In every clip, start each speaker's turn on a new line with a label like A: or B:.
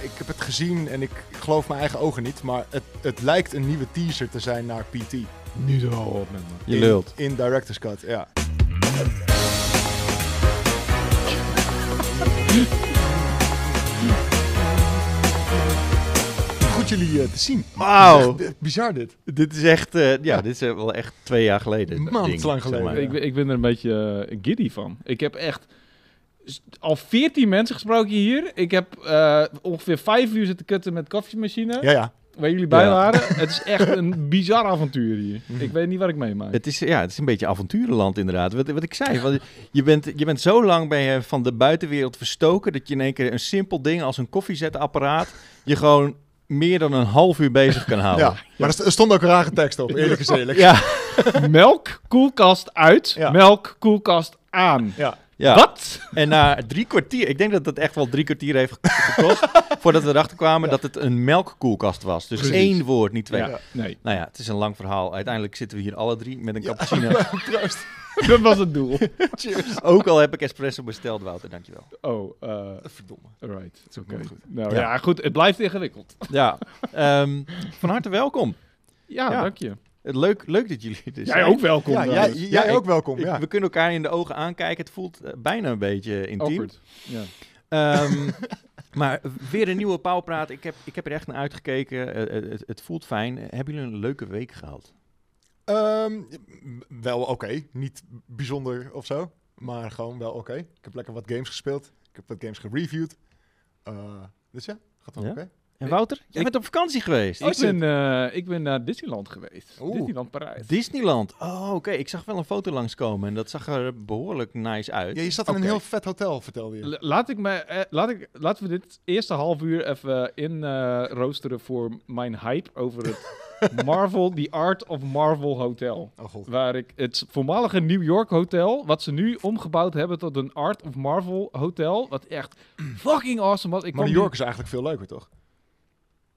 A: ik heb het gezien en ik geloof mijn eigen ogen niet. Maar het, het lijkt een nieuwe teaser te zijn naar PT.
B: Nu er al op, man.
C: Je
A: In-
C: lult.
A: In, Director's Cut, ja. Goed jullie eh, te zien.
C: Wauw.
A: Echt, eh, Bizar dit.
C: Dus Dit is echt, eh, ja, dit is eh, wel echt twee jaar geleden. dat
A: Maand
C: ding,
A: lang geleden.
C: maar.
B: Ik, ben- ik ben er een beetje eh, giddy van. Ik heb echt s- al 14 mensen gesproken hier. Ik heb eh, ongeveer 5 uur zitten kutten met koffiemachine.
A: Ja, ja.
B: Waar jullie bij
C: Ja.
B: waren. Het is echt een bizar avontuur hier. Ik weet niet wat ik meemaak.
C: Het is, ja, het is een beetje avonturenland inderdaad. Wat, wat ik zei, want je, bent, je bent zo lang ben je van de buitenwereld verstoken... dat je in één keer een simpel ding als een koffiezetapparaat... je gewoon meer dan een half uur bezig kan
A: ja.
C: houden.
A: Maar er st- er stond ook een rare tekst op, eerlijk is eerlijk.
C: Ja,
B: Melk, koelkast uit.
A: Ja.
B: Melk, koelkast aan.
A: Ja.
C: ja.
B: Wat?
C: En na drie kwartier, ik denk dat dat echt wel drie kwartier heeft ge- gekost... voordat we erachter kwamen dat het een melkkoelkast was. Dus
A: Precies.
C: één woord, niet twee.
A: Ja.
B: Nee,
C: Nou ja, het is een lang verhaal. Uiteindelijk zitten we hier alle drie met een
A: Ja.
C: cappuccino.
A: Proost.
B: dat was het doel.
A: Cheers.
C: Ook al heb ik espresso besteld, Wouter, dankjewel.
B: Oh, eh
A: Verdomme.
B: right. Oké.
A: komt goed.
B: Nou
C: Ja.
B: ja. goed. Het blijft ingewikkeld.
C: Ja, ehm, van harte welkom.
B: Ja,
C: Ja.
B: dank je.
C: Leuk, leuk dat jullie er zijn.
B: Jij ook welkom.
A: Ja,
B: dan.
A: jij,
B: Dus.
A: jij
C: eh, Ja, ik-
A: ook welkom.
C: Ik-
A: Ja.
C: We kunnen elkaar in de ogen aankijken. Het voelt eh, bijna een beetje intiem.
B: Awkward. Ja.
C: Ehm, maar weer een nieuwe pauwpraat. Ik heb, ik heb er echt naar uitgekeken. Eh, eh, het, het voelt fijn. Eh, Hebben jullie een leuke week gehad?
A: Ehm, m- wel oké. Niet bijzonder of zo. Maar gewoon wel oké. Ik heb lekker wat games gespeeld. Ik heb wat games gereviewd. Eh, dus ja, gaat wel
C: Ja?
A: oké.
C: En Wouter? Eh, Jij
B: ik-
C: bent op vakantie geweest.
B: Ik ben, eh, ik ben naar Disneyland geweest.
A: Oeh.
B: Disneyland Parijs.
C: Disneyland. Oh, oké. Ik zag wel een foto langskomen. En dat zag er behoorlijk nice uit.
A: Ja, je zat in
B: Oké.
A: een heel vet hotel, vertelde je.
B: La- Laat ik me, eh, laat ik, laten we dit eerste half uur even in eh, roosteren voor mijn hype over het Marvel, The Art of Marvel Hotel.
A: Oh god.
B: Waar ik het voormalige New York Hotel, wat ze nu omgebouwd hebben tot een Art of Marvel Hotel, wat echt fucking awesome was. Ik
A: Maar
B: kwam
A: New York is eigenlijk veel leuker, toch?
B: die-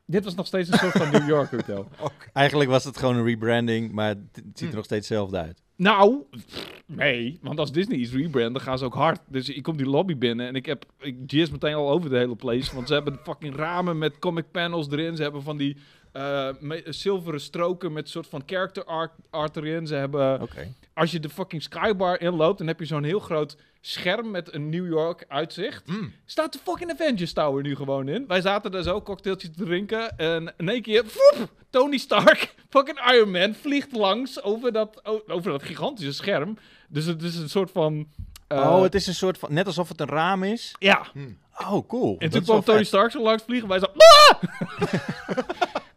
B: dit was nog steeds een soort van New York Hotel.
C: Eigenlijk was het gewoon een rebranding. Maar het, het
B: Hm.
C: ziet er nog steeds hetzelfde uit.
B: Nou, pff, nee, want als Disney iets rebranden, gaan ze ook hard. Dus ik kom die lobby binnen en ik heb ik jizz meteen al over de hele place, want ze hebben fucking ramen met comic panels erin. Ze hebben van die eh, me- zilveren stroken met soort van character art, art erin. Ze hebben
C: Oké.
B: als je de fucking skybar inloopt, dan heb je zo'n heel groot scherm met een New York uitzicht.
A: Mm.
B: Staat de fucking Avengers Tower nu gewoon in. Wij zaten daar zo cocktailtjes te drinken en in één keer, voep, Tony Stark, fucking Iron Man, vliegt langs over dat, o- over dat gigantische scherm. Dus het is een soort van... eh,
C: oh, het is een soort van... Net alsof het een raam is.
B: Ja,
C: Oh, cool.
B: en
C: Dat
B: toen
C: is wel
B: kwam Tony
C: vet.
B: Stark zo langs vliegen. Wij zo. "Ah!"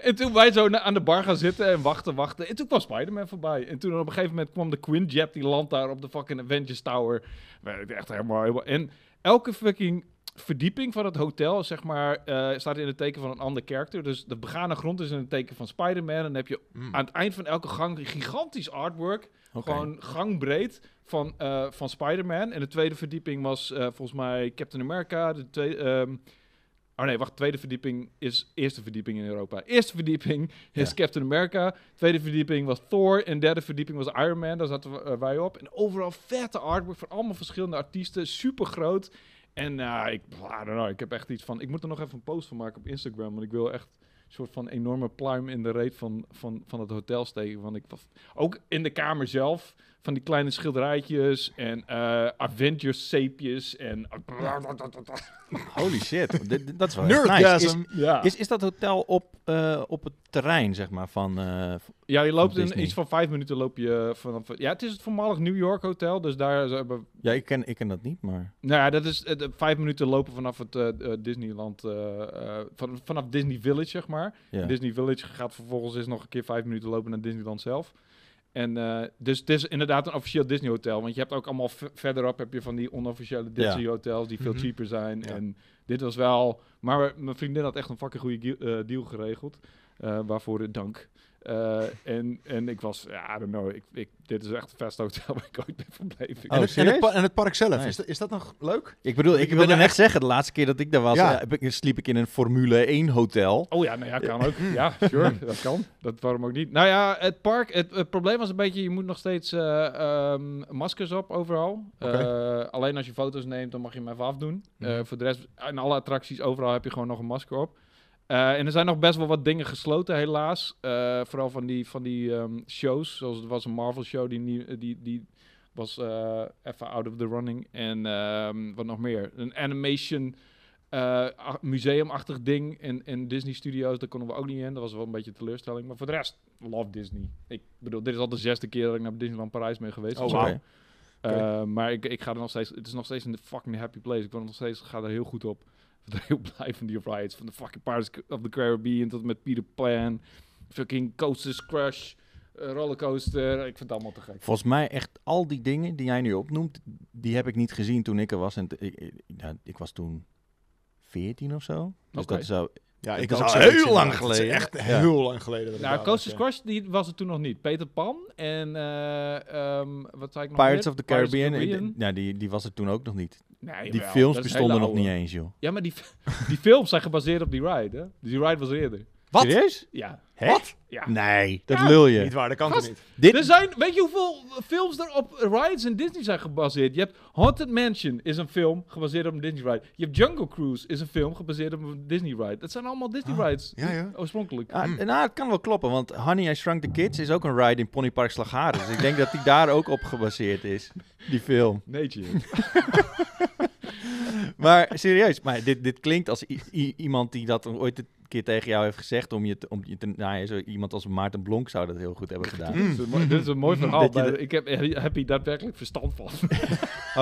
B: en toen wij zo na- aan de bar gaan zitten en wachten, wachten. En toen kwam Spider-Man voorbij. En toen op een gegeven moment kwam de Quinjet. Die landt daar op de fucking Avengers Tower. Wij- Echt helemaal, helemaal. En elke fucking verdieping van het hotel, zeg maar, eh, staat in het teken van een ander karakter. Dus de begane grond is in het teken van Spider-Man. En dan heb je
A: Mm.
B: aan het eind van elke gang een gigantisch artwork.
C: Oké.
B: Ah, Gewoon gangbreed van, eh, van Spider-Man. En de tweede verdieping was eh, volgens mij Captain America. De tweede, ehm, oh nee, wacht. Tweede verdieping is eerste verdieping in Europa. Eerste verdieping is
C: Ja.
B: Captain America. Tweede verdieping was Thor. En derde verdieping was Iron Man. Daar zaten we- eh, wij op. En overal vette artwork van allemaal verschillende artiesten. Super groot. En eh, ik, I don't know, ik heb echt iets van... Ik moet er nog even een post van maken op Instagram. Want ik wil echt een soort van enorme pluim in de reet van, van, van het hotel steken. Want ik, was- ook in de kamer zelf, van die kleine schilderijtjes en eh Avengers-zeepjes en...
C: Holy shit. Dit- dit- dat is wel echt nice.
A: Nerdgasm.
C: Is,
B: Ja.
C: is, is dat hotel op, eh, op het terrein, zeg maar, van... eh, v-
B: ja, je loopt
C: Van
B: in
C: Disney.
B: iets van vijf minuten loop je vanaf... Ja, het is het voormalig New York Hotel, dus daar ze hebben...
C: ja, ik ken, ik ken dat niet, maar...
B: Nou ja, dat is het, eh, vijf minuten lopen vanaf het eh, eh, Disneyland, eh, eh, van, vanaf Disney Village, zeg maar.
C: Ja.
B: Disney Village gaat vervolgens eens nog een keer vijf minuten lopen naar Disneyland zelf. En eh, dus het is inderdaad een officieel Disney hotel. Want je hebt ook allemaal ve- verderop heb je van die onofficiële
C: Ja.
B: Disney hotels die veel
A: Mhm.
B: cheaper zijn.
A: Ja.
B: En dit was wel. Maar mijn vriendin had echt een fucking goede deal geregeld. eh, waarvoor eh, dank. Eh, en, en ik was, ja, I don't know, ik, ik, dit is echt het beste hotel waar ik ooit ben verbleven.
C: Oh,
A: en, het, en,
C: serieus?
A: het pa- en het park zelf,
C: Nice.
A: is, dat, is dat nog leuk?
C: Ik bedoel, ik,
A: Ik ben
C: wilde
A: er
C: net
A: echt-
C: zeggen, de laatste keer dat ik daar was,
A: Ja.
C: eh, heb ik- sliep ik in een Formule 1 hotel.
B: Oh ja, nou ja, kan ook. Ja, sure, dat kan. Dat waarom ook niet. Nou ja, het park, het, het probleem was een beetje, je moet nog steeds eh, ehm, maskers op overal.
A: Oké.
B: Eh, alleen als je foto's neemt, dan mag je hem even afdoen. Eh,
A: Mhm.
B: voor de rest, in alle attracties, overal heb je gewoon nog een masker op. Eh, en er zijn nog best wel wat dingen gesloten, helaas. Eh, vooral van die, van die ehm, shows. Zoals er was een Marvel-show die, nie- die, die was eh, even out of the running. En ehm, wat nog meer? Een animation eh, a- museumachtig ding in, in Disney Studios. Daar konden we ook niet in. Dat was wel een beetje teleurstelling. Maar voor de rest, love Disney. Ik bedoel, dit is al de zesde keer dat ik naar Disneyland Parijs ben geweest.
A: Oh,
B: Dus,
A: wauw.
B: eh,
A: Oké.
B: maar ik, ik ga er nog steeds... Het is nog steeds een fucking happy place. Ik word er nog steeds, ga er heel goed op. Ik ben heel blij van die rides. Van de fucking Pirates of the Caribbean tot en met Peter Pan. Fucking Coasters Crash. eh, rollercoaster. Ik vind het allemaal te gek.
C: Volgens mij echt al die dingen die jij nu opnoemt, die heb ik niet gezien toen ik er was. En t- ik, ik- nou, ik was toen 14 of zo. Dus
B: Oké.
C: dat is al-
A: Ja,
C: Dat
A: ik
C: is
A: had
C: al
A: zoiets
C: heel lang
A: inderdaad. Het is
C: geleden.
A: echt
C: Ja.
A: heel lang geleden. dat ik
B: Nou,
A: daar was,
B: Coasters
A: ja.
B: Crash die was het toen nog niet. Peter Pan en eh, ehm, wat zei ik nog
C: Pirates
B: meer?
C: of the
B: Pirates
C: Caribbean, eh, d- nou, die, die was er toen ook nog niet.
B: Nee,
C: die
B: jawel,
C: films
B: dat is
C: bestonden
B: hele
C: nog niet
B: oude.
C: eens, joh.
B: Ja, maar die, die films zijn gebaseerd op die ride, hè? Dus die ride was er eerder.
A: Wat?
C: Serieus?
B: Ja.
C: Hè?
A: Wat?
B: ja.
C: Nee, dat
B: Ah, Ja.
C: lul je.
A: Niet waar, dat kan
B: Gast.
A: toch niet?
C: Dit,
B: Er zijn, weet je hoeveel films er op rides in Disney zijn gebaseerd? Je hebt Haunted Mansion is een film gebaseerd op een Disney ride. Je hebt Jungle Cruise is een film gebaseerd op een Disney ride. Dat zijn allemaal Disney rides.
A: ja, ja.
B: Oorspronkelijk.
C: Ah, nou, het kan wel kloppen, want Honey, I Shrunk the Kids is ook een ride in Ponypark Slagharen. Dus ik denk dat die daar ook op gebaseerd is, die film.
B: Nee, tje.
C: Maar serieus, maar dit, dit klinkt als i- i- iemand die dat ooit een keer tegen jou heeft gezegd. Om je te, om je te, nou ja, zo iemand als Maarten Blonk zou dat heel goed hebben gedaan.
B: Dit is een mooi- Dit is een mooi verhaal.
C: Dat je
B: maar
C: de-
B: Ik heb, heb hier daadwerkelijk verstand van.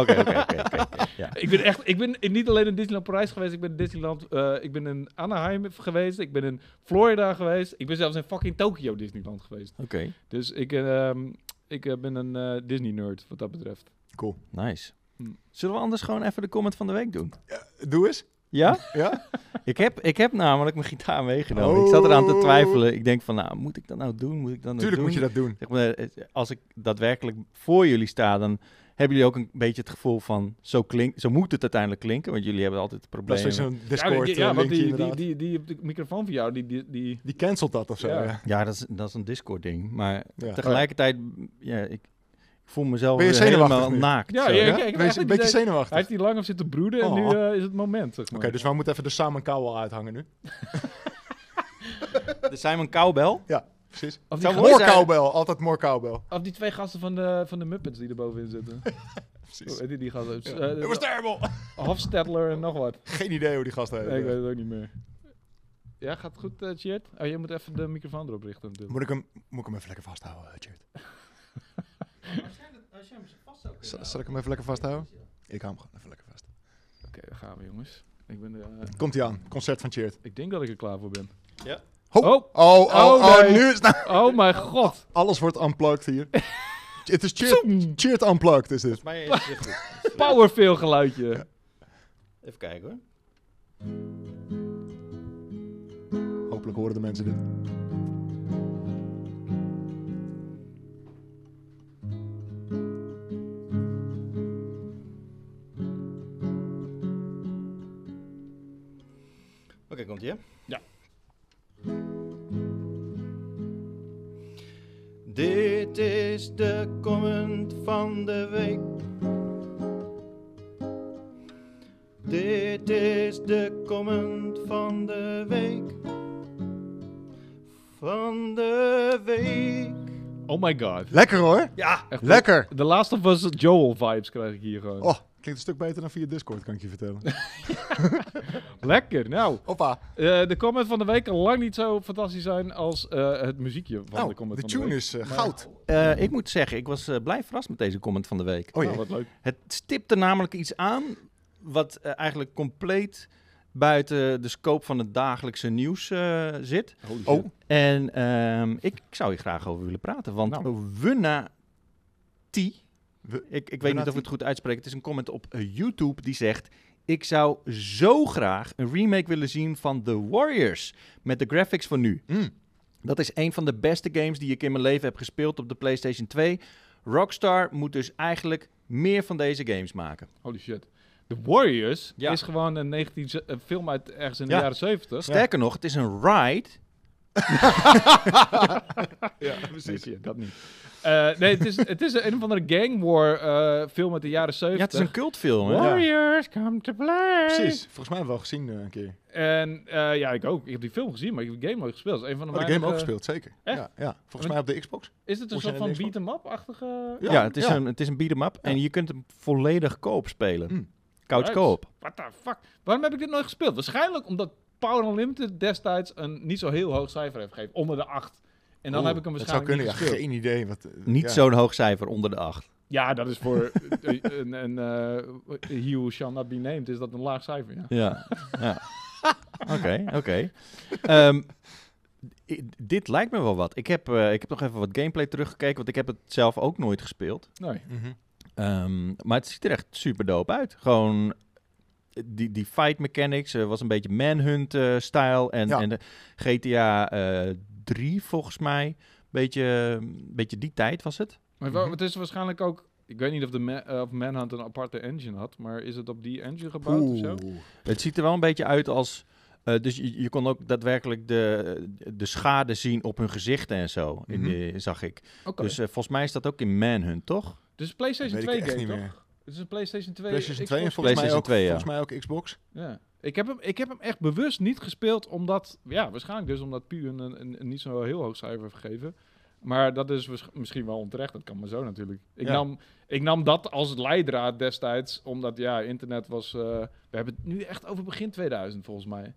C: Oké, oké, oké, oké, oké. ja.
B: Ik ben echt, ik ben in- niet alleen in Disneyland Parijs geweest, ik ben in Disneyland, eh, ik ben in Anaheim geweest, ik ben in Florida geweest, ik ben zelfs in fucking Tokyo Disneyland geweest.
C: Oké,
B: Dus ik, eh, ehm, ik eh, ben een eh, Disney nerd wat dat betreft.
A: Cool.
C: nice.
B: Hm.
C: Zullen we anders gewoon even de comment van de week doen?
A: Doe eens.
C: Ja?
A: Ja?
C: ik, heb, ik heb namelijk mijn gitaar meegenomen. Ik zat eraan te
A: Oh.
C: twijfelen. Ik denk van, nou, moet ik dat nou doen? Moet ik dat nou
A: Tuurlijk
C: doen?
A: moet je dat doen.
C: Zeg maar, eh, als ik daadwerkelijk voor jullie sta, dan hebben jullie ook een beetje het gevoel van zo, klink, zo moet het uiteindelijk klinken, want jullie hebben altijd
A: Dat is
C: problemen.
A: zo'n Discord
B: ja,
A: eh,
B: ja, want
A: linkje
B: die, die,
A: inderdaad.
B: die, die, die microfoon van jou, die, die, die
A: Die cancelt dat of zo.
B: Ja.
A: ja.
C: Ja, dat is, dat is een Discord-ding. Maar
A: Ja.
C: tegelijkertijd, m, ja, ik, ik voel mezelf
A: Ben je
C: weer
A: zenuwachtig
C: helemaal
A: nu?
C: naakt.
B: Ja,
C: zo.
B: ja.
A: Ja?
B: ik heb
A: Wees
B: echt
A: een
B: het
A: beetje
B: idee-
A: zenuwig.
B: hij heeft hier lang op zitten broeden en nu
A: Oh.
B: eh, is het moment, zeg maar.
A: Oké, dus we moeten even de samen kouwen uithangen nu.
C: De Simon Cowbell.
A: Precies.
B: of, die
C: zou
B: ga-
C: mooi
A: More
C: zijn.
A: cowbell, altijd more cowbell.
B: of die twee gasten van de, van de Muppets die er bovenin zitten.
A: Precies.
B: Hoe heet die, die gasten?
A: Ja.
B: Eh,
A: It was terrible!
B: Hofstadler en nog wat.
A: Geen idee hoe die gast heet.
B: Nee, ik weet het ook niet meer. Ja, gaat het goed, eh Tjeerd? Oh, je moet even de microfoon erop richten. natuurlijk.
A: Moet ik hem, moet ik hem even lekker vasthouden, Richard? Zal, zal ik hem even lekker vasthouden? Ik hou hem gewoon even lekker vast.
B: Oké, daar gaan we, jongens. Ik, ben, eh,
A: Komt hij aan, concert van Cheert.
B: ik denk dat ik er klaar voor ben.
C: Ja.
A: Ho.
B: Oh,
A: Oh, oh,
B: Oh,
A: oh,
B: nee.
A: nu is nou-
B: oh mijn god.
A: Alles wordt unplugged hier. Het is Cheert, Cheert unplugged is dit.
C: mij is het goed.
B: Powerfill geluidje.
C: Even kijken hoor.
A: Hopelijk horen de mensen dit.
C: Oké, komt ie. hè?
B: Ja.
C: Dit is de comment van de week. Dit is de comment van de week. Van de week.
B: Oh my god.
A: Lekker hoor.
C: Ja.
B: Echt,
A: Lekker.
B: De laatste was Joel vibes krijg ik hier gewoon.
A: Oh, klinkt een stuk beter dan via Discord, kan ik je vertellen.
B: Lekker. Nou,
A: Hoppa.
B: eh, de comment van de week kan lang niet zo fantastisch zijn als eh, het muziekje van de
A: Nou, de
B: comment van
A: tune
B: de week.
A: is eh, goud.
C: ik moet zeggen, ik was eh, blij verrast met deze comment van de week.
A: Oh
B: Nou,
A: jee.
B: wat leuk.
C: Het stipte namelijk iets aan wat eh, eigenlijk compleet buiten de scope van het dagelijkse nieuws eh, zit.
B: Holy shit.
A: Oh,
C: En ehm, ik zou hier graag over willen praten, want
B: Nou.
C: Wunna T,
A: We-
C: ik, ik weet
A: Wunna
C: niet of
A: T.
C: ik het goed uitspreek, het is een comment op eh, YouTube die zegt... Ik zou zo graag een remake willen zien van The Warriors met de graphics van nu.
A: mm.
C: Dat is een van de beste games die ik in mijn leven heb gespeeld op de PlayStation 2. Rockstar moet dus eigenlijk meer van deze games maken.
B: Holy shit. The Warriors
C: Ja.
B: is gewoon een, 19, ze- een film uit ergens in de
C: Ja.
B: jaren 70.
C: Sterker nog, het is een ride.
B: Ja, precies. dat niet. Eh, nee, het is, het is een of andere gang war eh, film uit de jaren
C: Ja, het is
B: 70.
C: een cultfilm. Hè?
A: Wow.
B: Warriors come to play.
A: Precies, volgens mij hebben we al gezien eh, een keer.
B: En eh, ja, ik ook. Ik heb die film gezien, maar ik heb de game nooit gespeeld. Dat is een van de
A: Maar Oh, de game
B: weinige-
A: ook gespeeld, zeker.
B: echt?
A: Ja, ja, volgens
B: Maar-
A: mij op de Xbox.
B: Is het een soort van
A: Originele Xbox.
B: beat-em-up-achtige...
C: Ja, het is
A: ja.
C: een, het is een beat-em up. En je kunt hem volledig koop spelen.
A: Mm.
C: Couch
B: Nice.
C: koop.
B: What the fuck? Waarom heb ik dit nooit gespeeld? Waarschijnlijk omdat Power Unlimited destijds een niet zo heel hoog cijfer heeft gegeven. Onder de 8. En dan
A: Oeh,
B: heb ik hem
A: dat zou
B: waarschijnlijk
A: kunnen,
B: niet
A: ja,
B: gespeeld.
A: geen idee. Wat, eh,
C: Niet
A: ja.
C: zo'n hoog cijfer onder de 8.
B: Ja, dat is voor eh, een, een eh, He Who Shall Not Be Named is dat een laag cijfer, ja.
C: Ja. ja. Oké, oké. Ehm, i- dit lijkt me wel wat. Ik heb, eh, ik heb nog even wat gameplay teruggekeken, want ik heb het zelf ook nooit gespeeld.
B: Nee.
A: Mhm.
C: Ehm, maar het ziet er echt super dope uit. Gewoon eh, die, die fight mechanics eh, was een beetje manhunt-stijl. en,
A: Ja.
C: en de GTA eh 3 volgens mij. Beetje, beetje die tijd was het.
B: Maar wa-
A: Mhm.
B: het is waarschijnlijk ook... Ik weet niet of, de Ma- eh, of Manhunt een aparte engine had, maar is het op die engine gebouwd of zo?
A: Oeh. dus,
C: Het ziet er wel een beetje uit als. eh, dus je, je kon ook daadwerkelijk de, de schade zien op hun gezichten en zo. in
A: Mhm.
C: die- zag ik.
B: Oké.
C: Dus eh, volgens mij is dat ook in Manhunt, toch?
B: Dus PlayStation
A: Weet ik
B: 2
A: echt
B: game,
A: niet
B: toch?
A: meer.
B: Het is een PlayStation 2.
A: PlayStation 2 en
B: Xbox.
A: volgens mij
C: PlayStation
A: ook,
C: 2, ja.
A: volgens mij ook Xbox.
B: Ja. Ik, heb hem, ik heb hem echt bewust niet gespeeld, omdat... Ja, waarschijnlijk dus omdat Pu een, een, een niet zo heel hoog cijfer heeft gegeven. Maar dat is waarsch- misschien wel onterecht. Dat kan maar zo natuurlijk. Ik,
A: Ja.
B: nam, ik nam dat als leidraad destijds, omdat ja, internet was... eh, we hebben het nu echt over begin 2000 volgens mij.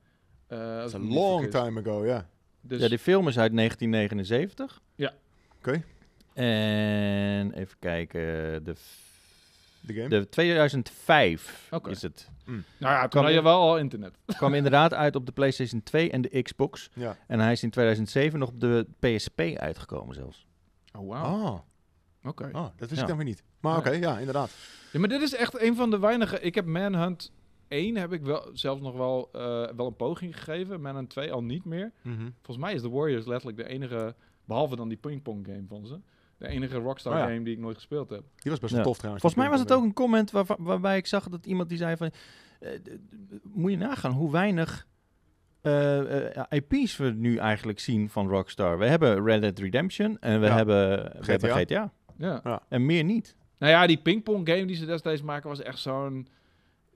B: Eh, als
A: That's a
B: ik me niet
A: long
B: vergis.
A: time ago, ja.
B: Dus,
C: Ja, die film is uit 1979.
B: Ja.
A: Oké.
C: En even kijken. De, f-
A: De game.
C: de 2005
B: Oké.
C: is het.
B: Nou ja,
C: Kan-
B: toen had je wel al internet.
C: kwam inderdaad uit op de PlayStation 2 en de Xbox.
A: ja.
C: En hij is in 2007 nog op de PSP uitgekomen zelfs.
B: Oh, wauw.
A: Oh,
B: Oké.
A: oh, dat wist
C: Ja.
A: ik dan weer niet. Maar
B: Ja.
A: oké, ja, inderdaad.
B: Ja, maar dit is echt een van de weinige. Ik heb Manhunt 1 heb ik wel zelfs nog wel, eh, wel een poging gegeven. Manhunt 2 al niet meer.
A: Mhm.
B: Volgens mij is The Warriors letterlijk de enige, behalve dan die pingpong game van ze, de enige Rockstar
A: Oh ja.
B: game die ik nooit gespeeld heb.
A: Die was best
C: Ja.
A: wel tof trouwens.
C: Volgens mij was het ook
A: een...
C: een comment waarva- waarbij ik zag dat iemand die zei van... eh, d- d- moet je nagaan hoe weinig eh, eh, IP's we nu eigenlijk zien van Rockstar. We hebben Red Dead Redemption en we,
A: Ja.
C: hebben, we
A: GTA.
C: hebben GTA.
B: Ja.
C: En meer niet.
B: Nou ja, die pingpong game die ze destijds maken was echt zo'n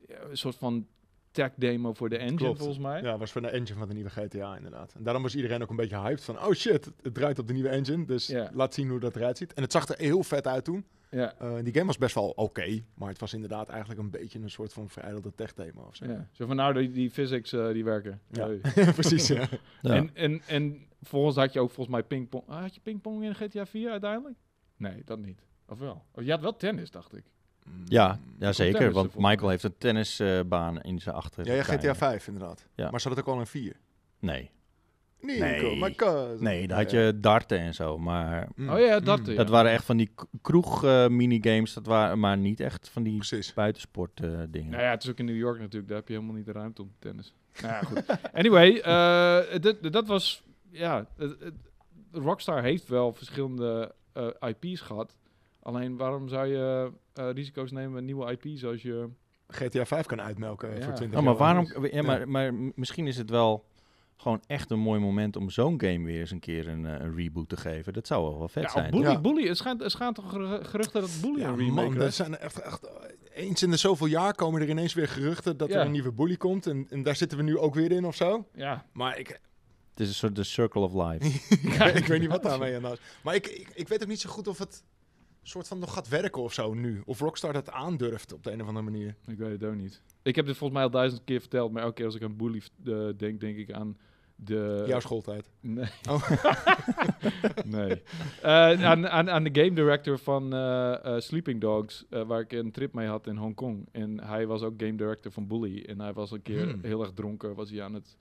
B: ja, een soort van tech demo voor de engine
A: Klopt.
B: volgens mij.
A: Ja, was voor de engine van de nieuwe GTA inderdaad. En daarom was iedereen ook een beetje hyped van... Oh shit, het, het draait op de nieuwe engine. Dus
B: Ja.
A: laat zien hoe dat eruit ziet. En het zag er heel vet uit toen.
B: Ja.
A: Eh, die game was best wel oké. maar het was inderdaad eigenlijk een beetje een soort van verijdelde tech demo of zo.
B: Ja. Zo van nou, die, die physics eh, die werken.
A: Ja.
B: Nee.
A: Precies, ja.
C: En,
B: En, en, en volgens had je ook volgens mij pingpong. ah, had je pingpong in GTA 4 uiteindelijk? Nee, dat niet. Of wel? Oh, je had wel tennis, dacht ik.
C: ja, ja, zeker.
B: tennis
C: Want
B: ervoor.
C: Michael heeft een tennisbaan eh, in zijn achter.
A: Ja, ja, GTA 5 inderdaad.
C: Ja.
A: Maar ze hadden het ook al een 4.
C: Nee.
A: Nico,
C: Nee.
A: my cousin.
C: nee, daar had
A: Ja.
C: je darten en zo. Maar
A: Mm.
B: Oh ja, dat.
A: Mm.
B: ja.
C: dat waren echt van die k- kroeg eh, minigames. Dat waren maar niet echt van die
A: Precies.
C: buitensport eh, dingen.
B: Nou ja, het is ook in New York natuurlijk. Daar heb je helemaal niet de ruimte om te tennis. Nou ja, goed. Anyway, eh, dit- dat was... Ja, het- het- Rockstar heeft wel verschillende eh, IP's gehad. Alleen, waarom zou je eh, risico's nemen met nieuwe IP's als je...
A: GTA 5 kan uitmelken eh,
B: Ja.
A: voor 20
C: Oh, maar
A: euro.
C: waarom? Ja, maar, maar m- misschien is het wel gewoon echt een mooi moment om zo'n game weer eens een keer een, eh, een reboot te geven. Dat zou wel wel vet
B: Ja,
C: zijn.
B: Bully,
A: Ja.
B: Bully. Het schijnt, het schijnt toch geru- geruchten dat Bully
A: Ja,
B: een remake
A: man, er
B: krijgt?
A: zijn er echt, echt... Eens in de zoveel jaar komen er ineens weer geruchten dat
B: Ja.
A: er een nieuwe bully komt. En, en daar zitten we nu ook weer in of zo.
B: Ja.
A: Maar ik,
C: Het is een soort de circle of life.
A: ik, weet- ik weet niet wat daarmee aan de hand is. Maar ik, ik, ik weet ook niet zo goed of het soort van nog gaat werken of zo nu. Of Rockstar dat aandurft op de een of andere manier.
B: Ik weet het ook niet. Ik heb dit volgens mij al duizend keer verteld, maar elke keer als ik aan Bully eh, denk, denk ik aan de...
A: Jouw schooltijd.
B: Nee.
A: Oh.
B: nee. Eh, aan, aan, aan de game director van eh, eh, Sleeping Dogs, eh, waar ik een trip mee had in Hongkong. En hij was ook game director van Bully. En hij was een keer
A: Hmm.
B: heel erg dronken, was hij aan het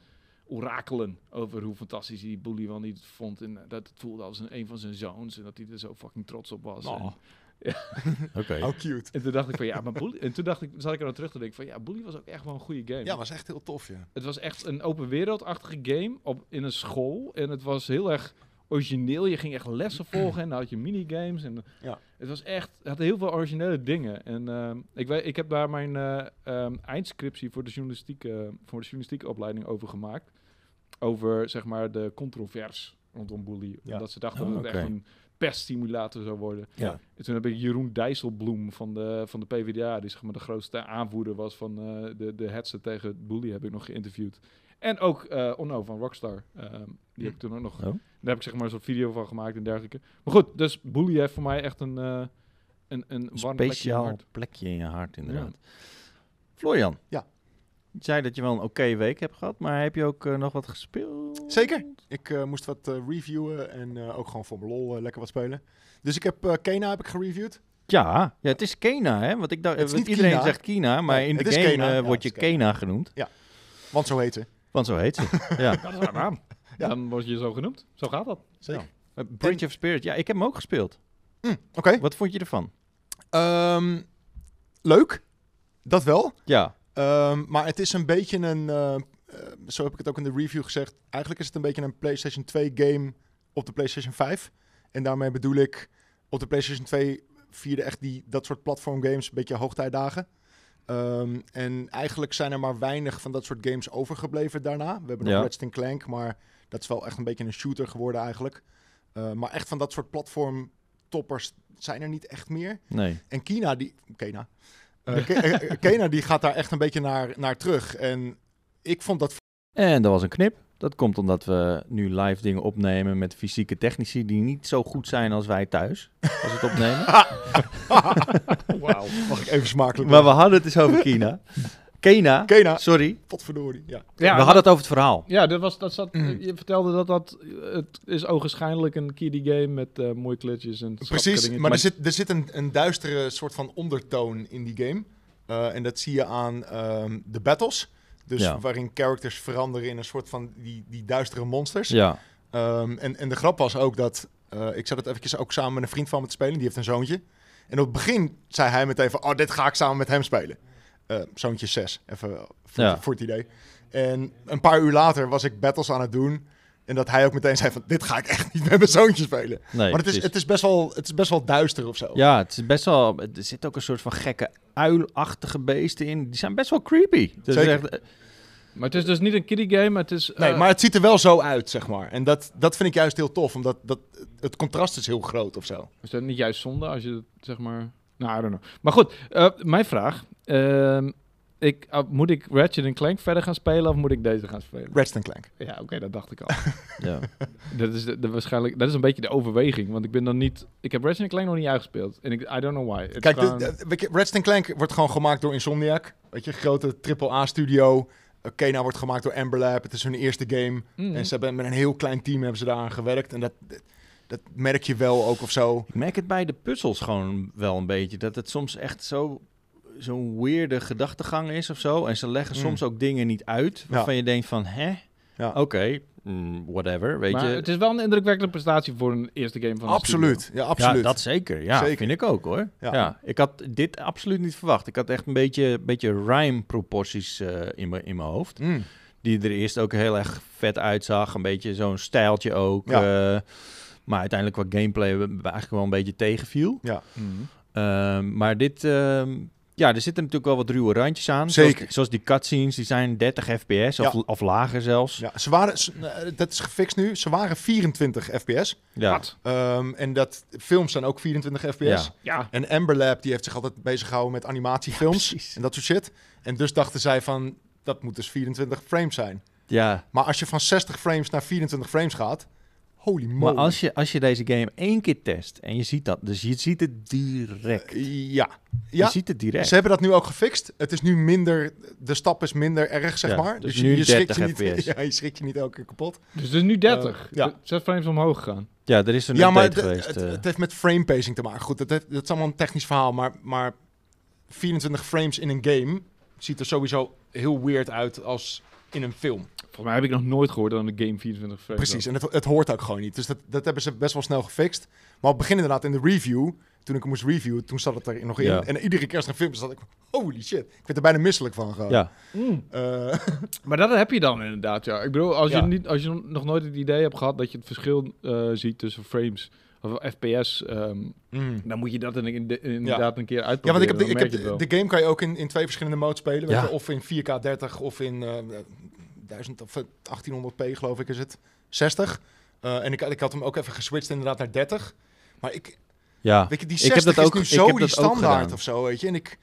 B: orakelen over hoe fantastisch hij eh, Bully wel niet vond. En dat het voelde als een, een van zijn zoons en dat hij er zo fucking trots op was.
A: Oh.
B: En
C: Oké.
A: Oh, cute.
B: En toen dacht ik van ja, maar Bully... En toen dacht ik, zat ik er aan terug te denken van ja, Bully was ook echt wel een goede game.
A: Ja, was echt heel tof, ja.
B: Het was echt een open wereldachtige game op, in een school. En het was heel erg origineel. Je ging echt lessen volgen en dan had je minigames. En
A: Ja.
B: Het was echt, het had heel veel originele dingen. En ehm, ik, weet, ik heb daar mijn eh, ehm, eindscriptie voor de, journalistieke, voor de journalistieke opleiding over gemaakt. Over zeg maar de controvers rondom Bully.
A: Ja.
B: Omdat ze dachten
C: Oh,
B: dat het echt
C: oké.
B: een peststimulator zou worden.
C: Ja.
B: En toen heb ik Jeroen Dijsselbloem van de, van de PvdA, die zeg maar de grootste aanvoerder was van eh, de, de hetze tegen Bully, heb ik nog geïnterviewd. En ook eh Onno van Rockstar. ehm, die
A: Hm.
B: heb ik toen ook nog.
C: Oh.
B: Daar heb ik zeg maar een soort video van gemaakt en dergelijke. Maar goed, dus Bully heeft voor mij echt een, eh een, een
C: Een
B: warm plekje in mijn
C: speciaal
B: hart.
C: plekje in je hart, inderdaad. Florian.
A: Ja.
C: Je zei dat je wel een oké week hebt gehad, maar heb je ook eh, nog wat gespeeld?
A: Zeker. Ik eh, moest wat eh, reviewen en eh, ook gewoon voor mijn lol eh, lekker wat spelen. Dus ik heb eh Kena heb ik gereviewd.
C: Ja, ja het is Kena, hè? Want ik dacht,
A: Het is
C: want
A: niet
C: iedereen
A: Kina.
C: zegt Kina, maar
A: Nee,
C: in
A: het
C: de
A: is
C: game
A: Kena.
C: eh,
A: Ja,
C: wordt je
A: het is Kena.
C: Kena genoemd.
A: Want zo heet ze.
C: Want zo heet ze. ja.
B: Ja, dat is haar naam.
A: Ja.
B: Dan word je zo genoemd. Zo gaat dat.
A: Zeker.
C: Ja. Eh, Bridge of Spirit. Ja, ik heb hem ook gespeeld.
A: Mm, Oké.
C: Wat vond je ervan?
A: Ehm, leuk. Dat wel.
C: Ja.
A: Ehm, maar het is een beetje een... eh, eh, zo heb ik het ook in de review gezegd. Eigenlijk is het een beetje een PlayStation 2 game op de PlayStation 5. En daarmee bedoel ik... Op de PlayStation 2 vierde echt die, dat soort platform games een beetje hoogtijdagen. Ehm, en eigenlijk zijn er maar weinig van dat soort games overgebleven daarna. We hebben nog
C: Ja.
A: Ratchet Clank, maar dat is wel echt een beetje een shooter geworden eigenlijk. Eh, maar echt van dat soort platform toppers zijn er niet echt meer.
C: Nee.
A: En Kina, die. Kena. Eh, Ke- eh, eh, Kena, die gaat daar echt een beetje naar, naar terug. En ik vond dat.
C: En dat was een knip. Dat komt omdat we nu live dingen opnemen met fysieke technici die niet zo goed zijn als wij thuis. Als het opnemen.
B: Wauw.
A: Mag ik even smakelijk.
C: maar we hadden het dus over Kina. Kena.
A: Kena,
C: Sorry.
A: potverdorie. Ja.
C: we hadden het over het verhaal.
B: Ja, dat was, dat zat,
A: Hm.
B: je vertelde dat dat, het is ogenschijnlijk een kiddie game met eh, mooie glitches en
A: Precies,
B: schattige
A: maar er
B: dingetjes.
A: zit, er zit een, een duistere soort van ondertoon in die game. Eh, en dat zie je aan ehm, de battles. Dus
C: Ja.
A: waarin characters veranderen in een soort van die, die duistere monsters.
C: Ja.
A: Ehm, en, en de grap was ook dat... eh, ik zat het eventjes ook samen met een vriend van me te spelen. Die heeft een zoontje. En op het begin zei hij meteen van... Oh, dit ga ik samen met hem spelen. Eh, zoontje 6, even voor,
C: Ja.
A: voor het idee. En een paar uur later was ik battles aan het doen. En dat hij ook meteen zei van... Dit ga ik echt niet met mijn zoontje spelen.
C: Nee,
A: maar het is,
C: precies.
A: het, is best wel, het is best wel duister of zo.
C: Ja, het is best wel. Er zit ook een soort van gekke uilachtige beesten in. Die zijn best wel creepy. Dat is
A: Zeker.
C: echt- eh,
B: Maar het is dus niet een kiddie game, het is...
A: Nee,
B: eh,
A: maar het ziet er wel zo uit, zeg maar. En dat, dat vind ik juist heel tof. Omdat dat, het contrast is heel groot of zo.
B: Is dat niet juist zonde als je het, zeg maar... Nou, I don't know. Maar goed, eh, mijn vraag. Ehm, ik, ah, moet ik Ratchet Clank verder gaan spelen of moet ik deze gaan spelen?
A: Redstone Clank.
B: Ja, oké, dat dacht ik al.
C: ja.
B: dat, is de, de waarschijnlijk, dat is een beetje de overweging, want ik ben dan niet... Ik heb Ratchet Clank nog niet uitgespeeld. En ik, I don't know why. Het is
A: Kijk,
B: gewoon-
A: de, de- weet je, Ratchet Clank wordt gewoon gemaakt door Insomniac. Weet je, grote AAA-studio. Eh, Kena wordt gemaakt door Amber Lab. Het is hun eerste game.
C: Hmm.
B: Mm.
A: En ze hebben met een heel klein team hebben ze daaraan gewerkt. En dat, dat, dat merk je wel ook of zo.
C: Ik merk het bij de puzzels gewoon wel een beetje. Dat het soms echt zo, zo'n weirde gedachtegang is of zo. En ze leggen
A: Mm.
C: soms ook dingen niet uit. Waarvan je denkt van, hè?
A: Ja.
C: Oké, mm, whatever, weet
B: maar
C: je.
B: het is wel een indrukwekkende prestatie voor een eerste game van een
A: Absoluut. Ja, absoluut.
C: Ja, dat zeker. Ja,
A: Zeker.
C: vind ik ook hoor.
A: Ja.
C: Ja. Ik had dit absoluut niet verwacht. Ik had echt een beetje, beetje rhyme-proporties eh, in mijn in mijn hoofd.
A: Mm.
C: Die er eerst ook heel erg vet uitzag. Een beetje zo'n stijltje ook. eh, maar uiteindelijk qua gameplay eh, eigenlijk wel een beetje tegenviel.
B: studio. Mhm.
C: Ehm, maar dit, ehm, ja, er zitten natuurlijk wel wat ruwe randjes aan.
A: Zeker.
C: Zoals, zoals die cutscenes, die zijn 30 fps of,
A: Ja.
C: of lager zelfs. Ja.
A: Ja, ze waren, ze- eh, dat is gefixt nu. Ze waren 24 fps.
B: Wat?
A: Ehm, en dat films zijn ook 24 fps.
C: Ja.
B: Ja.
A: En Amber Lab die heeft zich altijd bezig gehouden met animatiefilms
C: precies.
A: en dat soort shit. En dus dachten zij van, dat moet dus 24 frames zijn.
C: ja.
A: Maar als je van 60 frames naar 24 frames gaat, holy moly.
C: Maar als je, als je deze game één keer test en je ziet dat, dus je ziet het direct.
A: Ja, ja.
C: Je ziet het direct.
A: Ze hebben dat nu ook gefixt. Het is nu minder, de stap is minder erg, zeg
C: Ja,
A: maar.
C: dus
A: Dus,
C: nu
A: je, je schrikt je
C: 30
A: niet,
C: FPS.
A: ja, je schrikt je niet elke keer kapot.
B: Dus het is nu 30.
A: Eh, ja.
B: De- Zes frames omhoog gegaan.
C: Ja, er is een
A: ja, maar
C: update
A: de-
C: geweest.
A: het,
C: eh.
A: het heeft met frame pacing te maken. Goed, dat, heeft- dat is allemaal een technisch verhaal, maar, maar 24 frames in een game ziet er sowieso heel weird uit als in een film.
B: Volgens mij heb ik nog nooit gehoord dat een game 24 frames
A: Precies, en het, het hoort ook gewoon niet. Dus dat, dat hebben ze best wel snel gefixt. Maar op het begin inderdaad in de review toen ik hem moest reviewen, toen zat het er nog in.
C: Ja.
A: En iedere keer als er een filmpje zat, ik holy shit. Ik werd er bijna misselijk van gewoon.
C: Ja.
B: Mm.
A: Eh,
B: Maar dat heb je dan inderdaad, ja. Ik bedoel, als,
C: Ja.
B: Je, niet, als je nog nooit het idee hebt gehad dat je het verschil eh, ziet tussen frames of FPS, ehm, dan moet je dat in, in, inderdaad een keer
A: Ja,
B: uitproberen.
A: want ik heb, de,
B: dan
A: ik
B: merk
A: heb
B: je het wel.
A: de, de game kan je ook in, in twee verschillende modes spelen. Weet
C: Ja.
A: je, of in 4K 30 of in eh, 1000 of eh, 1800p geloof ik is het. 60. Eh, en ik, ik had hem ook even geswitcht inderdaad naar 30. Maar ik,
C: Ja.
A: weet je, die
C: Ik heb
A: 60
C: dat ook-
A: is nu
C: ik
A: zo
C: heb
A: die
C: dat ook
A: standaard
C: gedaan.
A: of zo, weet je. En ik,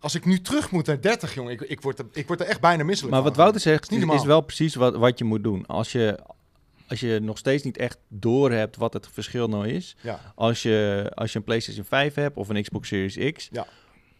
A: als ik nu terug moet naar 30, jongen, ik, ik, word, er, ik word er echt bijna misselijk
C: Maar
A: van.
C: wat Wouter zegt,
A: Is niet
C: is,
A: normaal.
C: is wel precies wat, wat je moet doen. Als je, als je nog steeds niet echt doorhebt wat het verschil nou is.
A: Ja.
C: Als je, als je een PlayStation 5 hebt of een Xbox Series X.
A: Ja.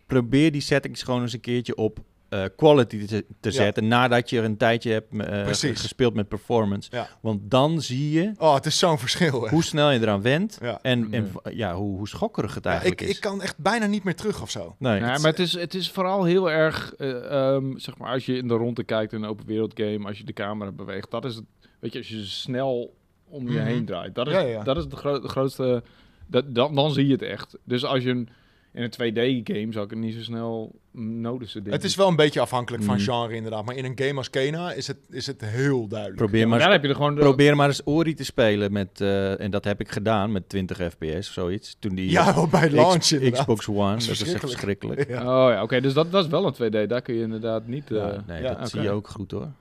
C: Probeer die settings gewoon eens een keertje op eh, quality te, te
A: Ja.
C: zetten. Nadat je er een tijdje hebt eh,
A: Precies.
C: gespeeld met performance.
A: Ja.
C: Want dan zie je
A: Oh, het is zo'n verschil, hè.
C: hoe snel je eraan went.
A: Ja.
C: En, en
B: Ja.
C: ja, hoe, hoe schokkerig het
A: Ja, ik,
C: eigenlijk is.
A: ik kan echt bijna niet meer terug of zo.
C: nee.
B: Nee, maar het is, het is vooral heel erg, eh, ehm, zeg maar, als je in de ronde kijkt in een open wereld game, als je de camera beweegt, dat is het, weet je, als je snel om je
A: Mhm.
B: heen draait, dat is,
A: Ja, ja, ja.
B: Dat is de, gro- de grootste, dat, dan, dan zie je het echt. Dus als je een, in een 2D game zou ik het niet zo snel noticen. denk
A: Het is
B: ik.
A: wel een beetje afhankelijk van
C: Mm.
A: genre inderdaad. Maar in een game als Kena is het, is het heel duidelijk.
C: Probeer
B: Maar
C: maar
B: daar heb je er gewoon... de-
C: Probeer maar eens Ori te spelen met, eh, en dat heb ik gedaan met 20 fps of zoiets. Toen die
A: Ja, wel bij launch
C: X-
A: inderdaad.
C: Xbox One, dat is echt
A: verschrikkelijk.
C: verschrikkelijk.
A: Ja.
B: Oh ja, oké, dus dat, dat is wel een 2D, daar kun je inderdaad niet... eh, Ja,
C: Ja, nee,
A: ja, eh,
C: dat
B: oké.
C: zie je ook goed hoor.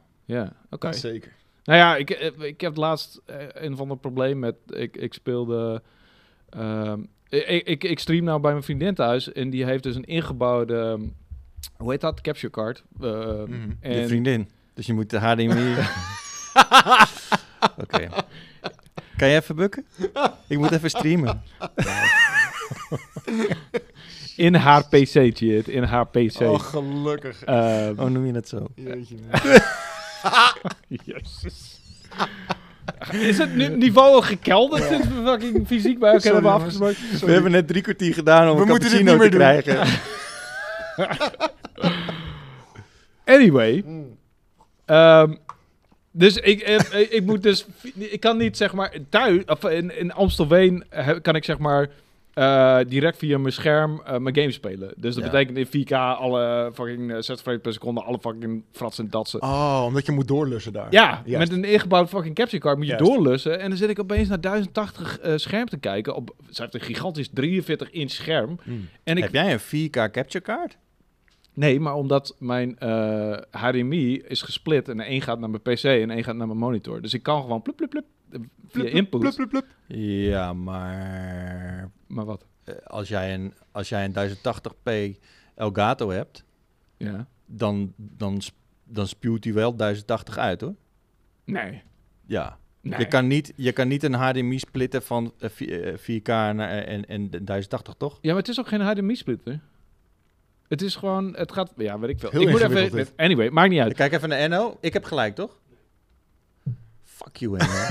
B: oké.
A: Zeker.
B: Nou ja, ik, eh, ik heb laatst eh, een van ander probleem met. Ik, ik speelde. ehm, ik, ik, ik stream nou bij mijn vriendin thuis en die heeft dus een ingebouwde. ehm, hoe heet dat? Capture card. Ehm,
A: Mhm.
C: Je
B: en,
C: vriendin. Dus je moet de HDMI... Oké. Kan jij even bukken? Ik moet even streamen.
B: in haar PC'tje. het, In haar PC.
A: Oh, gelukkig.
B: Ehm,
C: Oh, noem je het zo?
A: Jeetje, man.
B: Jezus. Is het nu niveau al gekelderd sinds we fucking fysiek bij elkaar
A: Sorry,
B: hebben
A: jongens.
B: afgesproken?
A: Sorry.
C: We hebben net drie kwartier gedaan om
A: We
C: een
A: moeten dit
C: cappuccino te
A: niet meer doen.
C: krijgen.
B: Anyway.
A: Hmm.
B: Ehm, dus ik, eh, ik, ik moet dus... Ik kan niet zeg maar thuis... Of in, in Amstelveen he- kan ik zeg maar... eh, direct via mijn scherm eh, mijn game spelen. Dus dat
C: Ja.
B: betekent in 4K alle fucking eh, 60 frames per seconde, alle fucking fratsen en datsen.
A: Oh, omdat je moet doorlussen daar.
B: Ja,
A: Ah, Juist.
B: met een ingebouwd fucking capture card moet je
A: Juist.
B: doorlussen. En dan zit ik opeens naar 1080 eh, scherm te kijken. Op, ze heeft een gigantisch 43 inch scherm.
A: Hmm.
B: En ik
C: Heb jij een 4K capture card?
B: Nee, maar omdat mijn eh, HDMI is gesplit en één gaat naar mijn PC en één gaat naar mijn monitor. Dus ik kan gewoon plup, plup, plup, eh, via
A: Plup,
B: input.
A: plup, plup, plup.
C: Ja, maar...
B: Maar wat?
C: eh, Als jij een, als jij een 1080p Elgato hebt...
B: Ja.
C: dan, dan, sp- dan spuwt hij wel 1080 uit hoor.
B: Nee.
C: Ja.
B: nee.
C: Je, kan niet, je kan niet een HDMI splitten van eh, vi- eh, 4K naar, eh, en, en 1080 toch?
B: Ja, maar het is ook geen HDMI-splitter. Het is gewoon, het gaat, ja, weet ik veel.
A: Heel
B: ik moet even,
A: ingewikkeld
B: anyway, maakt niet
C: Ik
B: uit.
C: kijk even naar Enno. Ik heb gelijk toch? Fuck you Enno.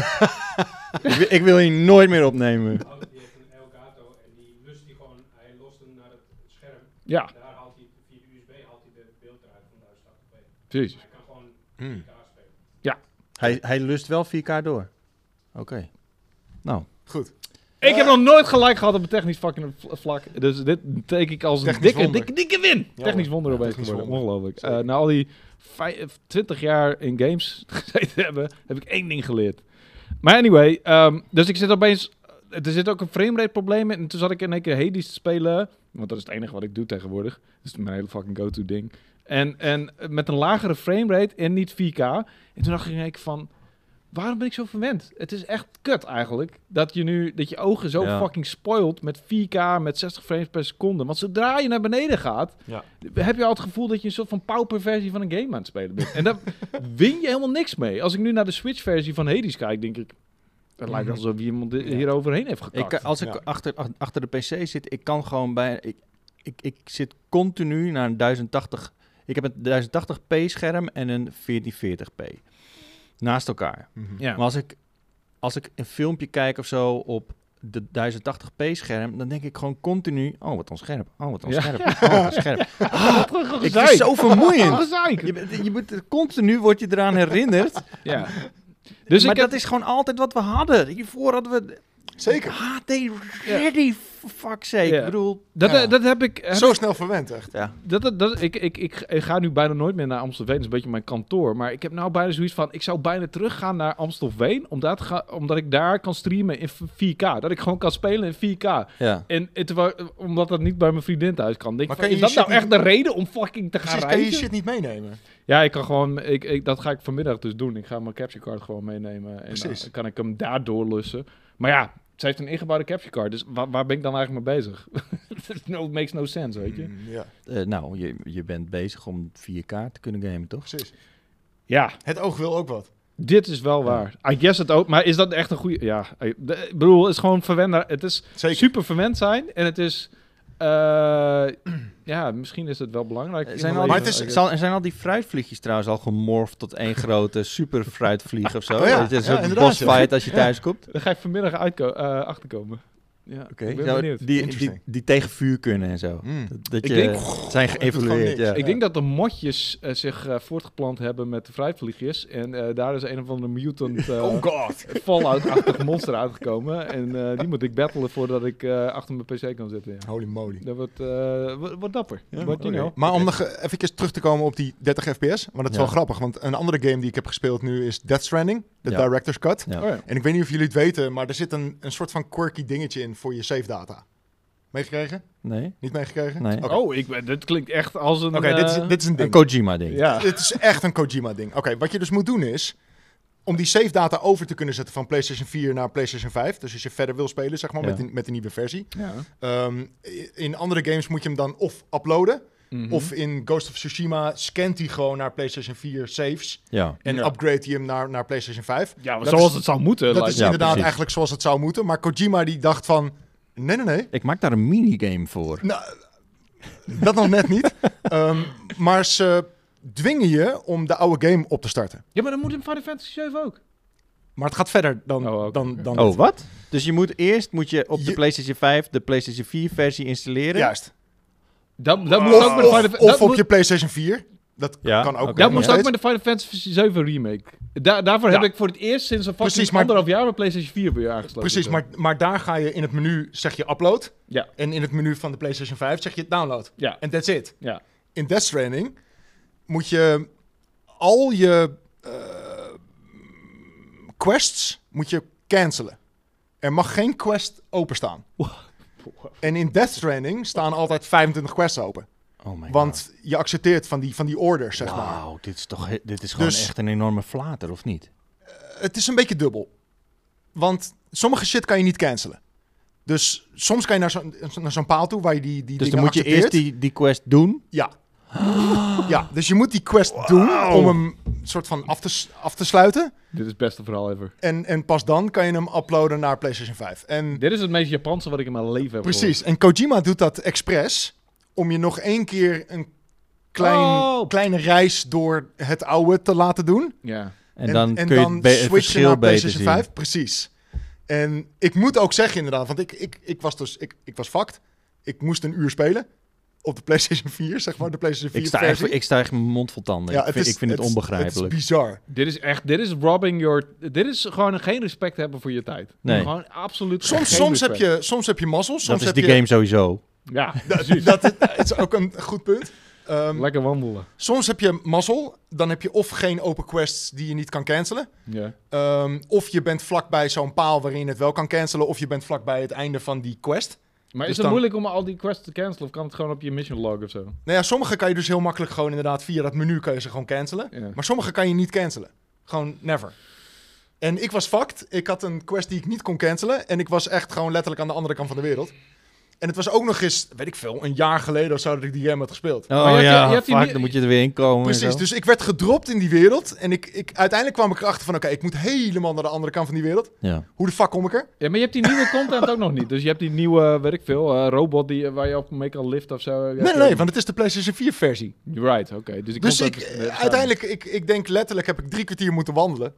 C: ik, wil, ik wil je nooit meer opnemen.
D: Want Oh, die heeft een Elgato en die lust die gewoon, hij lost hem naar het scherm.
B: Ja,
D: Daar haalt hij via de USB haalt hij de beeld eruit van 1080p.
B: precies.
D: Hij kan gewoon
A: Hmm.
D: daar spelen.
C: Hij, hij lust wel 4K door. Oké. Nou,
A: Goed.
B: Ik
A: Eh.
B: heb nog nooit gelijk gehad op een technisch fucking vl- vlak. Dus dit teken ik als een
A: Technisch
B: dikke,
A: wonder.
B: dikke, dikke win.
A: Ja,
B: technisch
A: hoor.
B: wonder
A: Ja,
B: opeens
A: technisch
B: geworden.
A: wonder.
B: Ongelooflijk. Eh,
A: Zeker.
B: na al die vijf- 20 jaar in games gezeten hebben, heb ik één ding geleerd. Maar anyway, ehm, dus ik zit opeens... eh, Er zit ook een framerate probleem in. En toen zat ik in één keer Hades te spelen. Want dat is het enige wat ik doe tegenwoordig. Dat is Dus mijn hele fucking go-to ding. En, en met een lagere framerate en niet 4K. En toen dacht ik in één keer van... Waarom ben ik zo verwend? Het is echt kut eigenlijk. Dat je nu dat je ogen zo
C: Ja.
B: fucking spoilt met 4K met 60 frames per seconde. Want zodra je naar beneden gaat,
A: Ja.
B: heb je al het gevoel dat je een soort van pauperversie van een game aan het spelen bent. En daar win je helemaal niks mee. Als ik nu naar de Switch versie van Hades kijk, denk ik. Het lijkt
A: Mhm.
B: alsof iemand
A: Ja.
B: hier overheen heeft
C: ik, eh,
B: gekakt.
C: kan- als ik
A: Ja.
C: achter, ach- achter de PC zit, ik kan gewoon bij. Ik, ik, ik zit continu naar een 1080. Ik heb een 1080p scherm en een 1440p. Naast elkaar.
A: Mhm.
B: ja.
C: Maar als ik, als ik een filmpje kijk of zo op de 1080p scherm, dan denk ik gewoon continu. Oh, wat onscherp. Oh, wat onscherp. Oh, wat onscherp.
B: Terug
C: Ik vind het zo vermoeiend.
B: gezeik.
C: Je, bent- je moet, continu word je eraan herinnerd.
B: Ja. Dus
C: maar
B: ik heb,
C: dat is gewoon altijd wat we hadden. Hiervoor hadden we
A: Zeker.
C: HD ready for fuck's sake.
B: Ja.
C: Ik bedoel,
B: Dat, eh,
A: Ja.
B: dat heb ik... heb
A: Zo snel verwend, echt.
C: ja.
B: Dat, dat, dat- ik, ik, ik, ik ga nu bijna nooit meer naar Amstelveen. Dat is een beetje mijn kantoor. Maar ik heb nou bijna zoiets van... Ik zou bijna teruggaan naar Amstelveen. Omdat, ga, omdat ik daar kan streamen in 4K. Dat ik gewoon kan spelen in 4K.
C: ja.
B: En het, wa- omdat dat niet bij mijn vriendin thuis kan. Denk
A: Maar
B: ik
A: kan
B: van,
A: je
B: is dat
A: je
B: nou
A: shit
B: echt de reden om fucking te gaan
A: Precies, kan je je
B: reizen?
A: shit niet meenemen.
B: Ja, ik kan gewoon... Ik, ik, dat ga ik vanmiddag dus doen. Ik ga mijn capture card gewoon meenemen. En
A: Precies.
B: dan kan ik hem daar doorlussen. Maar ja... Ze heeft een ingebouwde capture card, dus waar, waar ben ik dan eigenlijk mee bezig? no, makes no sense, weet je.
A: Mm, ja,
C: Eh, nou, je, je bent bezig om 4K te kunnen gamen, toch?
A: precies.
B: Ja,
A: Het oog wil ook wat.
B: Dit is wel waar. I guess het ook. Maar is dat echt een goede... Ja, I- de- ik bedoel, het is gewoon verwend. Het is
A: Zeker.
B: super verwend zijn. En het is... eh, ja, misschien is het wel belangrijk. in
C: Eh, Zijn
B: mijn
C: al,
A: Maar
B: leven,
A: het
B: I
A: is-
B: guess.
C: zal- zijn al die fruitvliegjes trouwens al gemorfd tot één grote super fruitvlieg of zo?
A: Oh ja,
C: Het is
A: ja,
C: een
A: inderdaad,
C: bossfight als je thuis komt.
B: Daar ga ik vanmiddag uitko- eh, achterkomen. Ja,
C: Oké.
B: ik ben
C: Nou,
B: benieuwd.
C: die, die,
A: Interesting.
C: die tegen vuur kunnen en zo.
A: Mm.
C: Dat, dat
B: Ik
C: je
B: denk- Oh,
C: zijn
A: gewoon
C: geëvalueerd.
A: niks.
C: Ja.
B: Ik denk dat de motjes eh, zich eh, voortgeplant hebben met de fruitvliegjes. En eh, daar is een of andere mutant eh,
A: Oh god.
B: Fallout-achtig monster uitgekomen. En eh, die moet ik battelen voordat ik eh, achter mijn pc kan zitten. ja.
A: Holy moly.
B: Dat wordt, eh, wordt, wordt dapper.
C: Ja,
B: Wordt, you
C: oké.
B: know.
A: Maar om nog eh, even terug te komen op die 30 fps, want dat is
C: Ja.
A: wel grappig, want een andere game die ik heb gespeeld nu is Death Stranding, de
C: Ja.
A: Director's Cut.
C: Ja.
B: Oh, ja.
A: En ik weet niet of jullie het weten, maar er zit een, een soort van quirky dingetje in voor je save data. Meegekregen?
C: Nee?
A: Niet meegekregen?
C: Nee.
A: Oké,
B: Oh, ik ben, dit klinkt echt als een...
A: Oké, dit,
B: eh,
A: is, dit is een
C: Een
A: ding.
C: Kojima ding.
B: Ja.
A: Dit is echt een Kojima-ding. Oké, wat je dus moet doen is... om die save data over te kunnen zetten van PlayStation 4 naar PlayStation 5... dus als je verder wil spelen, zeg maar,
C: Ja.
A: met, die, met die nieuwe versie...
B: ja.
A: Ehm, in andere games moet je hem dan of uploaden...
B: Mhm.
A: of in Ghost of Tsushima scant hij gewoon naar PlayStation 4 saves...
C: Ja.
A: en
B: Ja.
A: upgrade hij hem naar, naar PlayStation 5.
B: ja, maar
A: dat
B: zoals
A: is-
B: het zou moeten.
A: Dat
B: lijkt
A: is
B: me.
C: ja,
A: inderdaad
C: precies.
A: eigenlijk zoals het zou moeten. Maar Kojima die dacht van... Nee, nee, nee.
C: Ik maak daar een minigame voor.
A: Nou, dat nog net niet. Ehm, maar ze dwingen je om de oude game op te starten.
B: ja, maar dan moet in Final Fantasy 7 ook.
A: Maar het gaat verder dan,
B: Oh, oké,
A: dan,
B: oké.
A: dan
C: Oh, wat? Dus je moet eerst moet je op de
A: Je-
C: PlayStation 5 de PlayStation 4 versie installeren.
A: Juist.
B: Dat, dat
D: Wow.
B: moest ook met de
A: Of,
B: Final Fa-
A: of
B: dat
A: op
B: moet-
A: je PlayStation 4. Dat
C: Ja,
A: kan
C: oké.
A: ook.
B: Dat
A: nog
B: moest ook
A: steeds.
B: met de Final Fantasy 7 remake. Da- daarvoor heb
D: Ja.
B: ik voor het eerst sinds een fucking
A: Precies, maar-
B: anderhalf jaar mijn PlayStation 4 weer aangesloten.
A: Precies, maar, maar daar ga je in het menu zeg je upload.
B: Ja.
A: En in het menu van de PlayStation 5 zeg je download.
B: Ja,
A: En that's it.
B: ja.
A: In Death Stranding moet je al je eh, quests moet je cancelen. Er mag geen quest openstaan. En in Death Stranding staan altijd 25 quests open.
C: Oh my god.
A: Want je accepteert van die, van die orders, zeg maar.
C: Wauw, dit is toch he- dit is gewoon
A: Dus-
C: echt een enorme flater, of niet?
A: Het is een beetje dubbel. Want sommige shit kan je niet cancelen. Dus soms kan je naar zo'n naar zo'n paal toe waar je die, die
C: Dus dan
A: dingen
C: moet je
A: accepteert.
C: eerst die, die quest doen.
A: Ja. ja, dus je moet die quest doen om hem soort van af te, s- af te sluiten.
B: Dit is het beste verhaal ever.
A: En, en pas dan kan je hem uploaden naar PlayStation 5. En
B: Dit is het meest Japanse wat ik in mijn leven heb
A: precies, en Kojima doet dat expres om je nog één keer een klein,
B: Oh.
A: kleine reis door het oude te laten doen.
B: gehoord. Ja.
C: En, dan kun je het, be- het
A: switchen
C: verschil beter zien.
A: Precies. En ik moet ook zeggen inderdaad, want ik, ik, ik was dus, ik, ik was fucked. Ik moest een uur spelen op de PlayStation 4, zeg maar, de PlayStation 4
C: Ik sta, echt,
A: versie.
C: ik sta echt mijn mond vol tanden. ik vind,
A: is-
C: ik vind het,
A: is- Het
C: onbegrijpelijk.
A: is bizar.
B: Dit is echt, dit is robbing your... Dit is gewoon geen respect hebben voor je tijd.
C: Nee.
B: Gewoon absoluut
A: Soms,
B: geen
A: soms, heb,
B: respect.
A: je, soms heb je mazzel, soms
C: dat is
A: heb
C: die
A: je... Oh,
C: game sowieso.
B: Ja,
A: Da- Dat, dat is ook een goed punt. Ehm,
B: lekker wandelen.
A: soms heb je mazzel, dan heb je of geen open quests die je niet kan cancelen.
B: Ja.
A: ehm, of je bent vlakbij zo'n paal waarin je het wel kan cancelen. Of je bent vlakbij het einde van die quest.
B: Maar
A: Dus
B: is het
A: dan-
B: moeilijk om al die quests te cancelen? Of kan het gewoon op je mission log of zo?
A: Nou ja, sommige kan je dus heel makkelijk gewoon inderdaad via dat menu kan je ze gewoon cancelen.
B: Ja.
A: Maar sommige kan je niet cancelen. Gewoon never. En ik was fucked. Ik had een quest die ik niet kon cancelen. En ik was echt gewoon letterlijk aan de andere kant van de wereld. En het was ook nog eens, weet ik veel, een jaar geleden of zo dat ik die game had gespeeld.
C: Oh
B: je hebt-
C: ja,
B: je hebt die
C: fuck,
B: nie-
C: dan moet je er weer in komen. en
A: Precies,
C: zo.
A: dus ik werd gedropt in die wereld. En ik, ik, uiteindelijk kwam ik erachter van, oké, ik moet helemaal naar de andere kant van die wereld.
C: ja.
A: Hoe de fuck kom ik er?
B: Ja, maar je hebt die nieuwe content ook nog niet. Dus je hebt die nieuwe, weet ik veel, eh, robot die, eh, waar je op mee kan liften of zo.
A: Nee, nee, nee, want het is de PlayStation 4 versie.
B: Right, oké. Dus, die
A: Dus
B: content
A: ik,
B: is-
A: eh,
B: eh, samen.
A: uiteindelijk, ik, ik denk letterlijk heb ik drie kwartier moeten wandelen.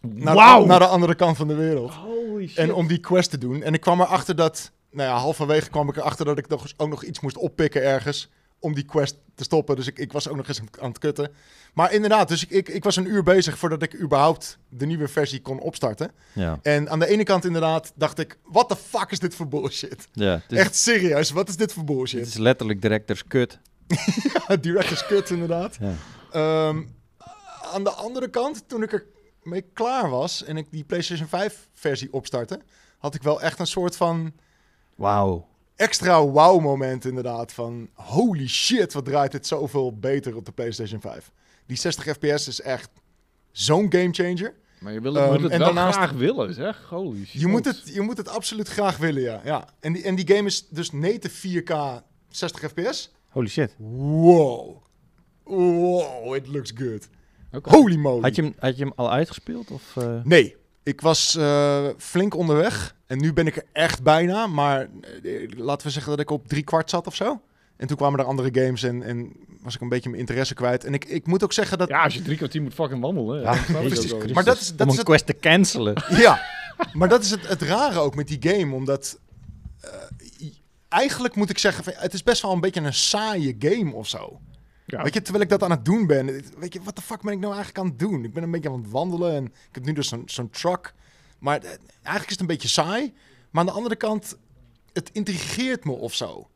A: Naar,
B: Wauw!
A: de, naar de andere kant van de wereld.
B: Holy shit.
A: En om die quest te doen. En ik kwam erachter dat, nou ja, halverwege kwam ik erachter dat ik nog, eens- ook nog iets moest oppikken ergens. om die quest te stoppen. Dus ik, ik was ook nog eens aan, het- aan het kutten. Maar inderdaad, dus ik, ik, ik was een uur bezig voordat ik überhaupt de nieuwe versie kon opstarten.
C: Ja,
A: En aan de ene kant inderdaad dacht ik, what the fuck is dit voor bullshit?
C: ja het, is,
A: Echt serieus, wat is dit voor
C: het
A: bullshit?
C: is letterlijk directors kut.
A: Director's cut inderdaad.
C: Ja.
A: Ehm, aan de andere kant, toen ik er mee klaar was en ik die PlayStation 5 versie opstartte, had ik wel echt een soort van
C: Wauw.
A: extra wow moment inderdaad. Van holy shit, wat draait dit zoveel beter op de PlayStation 5. Die 60 fps is echt zo'n gamechanger.
B: Maar je wil,
A: Ehm,
B: moet het
A: en
B: wel
A: daarnaast-
B: graag willen, zeg. Holy shit.
A: Je moet, het, je moet het absoluut graag willen, ja. ja. En, die, en die game is dus native 4K 60 fps.
C: Holy shit.
A: Wow. Wow, it looks good.
B: Oké.
A: Holy moly.
C: Had je hem, had je hem al uitgespeeld? Of, eh?
A: Nee, ik was eh, flink onderweg. En nu ben ik er echt bijna. Maar eh, laten we zeggen dat ik op drie kwart zat of zo. En toen kwamen er andere games en, en was ik een beetje mijn interesse kwijt. En ik, ik moet ook zeggen dat...
B: Ja, als je drie kwartier moet fucking wandelen.
C: Ja,
B: dan snap ik
C: Jezus
B: ook wel.
C: Christus.
A: maar dat is, dat
C: om
A: is
C: een
A: het,
C: quest te cancelen.
A: ja, maar dat is het, het rare ook met die game. Omdat eh, i- eigenlijk moet ik zeggen, van, het is best wel een beetje een saaie game of zo.
B: Ja.
A: Weet je, terwijl ik dat aan het doen ben. het- Weet je, wat de fuck ben ik nou eigenlijk aan het doen? Ik ben een beetje aan het wandelen en ik heb nu dus zo'n zo'n truck. Maar eh, eigenlijk is het een beetje saai. Maar aan de andere kant, het intrigeert me of zo.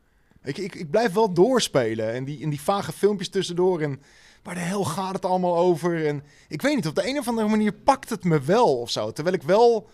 A: Weet je, ik, ik blijf wel doorspelen en die, in die vage filmpjes tussendoor. En waar de hel gaat het allemaal over? En ik weet niet, op de een of andere manier pakt het me wel of zo. Terwijl ik wel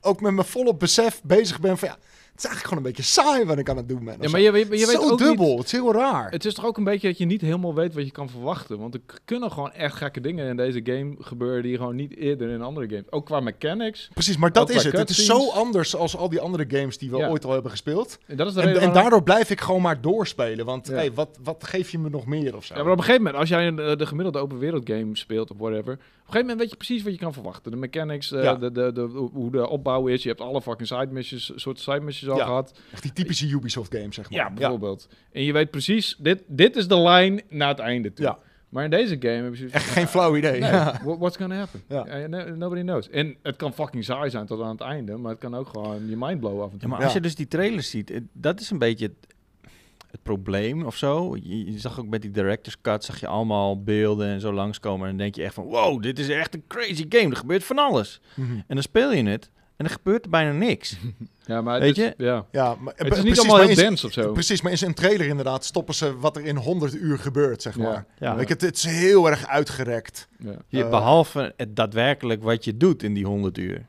A: ook met mijn volop besef bezig ben van ja, het is eigenlijk gewoon een beetje saai wat ik aan het doen ben. of
B: Ja,
A: zo.
B: maar je, je, je weet
A: zo
B: ook niet-
A: dubbel, het is heel raar.
B: Het is toch ook een beetje dat je niet helemaal weet wat je kan verwachten. Want er k- kunnen gewoon echt gekke dingen in deze game gebeuren die gewoon niet eerder in andere games. Ook qua mechanics.
A: Precies, maar dat
B: Ook
A: is
B: qua
A: het. Het is
B: cutscenes.
A: zo anders als al die andere games die we
B: Ja.
A: ooit al hebben gespeeld.
B: En dat is de
A: En,
B: reden
A: en
B: waarom-
A: daardoor blijf ik gewoon maar doorspelen. Want
B: Ja.
A: hey, wat, wat geef je me nog meer of zo?
B: Ja, maar op een gegeven moment, als jij een, eh, de gemiddelde open wereld game speelt of whatever, op een gegeven moment weet je precies wat je kan verwachten. De mechanics, eh,
A: Ja.
B: de, de, de, hoe de opbouw is. Je hebt alle fucking side missions, soort side missions al
A: Ja.
B: gehad.
A: Echt die typische Ubisoft games, zeg maar.
B: Ja, bijvoorbeeld. En je weet precies, dit, dit is de lijn naar het einde toe.
A: Ja.
B: Maar in deze game hebben ze...
A: Echt geen flauw idee.
B: Nee,
A: Ja.
B: what- what's gonna happen?
A: Ja.
B: Eh, no- nobody knows. En het kan fucking saai zijn tot aan het einde, maar het kan ook gewoon je mind blowen af en
C: Ja,
B: toe.
C: maar als
A: Ja.
C: je dus die trailers ziet, eh, dat is een beetje het, het probleem of zo. Je, je zag ook met die director's cut, zag je allemaal beelden en zo langskomen. En dan denk je echt van, wow, dit is echt een crazy game. Er gebeurt van alles.
A: Mhm.
C: En dan speel je het en er gebeurt bijna niks.
B: Ja, maar het
C: Weet
B: is- Ja.
A: Ja, maar,
B: Het is niet
A: precies,
B: allemaal
A: maar
B: heel
A: in-
B: dense of zo.
A: Precies, maar in zijn trailer inderdaad stoppen ze wat er in 100 uur gebeurt, zeg
B: Ja.
A: maar.
C: Ja.
A: Weet je, het, het is heel erg uitgerekt.
B: Ja.
C: Je-
A: Eh.
C: behalve het daadwerkelijk wat je doet in die 100 uur.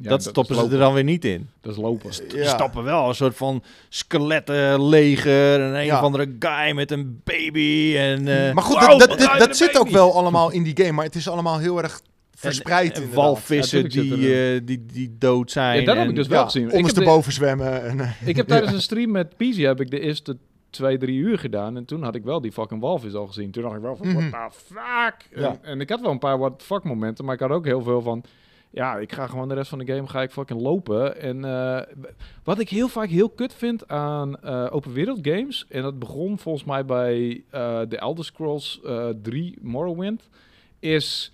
B: Ja,
C: dat stoppen ze
B: is
C: er dan weer niet in.
B: lopen. Dat is lopen.
C: Ze
A: Ja.
C: stappen wel een soort van skelettenleger en een
A: Ja.
C: of andere guy met een baby. En, eh,
A: Maar goed,
C: wow,
A: dat, dat, dat,
C: guy
A: dat
C: met een
A: zit ook
C: baby.
A: wel allemaal in die game. Maar het is allemaal heel erg verspreid.
C: En, en
A: inderdaad.
C: walvissen
B: Ja, tuurlijk
C: die,
B: zit er
C: eh, die, die dood zijn.
B: Ja, dat heb
C: en-
B: ik dus wel
A: Ja,
B: gezien. Ik heb
A: ondersteboven zwemmen. En, eh,
B: Ik heb tijdens een stream met Pizzi heb ik de eerste twee, drie uur gedaan. En toen had ik wel die fucking walvis al gezien. Toen dacht ik wel van,
A: Mhm.
B: what the fuck?
A: Ja.
B: En, en ik had wel een paar what the fuck momenten. Maar ik had ook heel veel van, ja, ik ga gewoon de rest van de game ga ik fucking lopen. En eh, b- wat ik heel vaak heel kut vind aan eh, open wereld games. En dat begon volgens mij bij eh The Elder Scrolls eh 3 Morrowind. Is...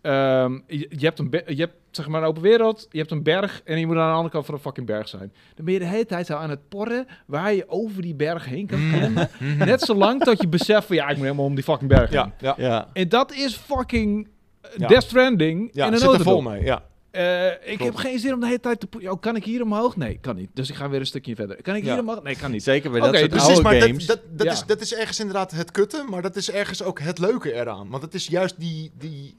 B: Ehm, je, je hebt een be- je hebt zeg maar een open wereld, je hebt een berg en je moet aan de andere kant van een fucking berg zijn. Dan ben je de hele tijd zo aan het porren waar je over die berg heen kan
A: Mhm.
B: klimmen. Net zolang dat je beseft van ja, ik moet helemaal om die fucking berg heen.
A: ja.
C: Ja.
B: En dat is fucking eh,
A: Ja.
B: Death Stranding
A: Ja,
B: in een
A: zit er
B: notendop.
A: vol mee. Ja.
B: Eh, ik heb
A: Klopt.
B: geen zin om de hele tijd te... po- Oh, kan ik hier omhoog? Nee, kan niet. Dus ik ga weer een stukje verder. Kan ik
A: Ja.
B: hier omhoog? Nee, kan niet.
C: Zeker bij
B: Oké,
C: dat soort
A: Precies,
C: oude
A: maar
C: games.
A: dat, dat, dat,
B: Ja.
A: is, dat is ergens inderdaad het kutte, maar dat is ergens ook het leuke eraan. Want het is juist die, die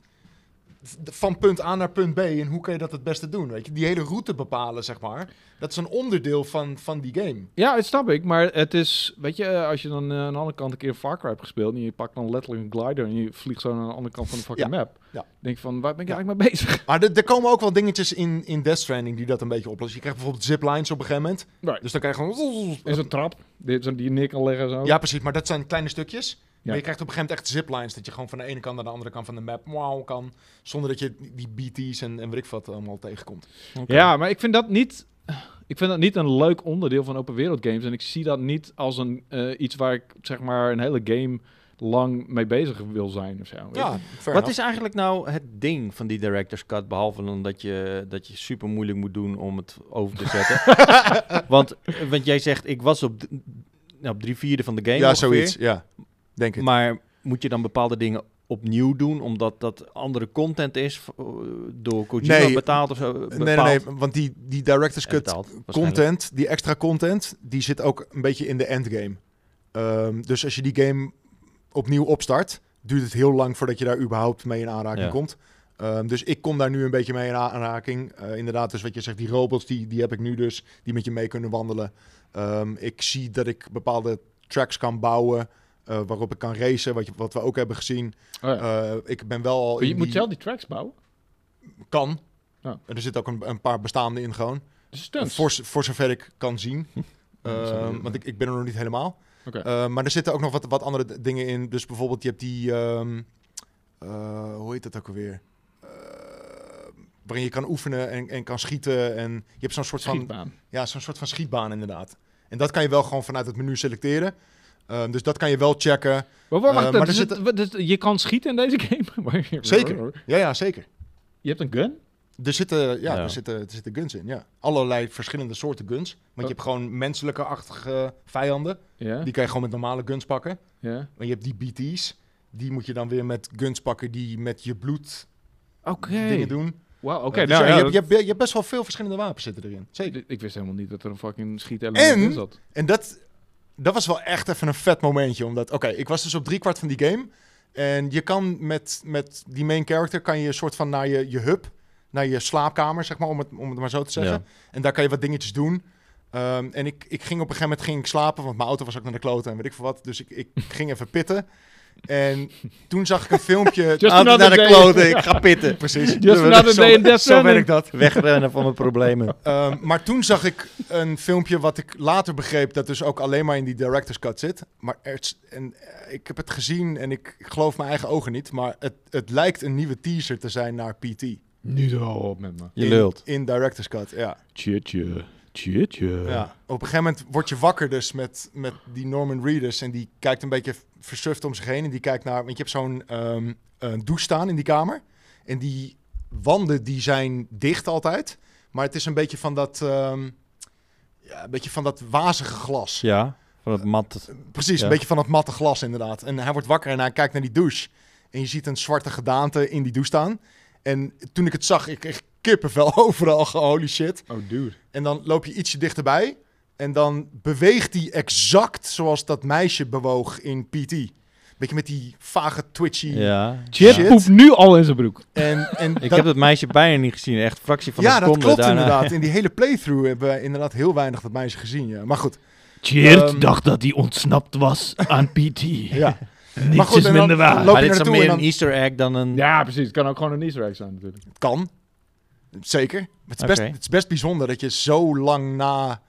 A: d- van punt A naar punt B en hoe kan je dat het beste doen, weet je? Die hele route bepalen, zeg maar. Dat is een onderdeel van, van die game.
B: Ja, dat snap ik. Maar het is, weet je, eh, als je dan eh, aan de andere kant een keer Far Cry hebt gespeeld en je pakt dan letterlijk een glider en je vliegt zo naar de andere kant van de fucking map.
A: Ja.
B: Denk je van, waar ben ik
A: Ja.
B: eigenlijk mee bezig?
A: Maar er er komen ook wel dingetjes in, in Death Stranding die dat een beetje oplossen. Je krijgt bijvoorbeeld ziplines op een gegeven moment. Dus dan krijg je gewoon...
B: Is een trap die, die je neer kan leggen zo.
A: Ja, precies, maar dat zijn kleine stukjes.
B: Oh. Ja.
A: Maar je krijgt op een gegeven moment echt ziplines. Dat je gewoon van de ene kant naar de andere kant van de map wow, kan. Zonder dat je die BT's en, en weet ik wat allemaal tegenkomt.
B: Ja, maar ik vind dat niet... Ik vind dat niet een leuk onderdeel van open wereld games. En ik zie dat niet als een, eh, iets waar ik zeg maar een hele game lang mee bezig wil zijn of zo. weet je.
A: Ja, fair
C: Wat is eigenlijk nou het ding van die director's cut, behalve dan dat je, dat je super eh, moeilijk moet doen om het over te zetten? want, want jij zegt, ik was op d- nou, op drie vierde van de game
A: ja,
C: ongeveer.
A: zoiets. Ja, denk ik.
C: Maar moet je dan bepaalde dingen opnieuw doen, omdat dat andere content is v- door Kojima
A: Nee.
C: betaald of zo? Bepaald.
A: nee, nee, nee, want die, die director's
C: En
A: cut
C: betaald, waarschijnlijk.
A: content, die extra content, die zit ook een beetje in de endgame. Ehm, dus als je die game opnieuw opstart, duurt het heel lang voordat je daar überhaupt mee in aanraking
C: Ja.
A: komt. Ehm, dus ik kom daar nu een beetje mee in aanraking. Eh, inderdaad, dus wat je zegt, die robots, die, die heb ik nu dus, die met je mee kunnen wandelen. Ehm, ik zie dat ik bepaalde tracks kan bouwen, eh, waarop ik kan racen, wat, je, wat we ook hebben gezien.
B: Oh ja.
A: Eh, ik ben wel al
B: Maar je
A: in
B: moet
A: die-
B: zelf die tracks bouwen.
A: Kan.
B: Ja.
A: Er zitten ook een, een paar bestaande in gewoon.
B: Dus stunts.
A: Voor, z- voor zover ik kan zien.
C: dat is wel
A: Ehm,
C: leuk.
A: want ik, ik ben er nog niet helemaal.
B: Oké.
A: Ehm, maar er zitten ook nog wat, wat andere d- dingen in. Dus bijvoorbeeld, je hebt die. ehm, eh, hoe heet dat ook alweer? Eh, waarin je kan oefenen en, en kan schieten. En je hebt zo'n soort van.
B: Schietbaan.
A: Ja, zo'n soort van schietbaan inderdaad. En dat kan je wel gewoon vanuit het menu selecteren. Ehm, dus dat kan je wel checken.
B: Maar wacht,
A: Eh,
B: dat
A: maar
B: is
A: er
B: het- wat is- je kan schieten in deze game? Maar-
A: Zeker. Ja, ja, zeker.
B: Je hebt een gun?
A: Er zitten, ja,
C: Ja.
A: Er, zitten, er zitten guns in, ja. Allerlei verschillende soorten guns. Want je
B: Oh.
A: hebt gewoon menselijke-achtige vijanden.
B: Ja.
A: Die kan je gewoon met normale guns pakken.
B: ja.
A: Maar je hebt die BT's. Die moet je dan weer met guns pakken die met je bloed
B: Oké.
A: dingen doen.
B: Wauw, oké.
A: Eh, dus
B: nou,
A: ja,
B: ja,
A: je, hebt, je,
B: dat-
A: hebt, je hebt best wel veel verschillende wapens zitten erin. Zeker.
B: Ik wist helemaal niet dat er een fucking schietelement
A: En-
B: in zat.
A: En dat, dat was wel echt even een vet momentje. Omdat, oké, ik was dus op driekwart van die game. En je kan met, met die main character, kan je een soort van naar je, je hub, naar je slaapkamer, zeg maar, om het, om het maar zo te zeggen. En daar kan je wat dingetjes doen. Ehm, en ik, ik ging op een gegeven moment ging ik slapen, want mijn auto was ook naar de kloten en weet ik veel wat. Dus ik, ik ging even pitten. En toen zag ik een filmpje.
B: Just
C: Aan-
B: another
C: naar de
B: day.
C: kloten, ik ga pitten.
A: Precies.
B: Just another
A: Zo-
B: day in Death
A: Zo
B: Stranding.
A: werkt dat.
C: Wegrennen van mijn problemen.
A: Ehm, maar toen zag ik een filmpje wat ik later begreep dat dus ook alleen maar in die director's cut zit. Maar er is- en, eh, ik heb het gezien en ik, ik geloof mijn eigen ogen niet. Maar het, het lijkt een nieuwe teaser te zijn naar PT.
B: Nu zo op met me.
C: Je
A: In-
C: lult.
A: In, director's cut, ja.
B: Tjetje. Tjetje.
A: ja. Op een gegeven moment word je wakker dus met, met die Norman Reedus. En die kijkt een beetje versuft om zich heen. En die kijkt naar, want je hebt zo'n ehm, een douche staan in die kamer. En die wanden die zijn dicht altijd. Maar het is een beetje van dat, ehm, ja, een beetje van dat wazige glas.
C: Ja, van het mat.
A: Precies,
C: Ja.
A: een beetje van dat matte glas inderdaad. En hij wordt wakker en hij kijkt naar die douche. En je ziet een zwarte gedaante in die douche staan. En toen ik het zag, ik kreeg kippenvel overal. Holy shit.
B: Oh, dude.
A: En dan loop je ietsje dichterbij. En dan beweegt hij exact zoals dat meisje bewoog in PT. Beetje met die vage twitchy.
C: Ja.
B: Chip
A: Shit.
B: poept nu al in zijn broek.
A: En, en
C: Ik
A: dat-
C: heb het meisje bijna niet gezien. Echt fractie van
A: ja,
C: een
A: dat
C: seconde
A: klopt
C: daarna.
A: inderdaad. In die hele playthrough hebben we inderdaad heel weinig dat meisje gezien. Ja. Maar goed,
E: Cheert
A: Ehm,
E: dacht dat hij ontsnapt was aan PT.
A: ja. maar
E: Niets
A: goed,
E: is
A: en dan
E: minder waar.
A: loop
C: Maar
A: je
C: dit is dan
A: naartoe
C: meer
A: en
C: een
A: dan
C: easter egg dan een...
B: Ja, precies. Het kan ook gewoon een Easter egg zijn natuurlijk.
A: kan. Zeker. Maar Het is,
C: Oké.
A: best, het is best bijzonder dat je zo lang na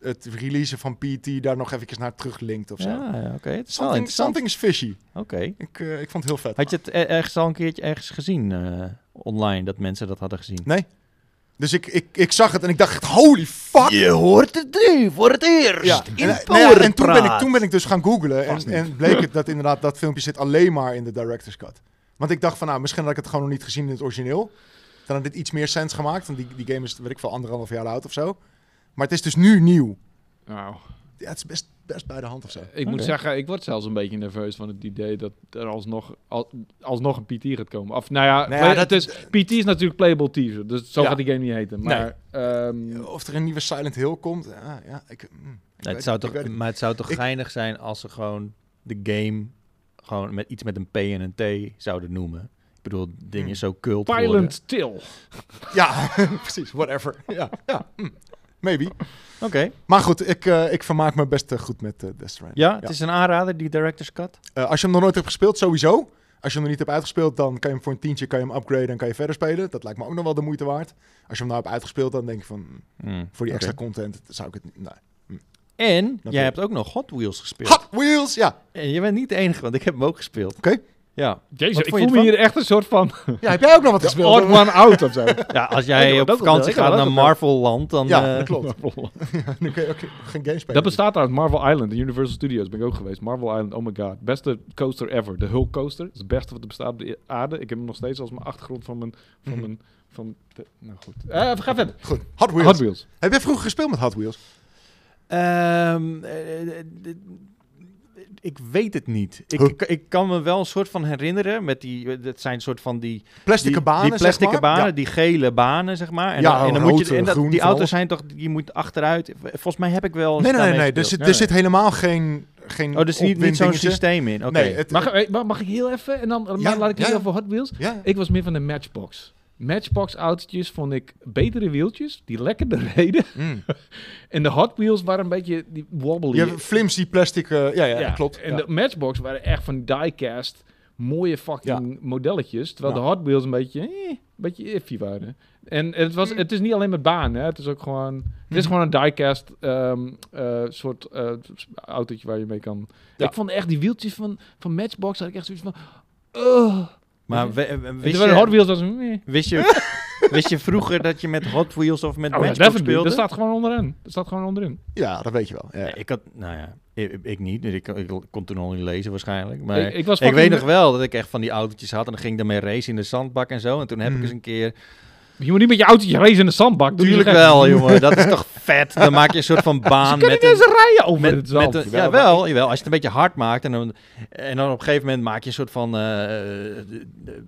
A: het releasen van PT daar nog even naar teruglinkt of zo.
C: Ja, ja, oké. Het is
A: something,
C: wel interessant.
A: something is fishy.
C: Oké.
A: Ik, eh, ik vond het heel vet.
C: Had je het e- ergens al een keertje ergens gezien eh, online, dat mensen dat hadden gezien?
A: Dus ik, ik, ik zag het en ik dacht, holy fuck.
E: Je hoort het nu voor het eerst.
A: Ja, en, eh, nou ja, en toen, ben ik, toen ben ik dus gaan googlen en, en bleek het dat inderdaad dat filmpje zit alleen maar in de director's cut. Want ik dacht van, nou, misschien had ik het gewoon nog niet gezien in het origineel. Dan had dit iets meer sens gemaakt, want die, die game is, weet ik veel, anderhalf jaar oud of zo. Maar het is dus nu nieuw.
B: Nou,
A: Ja, het is best, best bij de hand of zo.
B: ik moet
C: Oké.
B: zeggen, ik word zelfs een beetje nerveus van het idee dat er alsnog, al, alsnog een PT gaat komen. Of nou ja,
A: Nou ja,
B: play-
A: dat-
B: het is, PT is natuurlijk playable teaser, dus zo
A: Ja.
B: gaat die game niet heten.
A: Nee.
B: Maar ehm,
A: Of er een nieuwe Silent Hill komt, ja, ja ik... mm, ik weet
C: het zou
A: ik weet
C: toch, hm.
A: het.
C: maar het zou toch
A: Ik-
C: geinig zijn als ze gewoon de game gewoon met iets met een P en een T zouden noemen. Ik bedoel, het ding
A: Hmm.
C: is zo cult geworden.
B: Violent Till.
A: Ja, precies, whatever. Ja, ja mm, maybe.
C: Oké.
A: Maar goed, ik, eh, ik vermaak me best eh, goed met eh Death Stranding.
C: Ja, het is een aanrader, die Director's Cut.
A: Eh, als je hem nog nooit hebt gespeeld, sowieso. Als je hem nog niet hebt uitgespeeld, dan kan je hem voor een tientje kan je hem upgraden en kan je verder spelen. Dat lijkt me ook nog wel de moeite waard. Als je hem nou hebt uitgespeeld, dan denk je van, mm,
C: Hmm.
A: voor die
C: Oké.
A: extra content zou ik het niet... Nee.
C: En
A: Natuurlijk.
C: jij hebt ook nog Hot Wheels gespeeld.
A: Hot Wheels! Ja,
C: En je bent niet de enige, want ik heb hem ook gespeeld.
A: Oké.
C: Ja.
B: Jezus,
C: Wat
B: ik
C: vond je
B: voel me
C: ervan?
B: hier echt een soort van
A: ja heb jij ook nog wat
B: the
A: gespeeld?
B: odd one out of zo.
C: ja, als
B: Ik
C: jij
B: heb
C: op
B: dat
C: vakantie
B: ook wel, ik
C: gaat
B: heb dat
C: naar
B: ook wel.
C: Marvel-land, dan...
A: Ja,
C: eh,
A: dat klopt. Dan kun je ook geen game spelen.
B: dat bestaat uit Marvel Island en Universal Studios, ben ik ook geweest. Marvel Island, oh my god. Beste coaster ever. De Hulk Coaster. Het is het beste wat er bestaat op de aarde. Ik heb hem nog steeds als mijn achtergrond van mijn... Van
A: Mhm.
B: mijn van de- nou goed. Eh, ga verder.
A: Goed, Hot Wheels.
B: Hot Wheels.
A: Heb jij vroeger gespeeld met Hot Wheels?
C: Eh, Ehm, eh, eh, d- ik weet het niet. Ik,
A: Huh.
C: ik, ik kan me wel een soort van herinneren met die. eh, Dat zijn een soort van die.
A: Plastic
C: die,
A: banen,
C: die plastic
A: zeg maar.
C: banen,
A: Ja.
C: die gele banen, zeg maar. En,
A: Ja, oh,
C: dan, en dan
A: rood,
C: moet je. En dat-
A: groen,
C: die
A: van
C: auto's
A: alles.
C: zijn toch. Die moet achteruit. Volgens mij heb ik wel. eens
A: Nee, nee, nee. nee.
C: daarmee
A: Er,
C: gespeeld.
A: zit, er
B: Ja,
A: zit helemaal geen, geen
C: Oh, dus niet, niet zo'n
A: opwindingetje.
C: systeem in. Oké.
A: Nee, het,
B: Mag, eh, mag, mag ik heel even? En dan eh,
A: Ja,
B: laat ik het
A: ja.
B: over Hot Wheels.
A: ja.
B: Ik was meer van de Matchbox. Matchbox autootjes vond ik betere wieltjes, die lekkerder reden.
A: Mm.
B: En de Hot Wheels waren een beetje die wobbly.
A: Je hebt flimsy plastic... eh, ja, ja,
B: Ja,
A: klopt.
B: En
A: ja.
B: de Matchbox waren echt van diecast, mooie fucking modelletjes. Terwijl de Hot Wheels een beetje, eh, een beetje iffy waren. En het, was, het is niet alleen met baan, hè. Het is ook gewoon... Het
C: Mhm.
B: is gewoon een diecast ehm, eh, soort eh, autootje waar je mee kan...
A: Ja.
B: Ik vond echt die wieltjes van, van Matchbox, had ik echt zoiets van... Oh.
C: Maar we- eh,
B: En
C: wist,
B: terwijl de Hot
C: je, Oh,
B: Wheels was... een, eh.
C: wist, je, wist je vroeger dat je met Hot Wheels of met
B: Oh, ja,
C: Matchbox
B: definitely.
C: speelde?
B: Dat staat gewoon onderin. Dat staat gewoon onderin.
A: ja, dat weet je wel. Ja.
C: Ja, ik had, nou ja, ik, ik niet. dus Ik, ik kon toen al niet lezen waarschijnlijk. Maar
B: Ik-
C: ik,
B: ik was
C: weet
B: fucking-
C: nog wel dat ik echt van die autootjes had. En dan ging ik daarmee racen in de zandbak en zo. En toen heb
A: Mhm.
C: ik eens een keer...
B: Je moet niet met je autootje racen in de zandbak. Doe je
C: Tuurlijk
B: gek.
C: wel, jongen. Dat is toch vet. Dan maak je een soort van baan
B: Kan je
C: met
B: niet
C: een...
B: eens rijden over
C: Met,
B: het
C: met
B: zand?
C: een- ja, wel, jawel. Als je het een beetje hard maakt en dan, en dan op een gegeven moment maak je een soort van eh, eh,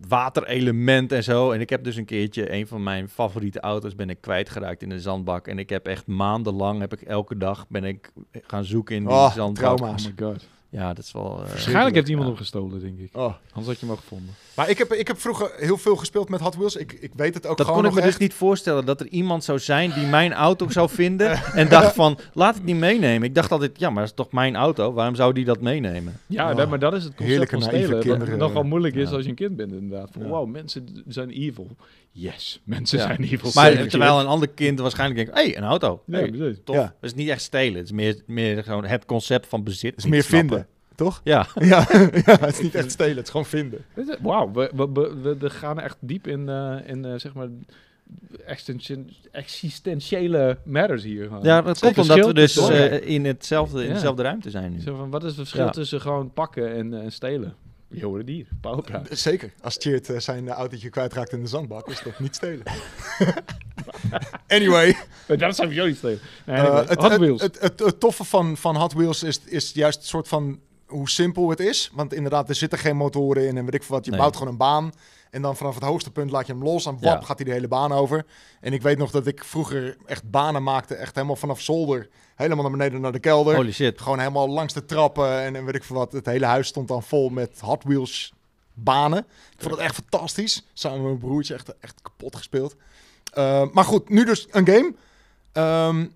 C: waterelement en zo. En ik heb dus een keertje een van mijn favoriete auto's ben ik kwijtgeraakt in een zandbak. En ik heb echt maandenlang, heb ik elke dag ben ik gaan zoeken in die
A: Oh,
C: zandbak.
A: trauma's.
B: Oh my god.
C: Ja, dat is wel... eh,
B: Waarschijnlijk heeft iemand
C: ja.
B: hem gestolen, denk ik.
A: Oh.
B: Anders had je hem al gevonden.
A: Maar ik heb, ik heb vroeger heel veel gespeeld met Hot Wheels. Ik, ik weet het ook
C: Dat
A: gewoon
C: kon ik me
A: nog
C: dus
A: echt.
C: niet voorstellen dat er iemand zou zijn die mijn auto zou vinden en dacht van laat het niet meenemen. Ik dacht altijd ja, maar dat is toch mijn auto. Waarom zou die dat meenemen?
B: Ja,
A: Oh,
B: dat- maar dat is het concept
A: heerlijke
B: van
A: naïeve
B: stelen. Wat
A: kinderen.
B: nogal moeilijk is
C: Ja.
B: als je een kind bent, inderdaad. Van,
A: Ja.
B: Wow, mensen d- zijn evil. Yes, mensen
C: Ja.
B: zijn evil.
C: Maar
B: Zeker.
C: terwijl een ander kind waarschijnlijk denkt, hey, een auto.
B: Ja,
C: Hey,
B: precies.
C: tof.
A: Ja.
C: Dat is niet echt stelen. Het is meer, meer gewoon het concept van bezit.
A: Het is
C: niet
A: meer
C: snappen.
A: vinden, toch?
C: Ja.
A: Ja, ja, het is niet echt stelen. Het is gewoon vinden.
B: Dit is- Wauw, we, we, we, we- we gaan echt diep in, eh, in eh, zeg maar, existen- existentiële matters hier. gewoon.
C: ja, dat
B: Zeker
C: komt omdat we
B: schild is
C: dus
B: belangrijk.
C: eh, in, hetzelfde, in
B: Ja.
C: dezelfde ruimte zijn nu.
B: Zo van, wat is het verschil
C: Ja.
B: tussen gewoon pakken en eh, stelen? Je hoorde het hier, pauwpraat.
A: Zeker. Als Cheert eh, zijn eh, autootje kwijtraakt in de zandbak, is dat niet stelen. anyway,
B: Maar Dat zou jullie stelen. Nee,
A: eh,
B: anyway,
A: het,
B: Hot
A: het-
B: Wheels.
A: Het, het, het toffe van, van Hot Wheels is, is juist het soort van hoe simpel het is. Want inderdaad, er zitten geen motoren in en weet ik veel wat. Je
C: Nee.
A: bouwt gewoon een baan. En dan vanaf het hoogste punt laat je hem los en wap
C: Ja.
A: gaat hij de hele baan over. En ik weet nog dat ik vroeger echt banen maakte. Echt helemaal vanaf zolder, helemaal naar beneden naar de kelder.
C: Holy shit.
A: Gewoon helemaal langs de trappen en, en weet ik veel wat. Het hele huis stond dan vol met Hot Wheels banen. Ik vond het echt fantastisch. Samen met mijn broertje echt, echt kapot gespeeld. Eh, maar goed, nu dus een game. Ehm,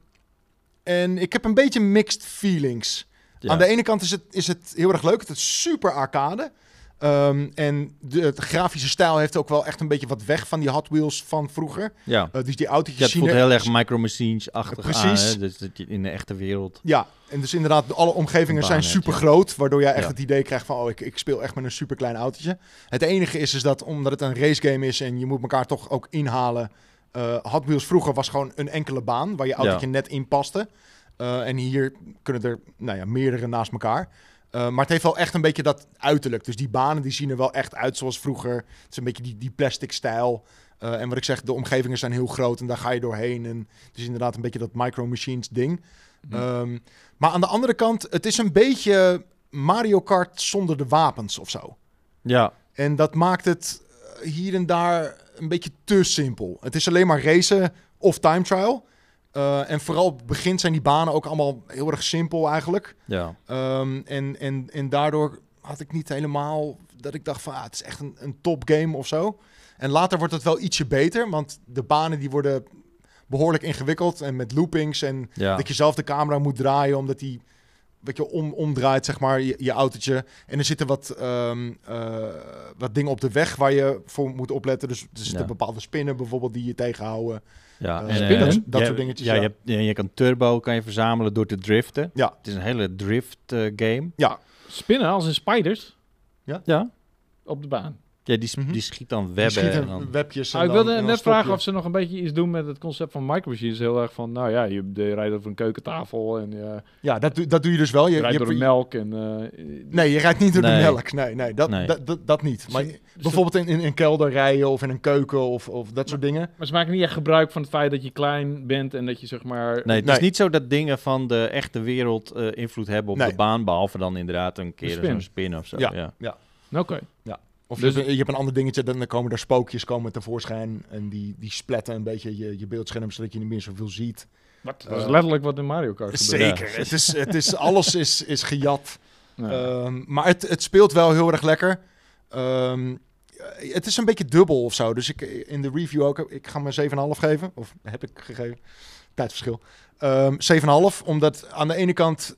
A: en ik heb een beetje mixed feelings.
C: Ja.
A: Aan de ene kant is het, is het heel erg leuk. Het is super arcade. Ehm, en de, de grafische stijl heeft ook wel echt een beetje wat weg van die Hot Wheels van vroeger.
C: ja.
A: Eh, dus die autootjes
C: Ja, het
A: zien
C: voelt
A: er-
C: heel erg micro machines-achtig aan.
A: Precies.
C: Hè? Dus dat je in de echte wereld.
A: Ja, en dus inderdaad, alle omgevingen
C: Een
A: zijn
C: baan hebt,
A: super groot. Waardoor jij echt
C: Ja.
A: het idee krijgt van, oh, ik, ik speel echt met een super klein autootje. Het enige is, is dat omdat het een racegame is en je moet elkaar toch ook inhalen. eh Hot Wheels vroeger was gewoon een enkele baan waar je autootje net in paste. Eh, en hier kunnen er nou ja, meerdere naast elkaar. Eh, maar het heeft wel echt een beetje dat uiterlijk. Dus die banen die zien er wel echt uit zoals vroeger. Het is een beetje die, die plastic stijl. Eh, en wat ik zeg, de omgevingen zijn heel groot en daar ga je doorheen. En het is inderdaad een beetje dat micro machines ding.
B: Hm.
A: Ehm, maar aan de andere kant, het is een beetje Mario Kart zonder de wapens of zo.
C: Ja,
A: En dat maakt het eh, hier en daar een beetje te simpel. Het is alleen maar racen of time trial. Eh, en vooral op het begin zijn die banen ook allemaal heel erg simpel eigenlijk.
C: ja.
A: Ehm, en, en, en daardoor had ik niet helemaal dat ik dacht van ah, het is echt een, een topgame of zo. En later wordt het wel ietsje beter, want de banen die worden behoorlijk ingewikkeld. En met loopings en
C: ja.
A: dat je zelf de camera moet draaien, omdat die weet je, om, omdraait, zeg maar, je, je autootje. En er zitten wat, ehm, eh, wat dingen op de weg waar je voor moet opletten. Dus er zitten
C: Ja.
A: bepaalde spinnen bijvoorbeeld die je tegenhouden.
C: ja.
A: eh,
C: eh,
B: dat-
A: dat
C: je-
A: soort dingetjes,
C: Ja,
A: ja.
C: Je, hebt, ja, je kan turbo kan je verzamelen door te driften.
A: Ja.
C: Het is een hele drift eh, game.
B: Spinnen als in spiders
C: Ja.
B: op de baan.
C: Ja, die, s-
A: Mhm.
C: die schiet dan
A: Je
C: webben.
A: schiet
C: en
A: een-
C: dan-
A: webjes.
B: Ah,
A: en
B: ik
A: dan-
B: wilde
A: en dan
B: net
A: stop je.
B: vragen of ze nog een beetje iets doen met het concept van micromachines. Heel erg van, nou ja, je de- je rijdt over een keukentafel en je
A: Ja, dat, doe- dat doe je dus wel. Je, je
B: rijdt door de
A: hebt-
B: melk. En, eh,
A: Nee, je rijdt niet door
C: Nee.
A: de melk. Nee, nee, dat,
C: Nee.
A: Dat, dat, dat niet. Maar bijvoorbeeld in, in een kelder rijden of in een keuken of, of dat soort dingen.
B: maar ze maken niet echt gebruik van het feit dat je klein bent en dat je zeg maar...
C: Nee, het is
A: Nee.
C: niet zo dat dingen van de echte wereld eh, invloed hebben op
A: Nee.
C: de baan, behalve dan inderdaad een keer
B: spin.
C: zo'n spin of zo. Ja.
A: Ja.
B: Nou, Oké.
A: Of
B: Dus-
A: je, hebt, een- je hebt een ander dingetje, dan dan komen daar spookjes komen tevoorschijn. En die, die spletten een beetje je, je beeldscherm, zodat je niet meer zoveel ziet.
B: Wat? Dat is
A: Eh,
B: letterlijk wat in Mario Kart gebeurt.
A: Zeker. Het is, het is, alles is, is gejat.
B: Ja.
A: Ehm, maar het, het speelt wel heel erg lekker. Ehm, het is een beetje dubbel of zo. Dus ik, in de review ook, ik ga hem een 7,5 geven. Of heb ik gegeven. Tijdverschil. Ehm 7,5, omdat aan de ene kant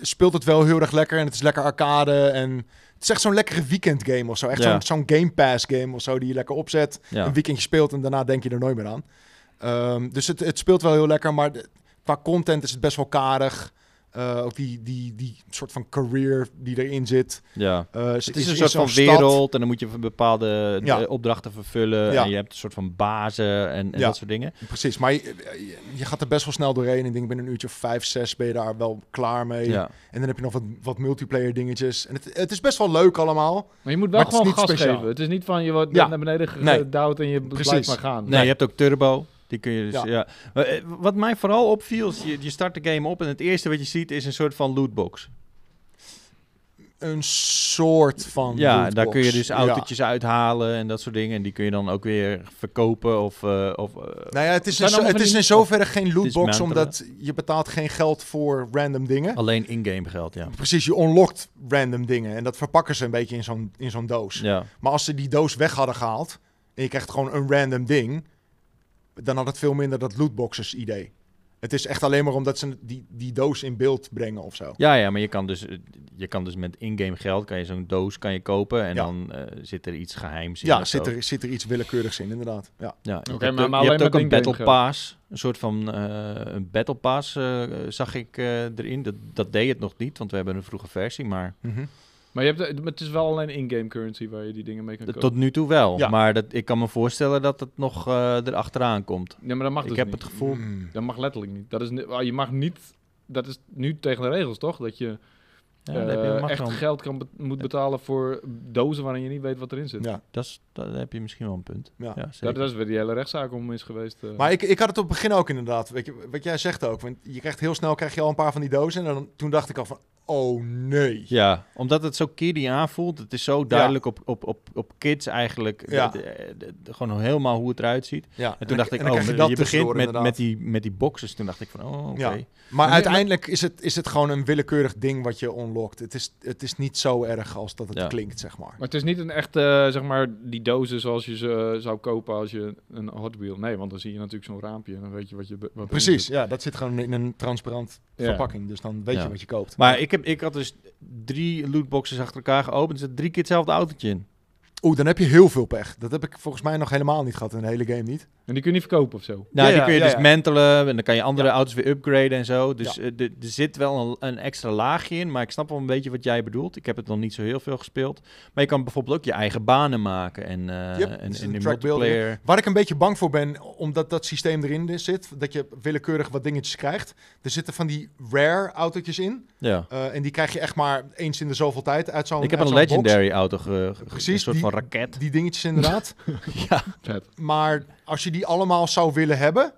A: speelt het wel heel erg lekker. En het is lekker arcade. En het is echt zo'n lekkere weekendgame of zo. Echt
C: Ja.
A: zo'n, zo'n Game Pass game of zo die je lekker opzet
C: ja.
A: een weekendje speelt en daarna denk je er nooit meer aan. Ehm, dus het, het speelt wel heel lekker, maar de- qua content is het best wel karig. Eh, ook die, die, die soort van career die erin zit.
C: ja.
A: Eh, ze
C: Het is,
A: in
C: een soort
A: zo'n
C: van
A: stad.
C: wereld en dan moet je bepaalde
A: Ja.
C: eh, opdrachten vervullen
A: Ja.
C: en je hebt een soort van bazen en, en
A: Ja.
C: dat soort dingen.
A: Precies, maar je, je- je gaat er best wel snel doorheen. Ik denk binnen een uurtje of vijf, zes ben je daar wel klaar mee.
C: Ja.
A: En dan heb je nog wat, wat multiplayer dingetjes. En het, het is best wel leuk allemaal.
B: Maar je moet wel
A: Maar het is
B: gewoon gas
A: niet speciaal.
B: geven. Het is niet van je wordt
A: Ja.
B: naar beneden ge-
A: Nee.
B: gedouwd en je b-
A: Precies.
B: blijft maar gaan.
C: Nee, je hebt ook Turbo. Die kun je dus, ja.
A: Ja.
C: Maar, eh, Wat mij vooral opviel, is je, je start de game op en het eerste wat je ziet is een soort van lootbox.
A: Een soort van
C: ja,
A: lootbox.
C: daar kun je dus
A: Ja.
C: autootjes uithalen en dat soort dingen. En die kun je dan ook weer verkopen of... eh, of eh,
A: Nou ja, het is, in,
B: Zijn
A: zo-
B: allemaal
A: het
B: van
A: is
B: die-
A: in zoverre geen lootbox,
C: dismantelen.
A: omdat je betaalt geen geld voor random dingen.
C: alleen in-game geld, ja.
A: Precies, je unlockt random dingen. En dat verpakken ze een beetje in zo'n, in zo'n doos.
C: Ja,
A: Maar als ze die doos weg hadden gehaald... en je krijgt gewoon een random ding... dan had het veel minder dat lootboxes idee. Het is echt alleen maar omdat ze die, die doos in beeld brengen of zo.
C: ja, ja maar je kan, dus, eh, je kan dus met in-game geld kan je zo'n doos kan je kopen en
A: Ja.
C: dan eh, zit er iets geheims in.
A: Ja,
C: of
A: zit
C: zo.
A: er, zit er iets willekeurigs in, inderdaad. Ja.
C: Ja, je
B: maar-
C: hebt
B: maar
C: ook-
B: alleen
C: je hebt
B: maar
C: ook een
B: in-game
C: battle
B: geld.
C: pass, een soort van eh, een battle pass eh, eh, zag ik eh, erin. Dat, dat deed het nog niet, want we hebben een vroege versie, maar
B: Maar je hebt, de- maar het is wel alleen in-game currency waar je die dingen mee kan kopen.
C: tot nu toe wel.
A: Ja.
C: Maar dat, ik kan me voorstellen dat het nog eh erachteraan komt.
B: Ja, maar dat mag
C: ik
B: dus
C: heb
B: niet.
C: het gevoel.
A: Mm.
B: Dat mag letterlijk niet. Dat is, ni- ah, je mag niet... Dat is nu tegen de regels, toch? Dat je
C: Ja,
B: eh,
C: daar heb je- mag
B: echt
C: wel-
B: geld kan be- moet betalen voor dozen waarin je niet weet wat erin zit.
A: Ja.
C: dat is- daar heb je misschien wel een punt.
A: Ja.
C: Ja,
B: dat,
C: zeker.
B: dat is weer die hele rechtszaak om is geweest. eh.
A: Maar ik, ik had het op het begin ook inderdaad. Weet je, wat jij zegt ook. Want je krijgt heel snel krijg je al een paar van die dozen. En dan, toen dacht ik al van... Oh nee.
C: Ja, omdat het zo kiddie aanvoelt. Het is zo duidelijk op, op, op, op kids eigenlijk.
A: Ja.
C: De- de- de- de- gewoon heel hoe het eruit ziet.
A: Ja.
C: En toen dacht ik,
A: en dan
C: oh,
A: krijg je dat
C: je, begint
A: tussendoor,
C: met,
A: inderdaad.
C: met, die, met die boxes. Toen dacht ik van, oh, oké.
A: Ja.
B: Ja,
A: Maar
B: maar-
A: uiteindelijk is het, is het gewoon een willekeurig ding wat je unlockt. Het is, het is niet zo erg als dat het
C: Ja.
A: klinkt, zeg maar.
B: Maar het is niet een echte, eh, zeg maar, die dozen zoals je ze eh, zou kopen als je een Hot Wheel... Nee, want dan zie je natuurlijk zo'n raampje en dan weet je wat je... be- Wat erin
A: Precies,
B: zit.
A: ja, dat zit gewoon in een transparant
B: Ja.
A: verpakking. Dus dan weet
C: Ja.
A: je wat je koopt.
C: Maar ik, heb, ik had dus drie lootboxes achter elkaar geopend. Er zit drie keer hetzelfde autootje in.
A: Oeh, dan heb je heel veel pech. Dat heb ik volgens mij nog helemaal niet gehad in de hele game niet.
B: En die kun je niet verkopen of zo.
C: Nou,
A: Ja,
C: die
A: ja,
C: kun je
A: ja,
C: dus
A: ja.
C: mantelen en dan kan je andere auto's weer upgraden en zo. Dus eh, de- er zit wel een, een extra laagje in, maar ik snap wel een beetje wat jij bedoelt. Ik heb het nog niet zo heel veel gespeeld. Maar je kan bijvoorbeeld ook je eigen banen maken en, eh,
A: Yep,
C: en,
A: dus
C: en
A: een
C: in
A: track builder.
C: multiplayer.
A: Waar ik een beetje bang voor ben, omdat dat systeem erin dus zit, dat je willekeurig wat dingetjes krijgt. Er zitten van die rare autootjes in.
C: Ja.
A: eh, en die krijg je echt maar eens in de zoveel tijd uit zo'n
C: Ik heb
A: uit
C: een
A: zo'n box.
C: legendary auto ge, ge-
A: Precies,
C: een soort
A: die-
C: van raket.
A: Die dingetjes inderdaad.
C: ja.
B: Vet.
A: Maar als je die allemaal zou willen hebben,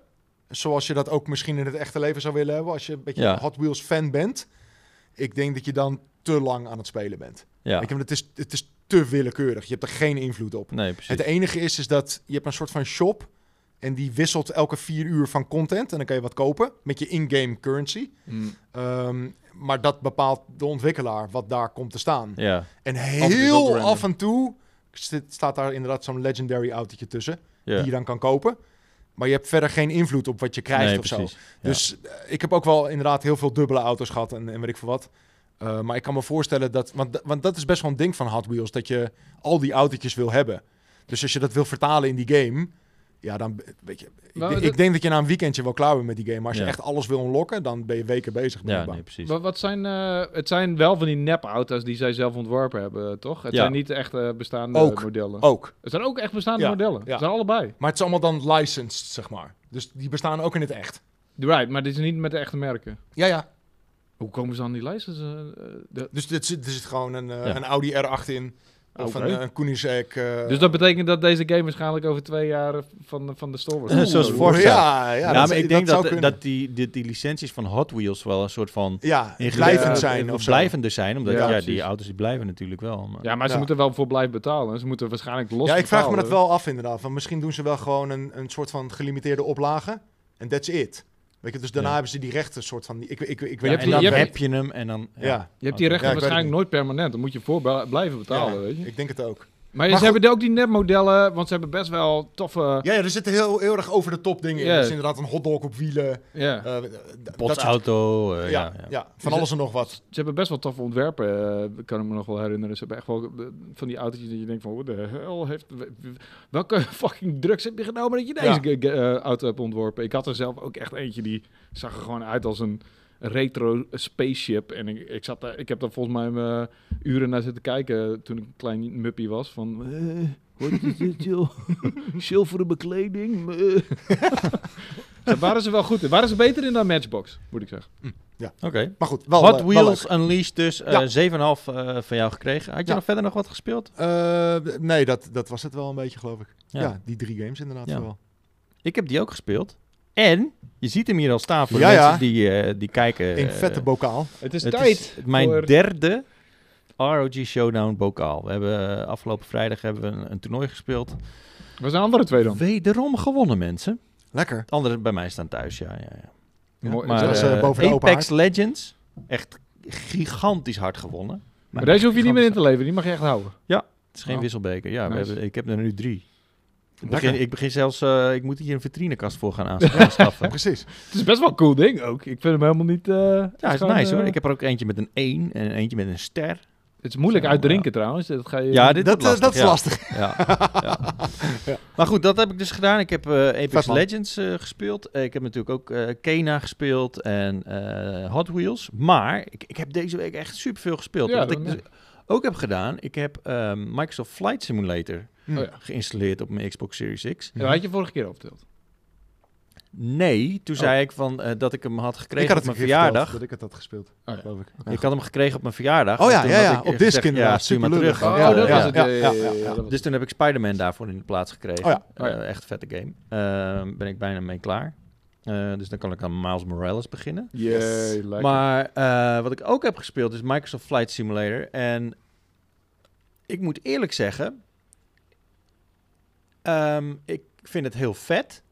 A: zoals je dat ook misschien in het echte leven zou willen hebben, als je een beetje
C: Ja.
A: een Hot Wheels fan bent, ik denk dat je dan te lang aan het spelen bent.
C: ja.
A: Ik heb, het, is, het is te willekeurig. Je hebt er geen invloed op.
C: Nee, precies.
A: Het enige is, is dat je hebt een soort van shop en die wisselt elke vier uur van content en dan kan je wat kopen met je in-game currency.
B: Mm.
A: Ehm, maar dat bepaalt de ontwikkelaar wat daar komt te staan.
C: Ja.
A: En
B: is ook
A: heel
B: random.
A: af en toe zit- staat daar inderdaad zo'n legendary autootje tussen
C: ja.
A: die je dan kan kopen. Maar je hebt verder geen invloed op wat je krijgt
C: Nee,
A: of
C: precies.
A: zo. Dus eh, ik heb ook wel inderdaad heel veel dubbele auto's gehad en, en weet ik veel wat. Eh, maar ik kan me voorstellen dat... Want, da- want dat is best wel een ding van Hot Wheels. Dat je al die autootjes wil hebben. Dus als je dat wil vertalen in die game... Ja, dan be- weet je. Ik,
B: Nou,
A: denk-
B: dat-
A: ik denk dat je na een weekendje wel klaar bent met die game. Maar als je
C: Ja.
A: echt alles wil ontlokken, dan ben je weken bezig.
C: Ja,
A: blijkbaar.
C: nee, precies.
B: Wa- Wat zijn, eh, het zijn wel van die nep-auto's die zij zelf ontworpen hebben, eh, toch? Het
C: Ja.
B: zijn niet echt eh, bestaande
A: Ook.
B: modellen.
A: Ook.
B: Het zijn ook echt bestaande
A: Ja,
B: modellen.
A: ja.
B: Het zijn allebei.
A: Maar het is allemaal dan licensed, zeg maar. Dus die bestaan ook in het echt.
B: Right, maar dit is niet met de echte merken.
A: Ja, ja.
B: Hoe komen ze aan die lijst? Dat is, eh, eh, de-
A: Dus dit zit- er zit gewoon een, eh,
C: Ja.
A: een Audi R8 in. Of
B: Oké.
A: een, eh, een Koenigsegg. eh,
B: dus dat betekent dat deze game waarschijnlijk over twee jaar eh, van, van de store wordt.
C: Eh, zoals
A: Oeh,
C: Forza.
A: Ja, ja,
C: Ja,
A: dat-
C: maar ik denk
A: zou
C: dat,
A: kunnen.
C: dat die, die, die licenties van Hot Wheels wel een soort van...
A: ja,
C: ingewikkeld-
A: blijvend
B: eh,
A: zijn.
C: eh,
A: Of zo.
C: blijvender zijn, omdat
B: Ja,
C: ja,
B: precies.
C: die auto's die blijven natuurlijk wel. Maar,
B: Ja, maar ze
A: Ja.
B: moeten wel voor blijven betalen. Ze moeten waarschijnlijk los
A: Ja, ik vraag me dat
B: betalen.
A: wel af inderdaad. Want misschien doen ze wel gewoon een, een soort van gelimiteerde oplage. En that's it. Weet je, dus daarna
C: Ja.
A: hebben ze die rechten soort van... Ik, ik, ik, ik
B: je
A: weet
B: hebt
C: en
A: niet.
B: die-
C: dan
B: je hebt-
C: heb je hem en dan...
A: Ja, ja,
B: Je hebt
C: Oké.
B: die rechten
A: Ja, ik weet
B: waarschijnlijk nooit permanent. Dan moet je voor bla- blijven betalen, weet je.
A: ik denk het ook.
B: Maar,
A: Maar
B: ze
A: goed.
B: hebben ook die nepmodellen, want ze hebben best wel toffe... Ja.
A: Ja, ja, er zitten heel, heel erg over de top dingen in.
B: Ja.
A: Dus inderdaad een hotdog op wielen. eh, d- dat soort-
C: Botsauto, eh,
A: ja,
C: ja,
A: ja.
C: ja.
A: van alles en nog wat.
B: Ze hebben best wel toffe ontwerpen, eh, kan ik me nog wel herinneren. Ze hebben echt wel eh, van die autootjes dat je denkt van... Hoe de hel heeft... Welke fucking drugs heb je genomen dat je
A: Ja.
B: deze ge- ge- eh, auto hebt ontworpen? Ik had er zelf ook echt eentje die zag er gewoon uit als een retro spaceship. En ik, ik, zat daar, ik heb daar volgens mij eh, uren naar zitten kijken toen ik een klein muppie was. Van,
E: Eh, Wat is dit, joh? Zilveren bekleding? eh.
B: Ze- waren ze wel goed in? Waren ze beter in dan Matchbox, moet ik zeggen.
C: Oké.
A: Maar goed, wel
C: Hot
A: eh, wel
C: Wheels
A: leuk.
C: Unleashed dus, eh
A: Ja.
C: 7,5 eh, van jou gekregen. Had je
A: Ja.
C: nog verder nog wat gespeeld?
A: Eh, nee, dat, dat was het wel een beetje, geloof ik. Ja,
C: Ja.
A: die drie games inderdaad
C: Ja.
A: vooral.
C: Ik heb die ook gespeeld. En, je ziet hem hier al staan voor
A: Ja,
C: de mensen
A: ja.
C: die, eh, die kijken.
A: In
C: eh,
A: vette bokaal.
B: Het is
C: het
B: tijd.
C: is mijn
B: voor-
C: derde ROG Showdown bokaal. We hebben eh, afgelopen vrijdag hebben we een, een toernooi gespeeld.
B: Waar zijn de andere twee dan?
C: Wederom gewonnen mensen.
A: Lekker.
C: Het andere bij mij staan thuis, ja. ja, ja.
A: Ja,
B: Mooi.
A: maar,
B: Maar,
A: dat is
C: eh,
A: eh, boven de open
C: Apex
A: haard.
C: Legends, echt gigantisch hard gewonnen.
B: Maar deze hoef je niet meer in te leveren, die mag je echt houden.
C: Het is geen
B: Oh.
C: wisselbeker. Ja, we
B: Nice.
C: hebben, ik heb er nu drie. Ik
A: Lekker.
C: begin, ik begin zelfs, eh, ik moet hier een vitrinekast voor gaan aans- aanschaffen.
A: Precies.
B: Het is best wel een cool ding ook. Ik vind hem helemaal niet... eh, het
C: Ja, is
B: gewoon,
C: nice
B: eh,
C: hoor. Ik heb er ook eentje met een 1 en eentje met een ster.
B: Het is moeilijk
C: Ja,
B: uitdrinken trouwens. Dat ga je...
C: Ja, dit
A: Dat,
C: wordt
A: eh, dat is
C: ja.
A: lastig.
C: Ja, ja. Maar goed, dat heb ik dus gedaan. Ik heb eh,
A: Vet,
C: Apex
A: man.
C: Legends eh, gespeeld. Eh, ik heb natuurlijk ook eh Kena gespeeld en eh, Hot Wheels. Maar ik, ik heb deze week echt superveel gespeeld.
B: Ja,
C: Wat ik
B: dat
C: dus ook heb gedaan, ik heb ehm, Microsoft Flight Simulator
A: Hm.
B: Oh ja.
C: geïnstalleerd op mijn Xbox Series X.
B: Ja, dat had je vorige keer al verteld.
C: Nee, toen
B: Oh.
C: zei ik van, eh, dat ik hem had gekregen
A: Ik had
C: op
A: het een
C: mijn
A: keer verteld
C: verjaardag. Oh
A: dat ik het had gespeeld,
B: ja.
A: geloof ik.
C: Ik had hem gekregen op mijn verjaardag.
A: Oh
C: En
A: ja,
C: toen
A: ja,
C: had
A: ja,
C: ik,
A: op
C: eh,
A: disc
C: gezegd,
A: inderdaad,
C: Ja, stuur maar
A: superlullig.
C: terug.
A: Oh,
B: Oh,
C: Ja,
B: dat
C: ja.
B: was het.
A: ja,
B: Ja, ja,
A: ja,
B: ja,
A: ja.
B: dat was
C: Dus toen heb ik Spider-Man daarvoor in de plaats gekregen.
A: Oh ja.
B: Oh ja.
C: Eh, echt vette game. Eh, ben ik bijna mee klaar. Eh, dus dan kan ik aan Miles Morales beginnen.
B: het. Jee, lekker.
C: Maar eh, wat ik ook heb gespeeld is Microsoft Flight Simulator. En ik moet eerlijk zeggen, ehm, ik vind het heel vet.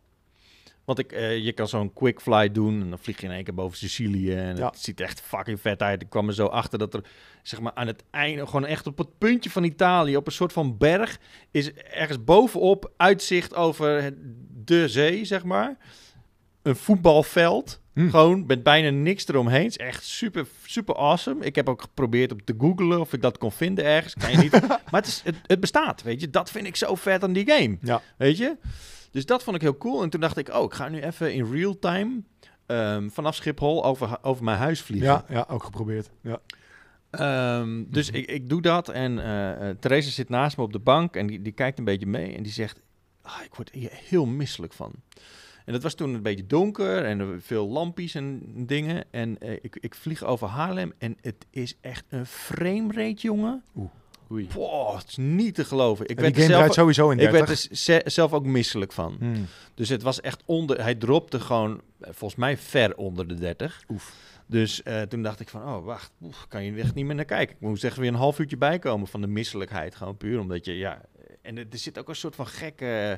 C: Want ik, eh, je kan zo'n quick fly doen en dan vlieg je in één keer boven Sicilië. En
A: Ja.
C: het ziet er echt fucking vet uit. Ik kwam er zo achter dat er zeg maar aan het einde, gewoon echt op het puntje van Italië, op een soort van berg, is ergens bovenop uitzicht over het- de zee, zeg maar. Een voetbalveld.
A: Hm.
C: Gewoon met bijna niks eromheen. Het is echt super, super awesome. Ik heb ook geprobeerd op te googlen of ik dat kon vinden ergens. Kan je niet. maar het, is, het, het bestaat, weet je. Dat vind ik zo vet aan die game.
A: Ja.
C: Weet je? Dus dat vond ik heel cool. En toen dacht ik, oh, ik ga nu even in real time ehm, vanaf Schiphol over, over mijn huis vliegen.
A: Ja, ja, ook geprobeerd. Ja.
C: Ehm,
A: Mhm.
C: dus ik, ik doe dat en eh eh, Theresa zit naast me op de bank en die, die kijkt een beetje mee en die zegt, ah, ik word hier heel misselijk van. En dat was toen een beetje donker en er veel lampjes en dingen. En eh, ik, ik vlieg over Haarlem en het is echt een framerate, jongen.
B: Oei.
C: Boah, het is niet te geloven. Ik
A: En die
C: werd,
A: game
C: er
A: draait
C: zelf,
A: sowieso in
C: ik
A: 30.
C: werd er ze- zelf ook misselijk van.
A: Hmm.
C: Dus het was echt onder. Hij dropte gewoon, eh, volgens mij, ver onder de 30.
A: Oef.
C: Dus eh, toen dacht ik van, oh wacht, oef, kan je er echt niet meer naar kijken. Ik moest echt weer een half uurtje bijkomen van de misselijkheid. Gewoon puur omdat je, ja. En er er zit ook een soort van gekke. eh,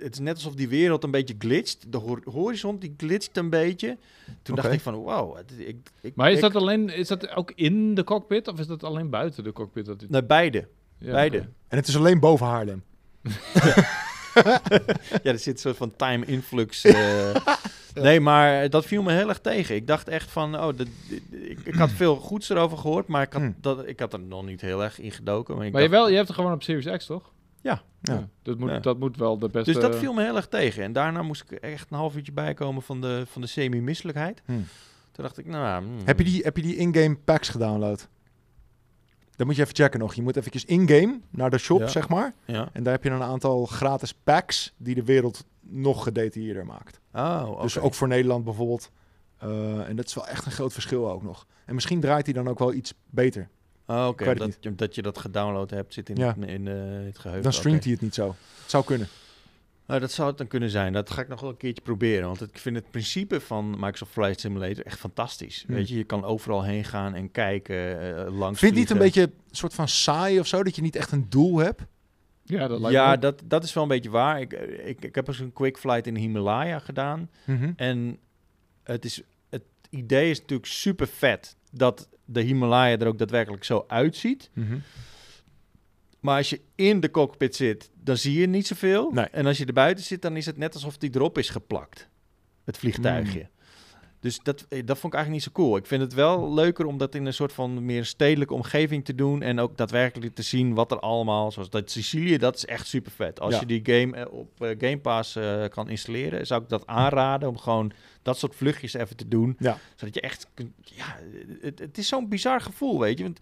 C: het is net alsof die wereld een beetje glitst. De hor- horizon die glitst een beetje. Toen
A: Oké.
C: dacht ik van, wow. het- Ik, ik,
B: Maar is
C: ik-
B: dat alleen... Is dat ook in de cockpit of is dat alleen buiten de cockpit? Dat dit...
C: Nee, beide.
B: Ja,
C: beide.
B: oké.
A: En het is alleen boven Haarlem.
C: Hmm. Ja, er zit een soort van time influx. eh. Nee, maar dat viel me heel erg tegen. Ik dacht echt van, oh, dat- ik, ik had veel goeds erover gehoord, maar ik had,
A: Hmm.
C: dat, ik had er nog niet heel erg in gedoken. Maar ik
B: Maar je,
C: dacht-
B: wel, je hebt er gewoon op Series X, toch?
A: Ja.
B: Dat, moet,
C: Ja.
B: dat moet wel de beste...
C: Dus
A: eh,
C: dat viel me heel erg tegen. En daarna moest ik echt een half uurtje bijkomen van de, van de semi-misselijkheid.
A: Hmm.
C: Toen dacht ik, nou... hmm.
A: Heb je die, heb je die in-game packs gedownload? Dat moet je even checken nog. Je moet eventjes in-game naar de shop,
C: Ja.
A: zeg maar.
C: Ja.
A: En daar heb je dan een aantal gratis packs die de wereld nog gedetailleerder maakt.
C: Oh, oké.
A: Dus ook voor Nederland bijvoorbeeld. Eh, en dat is wel echt een groot verschil ook nog. En misschien draait hij dan ook wel iets beter.
C: Oh,
A: Ik
C: oké.
A: weet het
C: Dat, je- dat je dat gedownload hebt, zit in,
A: Ja.
C: het, in eh, het geheugen.
A: Dan streamt
C: Oké.
A: hij het niet zo. Het zou kunnen.
C: Nou, dat zou het dan kunnen zijn. Dat ga ik nog wel een keertje proberen. Want ik vind het principe van Microsoft Flight Simulator echt fantastisch.
A: Hmm.
C: Weet je, je kan overal heen gaan en kijken, eh langs
A: Vind je het niet
C: vliegen.
A: een beetje een soort van saai of zo? Dat je niet echt een doel hebt?
B: Ja, dat lijkt me
C: Ja,
B: ook.
C: dat, dat is wel een beetje waar. Ik, eh, ik, ik heb eens een quick flight in de Himalaya gedaan. En het, is, het idee is natuurlijk super vet dat de Himalaya er ook daadwerkelijk zo uitziet. Maar als je in de cockpit zit, dan zie je niet zoveel.
A: Nee.
C: En als je er buiten zit, dan is het net alsof die erop is geplakt. Het vliegtuigje.
A: Hmm.
C: Dus dat, eh, dat vond ik eigenlijk niet zo cool. Ik vind het wel leuker om dat in een soort van meer stedelijke omgeving te doen. En ook daadwerkelijk te zien wat er allemaal... Zoals dat Sicilië, dat is echt super vet. Als
A: Ja.
C: je die game eh, op eh, Game Pass eh, kan installeren, zou ik dat aanraden. Om gewoon dat soort vluchtjes even te doen.
A: Ja.
C: Zodat je echt... kunt- Ja, het, het is zo'n bizar gevoel, weet je. Want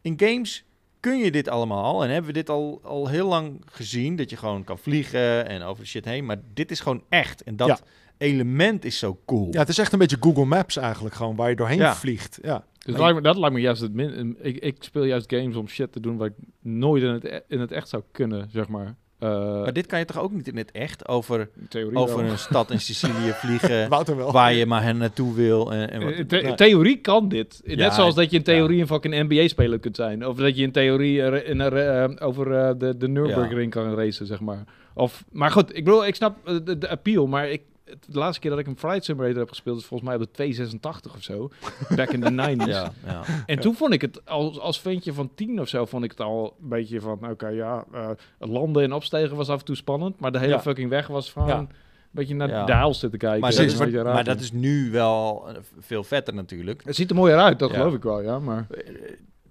C: in games kun je dit allemaal al. En hebben we dit al, al heel lang gezien. Dat je gewoon kan vliegen en over de shit heen. Maar dit is gewoon echt. En dat
A: Ja.
C: element is zo cool.
A: Ja, het is echt een beetje Google Maps eigenlijk gewoon, waar je doorheen
C: Ja.
A: vliegt. Ja.
B: Dus dat, lijkt me, dat lijkt me juist het min. Ik, ik speel juist games om shit te doen wat ik nooit in het, e- in het echt zou kunnen, zeg maar. Eh,
C: Maar dit kan je toch ook niet in het echt over,
B: in theorie
C: over
B: wel.
C: een stad in Sicilië vliegen.
A: Wouter wel.
C: waar je maar hen naartoe wil. En, en wat- nou-
B: In- in Eh, the-
A: nee.
B: in theorie kan dit. Net
C: Ja,
B: zoals dat je in
C: ja.
B: theorie een fucking NBA-speler kunt zijn. Of dat je in theorie er- in een re- eh, over eh, de, de Nürburgring kan racen, zeg maar. Of, maar goed, ik bedoel, ik snap eh, de, de appeal, maar ik, het- de laatste keer dat ik een Flight Simulator heb gespeeld... is volgens mij op de 286 of zo. Back in the 90s.
C: ja, ja.
B: En toen vond ik het als, als ventje van tien of zo, vond ik het al een beetje van, oké, ja, eh, landen en opstegen was af en toe spannend, maar de hele
A: Ja.
B: fucking weg was gewoon
A: Ja.
B: een beetje naar
C: Ja.
B: de daal zitten kijken.
C: Maar,
B: Dat
C: dat
A: precies,
B: is
C: is,
B: een beetje raar
C: maar dat
B: toen.
C: is nu wel eh, veel vetter natuurlijk.
B: Het ziet er mooier uit, dat
C: Ja.
B: geloof ik wel, ja, maar...
C: Eh,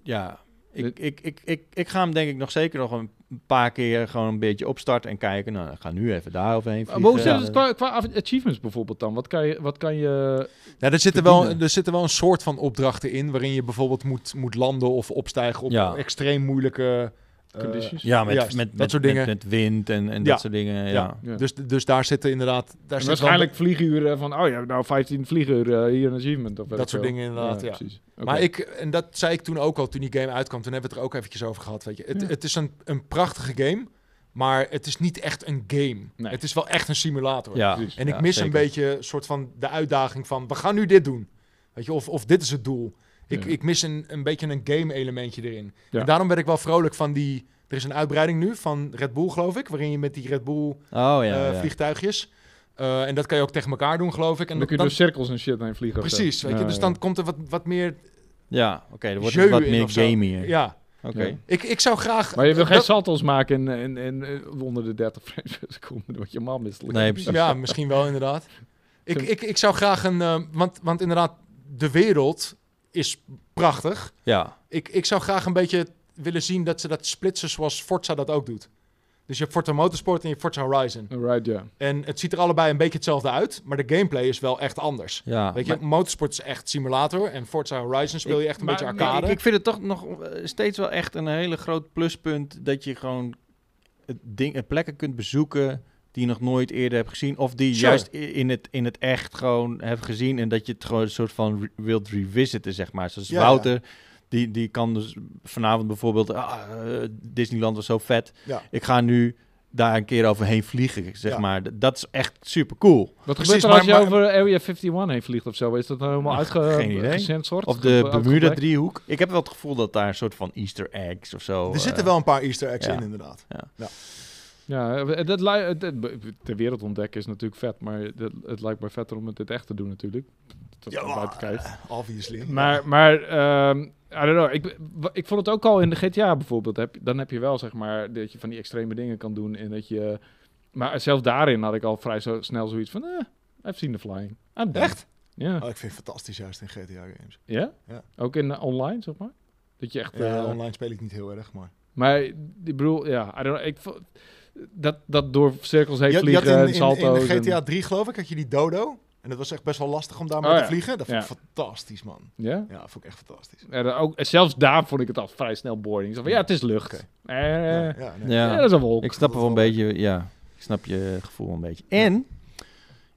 C: Ja, ik,
B: Dit-
C: ik, ik, ik, ik ga hem denk ik nog zeker nog een paar keer gewoon een beetje opstarten en kijken. Nou, ik ga nu even daar overheen
B: Maar hoe
C: vliegen.
B: zit het qua, qua af- achievements bijvoorbeeld dan? Wat kan je... Wat kan je
A: Ja, er zitten, wel,
B: verdienen.
A: er zitten wel een soort van opdrachten in waarin je bijvoorbeeld moet, moet landen of opstijgen op
C: Ja.
A: extreem moeilijke eh,
B: conditions?
C: Ja, met,
A: Juist,
C: met,
A: dat
C: met,
A: soort
C: met-
A: dingen.
C: Met, wind en, en
A: Ja.
C: dat soort dingen. Ja.
A: Ja.
B: Ja.
A: Dus, dus daar zitten inderdaad. Daar
B: En
A: zit
B: waarschijnlijk vlieguren van, oh ja, nou 15 vlieguren, eh, hier een achievement of weet
A: Dat
B: ik
A: soort
B: veel.
A: dingen inderdaad, ja.
B: precies.
A: wel-
B: Oké.
A: Maar ik, en dat zei ik toen ook al toen die game uitkwam, toen hebben we het er ook eventjes over gehad. Weet je. Het,
B: Ja.
A: het is een, een prachtige game, maar het is niet echt een game.
B: Nee.
A: Het is wel echt een simulator.
C: Ja.
B: Precies.
A: En ik
C: Ja,
A: mis
C: zeker.
A: een beetje een soort van de uitdaging van we gaan nu dit doen. Weet je, of, of dit is het doel. Ik,
B: Ja.
A: ik mis een, een beetje een game elementje erin.
B: Ja.
A: En daarom werd ik wel vrolijk van die. Er is een uitbreiding nu van Red Bull, geloof ik, waarin je met die Red Bull
C: Oh ja,
A: eh,
C: ja.
A: vliegtuigjes. eh, en dat kan je ook tegen elkaar doen, geloof ik. En
B: dan kun je
A: dan-
B: door cirkels en shit heen vliegen. of zo.
A: precies, weet je.
B: Ja,
A: Dus
B: ja.
A: dan komt er wat, wat meer.
C: Ja, oké, dan wordt
A: jeu
C: het wat
A: in
C: meer
A: of zo.
C: gamier.
A: Ja,
C: Oké.
B: Ja.
A: ik, ik zou graag.
B: Maar je wil
A: dat-
B: geen salto's maken en, en, en eh, onder de 30 frames per seconde. Dan word je man misselijk.
C: Nee, precies.
A: Ja, misschien wel inderdaad. Ik, ik, ik zou graag een. eh, want, want inderdaad, de wereld is prachtig.
C: Ja.
A: ik, ik zou graag een beetje willen zien dat ze dat splitsen zoals Forza dat ook doet. Dus je hebt Forza Motorsport en je hebt Forza Horizon.
B: Alright, ja.
A: En het ziet er allebei een beetje hetzelfde uit, maar de gameplay is wel echt anders.
C: ja.
A: Weet je, Motorsport is echt simulator en Forza Horizon speel je echt een
B: maar-
A: beetje
B: maar
A: arcade.
C: Ik, ik vind het toch nog eh, steeds wel echt een hele groot pluspunt dat je gewoon het ding, eh, plekken kunt bezoeken die je nog nooit eerder hebt gezien. Of die
A: Sure.
C: juist i- in het, in het echt gewoon hebt gezien. En dat je het gewoon een soort van re- wilt revisiten, zeg maar. Zoals
A: Ja, ja.
C: Wouter, Die, die kan dus vanavond bijvoorbeeld... ah, eh, Disneyland was zo vet.
A: Ja.
C: Ik ga nu daar een keer overheen vliegen, zeg
A: Ja.
C: maar. D- Dat is echt super cool.
B: Wat
A: Precies,
B: gebeurt er als
A: maar-
B: je
A: maar-
B: over Area 51 heen vliegt of zo? Is dat nou helemaal
C: Nou,
B: uitge
C: geen idee.
B: gesensord?
C: Of de
B: Ge-
C: Bermuda
B: uitgeplakt?
C: driehoek. Ik heb wel het gevoel dat daar een soort van Easter eggs of zo.
A: er zitten
C: eh,
A: wel een paar easter eggs
C: ja.
A: in inderdaad.
B: Ja, eh, dat, li- eh, dat- de wereld ontdekken is natuurlijk vet, maar dat, het lijkt mij vetter om het in het echt te doen natuurlijk. Dat is
A: Ja,
B: wel buiten kijf.
A: Obviously.
B: Maar, maar ehm, I don't know. Ik, wa- ik vond het ook al in de GTA bijvoorbeeld. Heb, dan heb je wel, zeg maar, dat je van die extreme dingen kan doen. En dat je... Maar zelfs daarin had ik al vrij zo, snel zoiets van... Eh, I've seen the flying. I'm done.
A: Echt?
B: Ja.
A: Oh, ik vind het fantastisch juist in GTA games.
B: Ja?
A: Ja.
B: Ook in eh, online, zeg maar? Dat je echt...
A: Ja,
B: eh,
A: online speel ik niet heel erg, maar...
B: Maar ik bedoel, ja, I don't know, ik vo- dat, dat door cirkels heen
A: Je, je had
B: vliegen
A: in,
B: en
A: in, in
B: salto's.
A: GTA
B: en,
A: 3 geloof ik, had je die dodo. En dat was echt best wel lastig om daarmee
B: Oh,
A: te
B: ja.
A: vliegen. Dat vond ik
B: Ja.
A: fantastisch, man.
B: ja?
A: Ja, dat vond ik echt fantastisch.
B: Ja, dat ook, en zelfs daar vond ik het al vrij snel boring. Ik dacht van, ja, het is lucht. Eh,
A: Ja,
B: eh,
A: ja, nee.
B: ja.
C: Ja.
B: dat is een wolk.
C: Ik snap er wel een beetje, ja. Ik snap je gevoel een beetje. En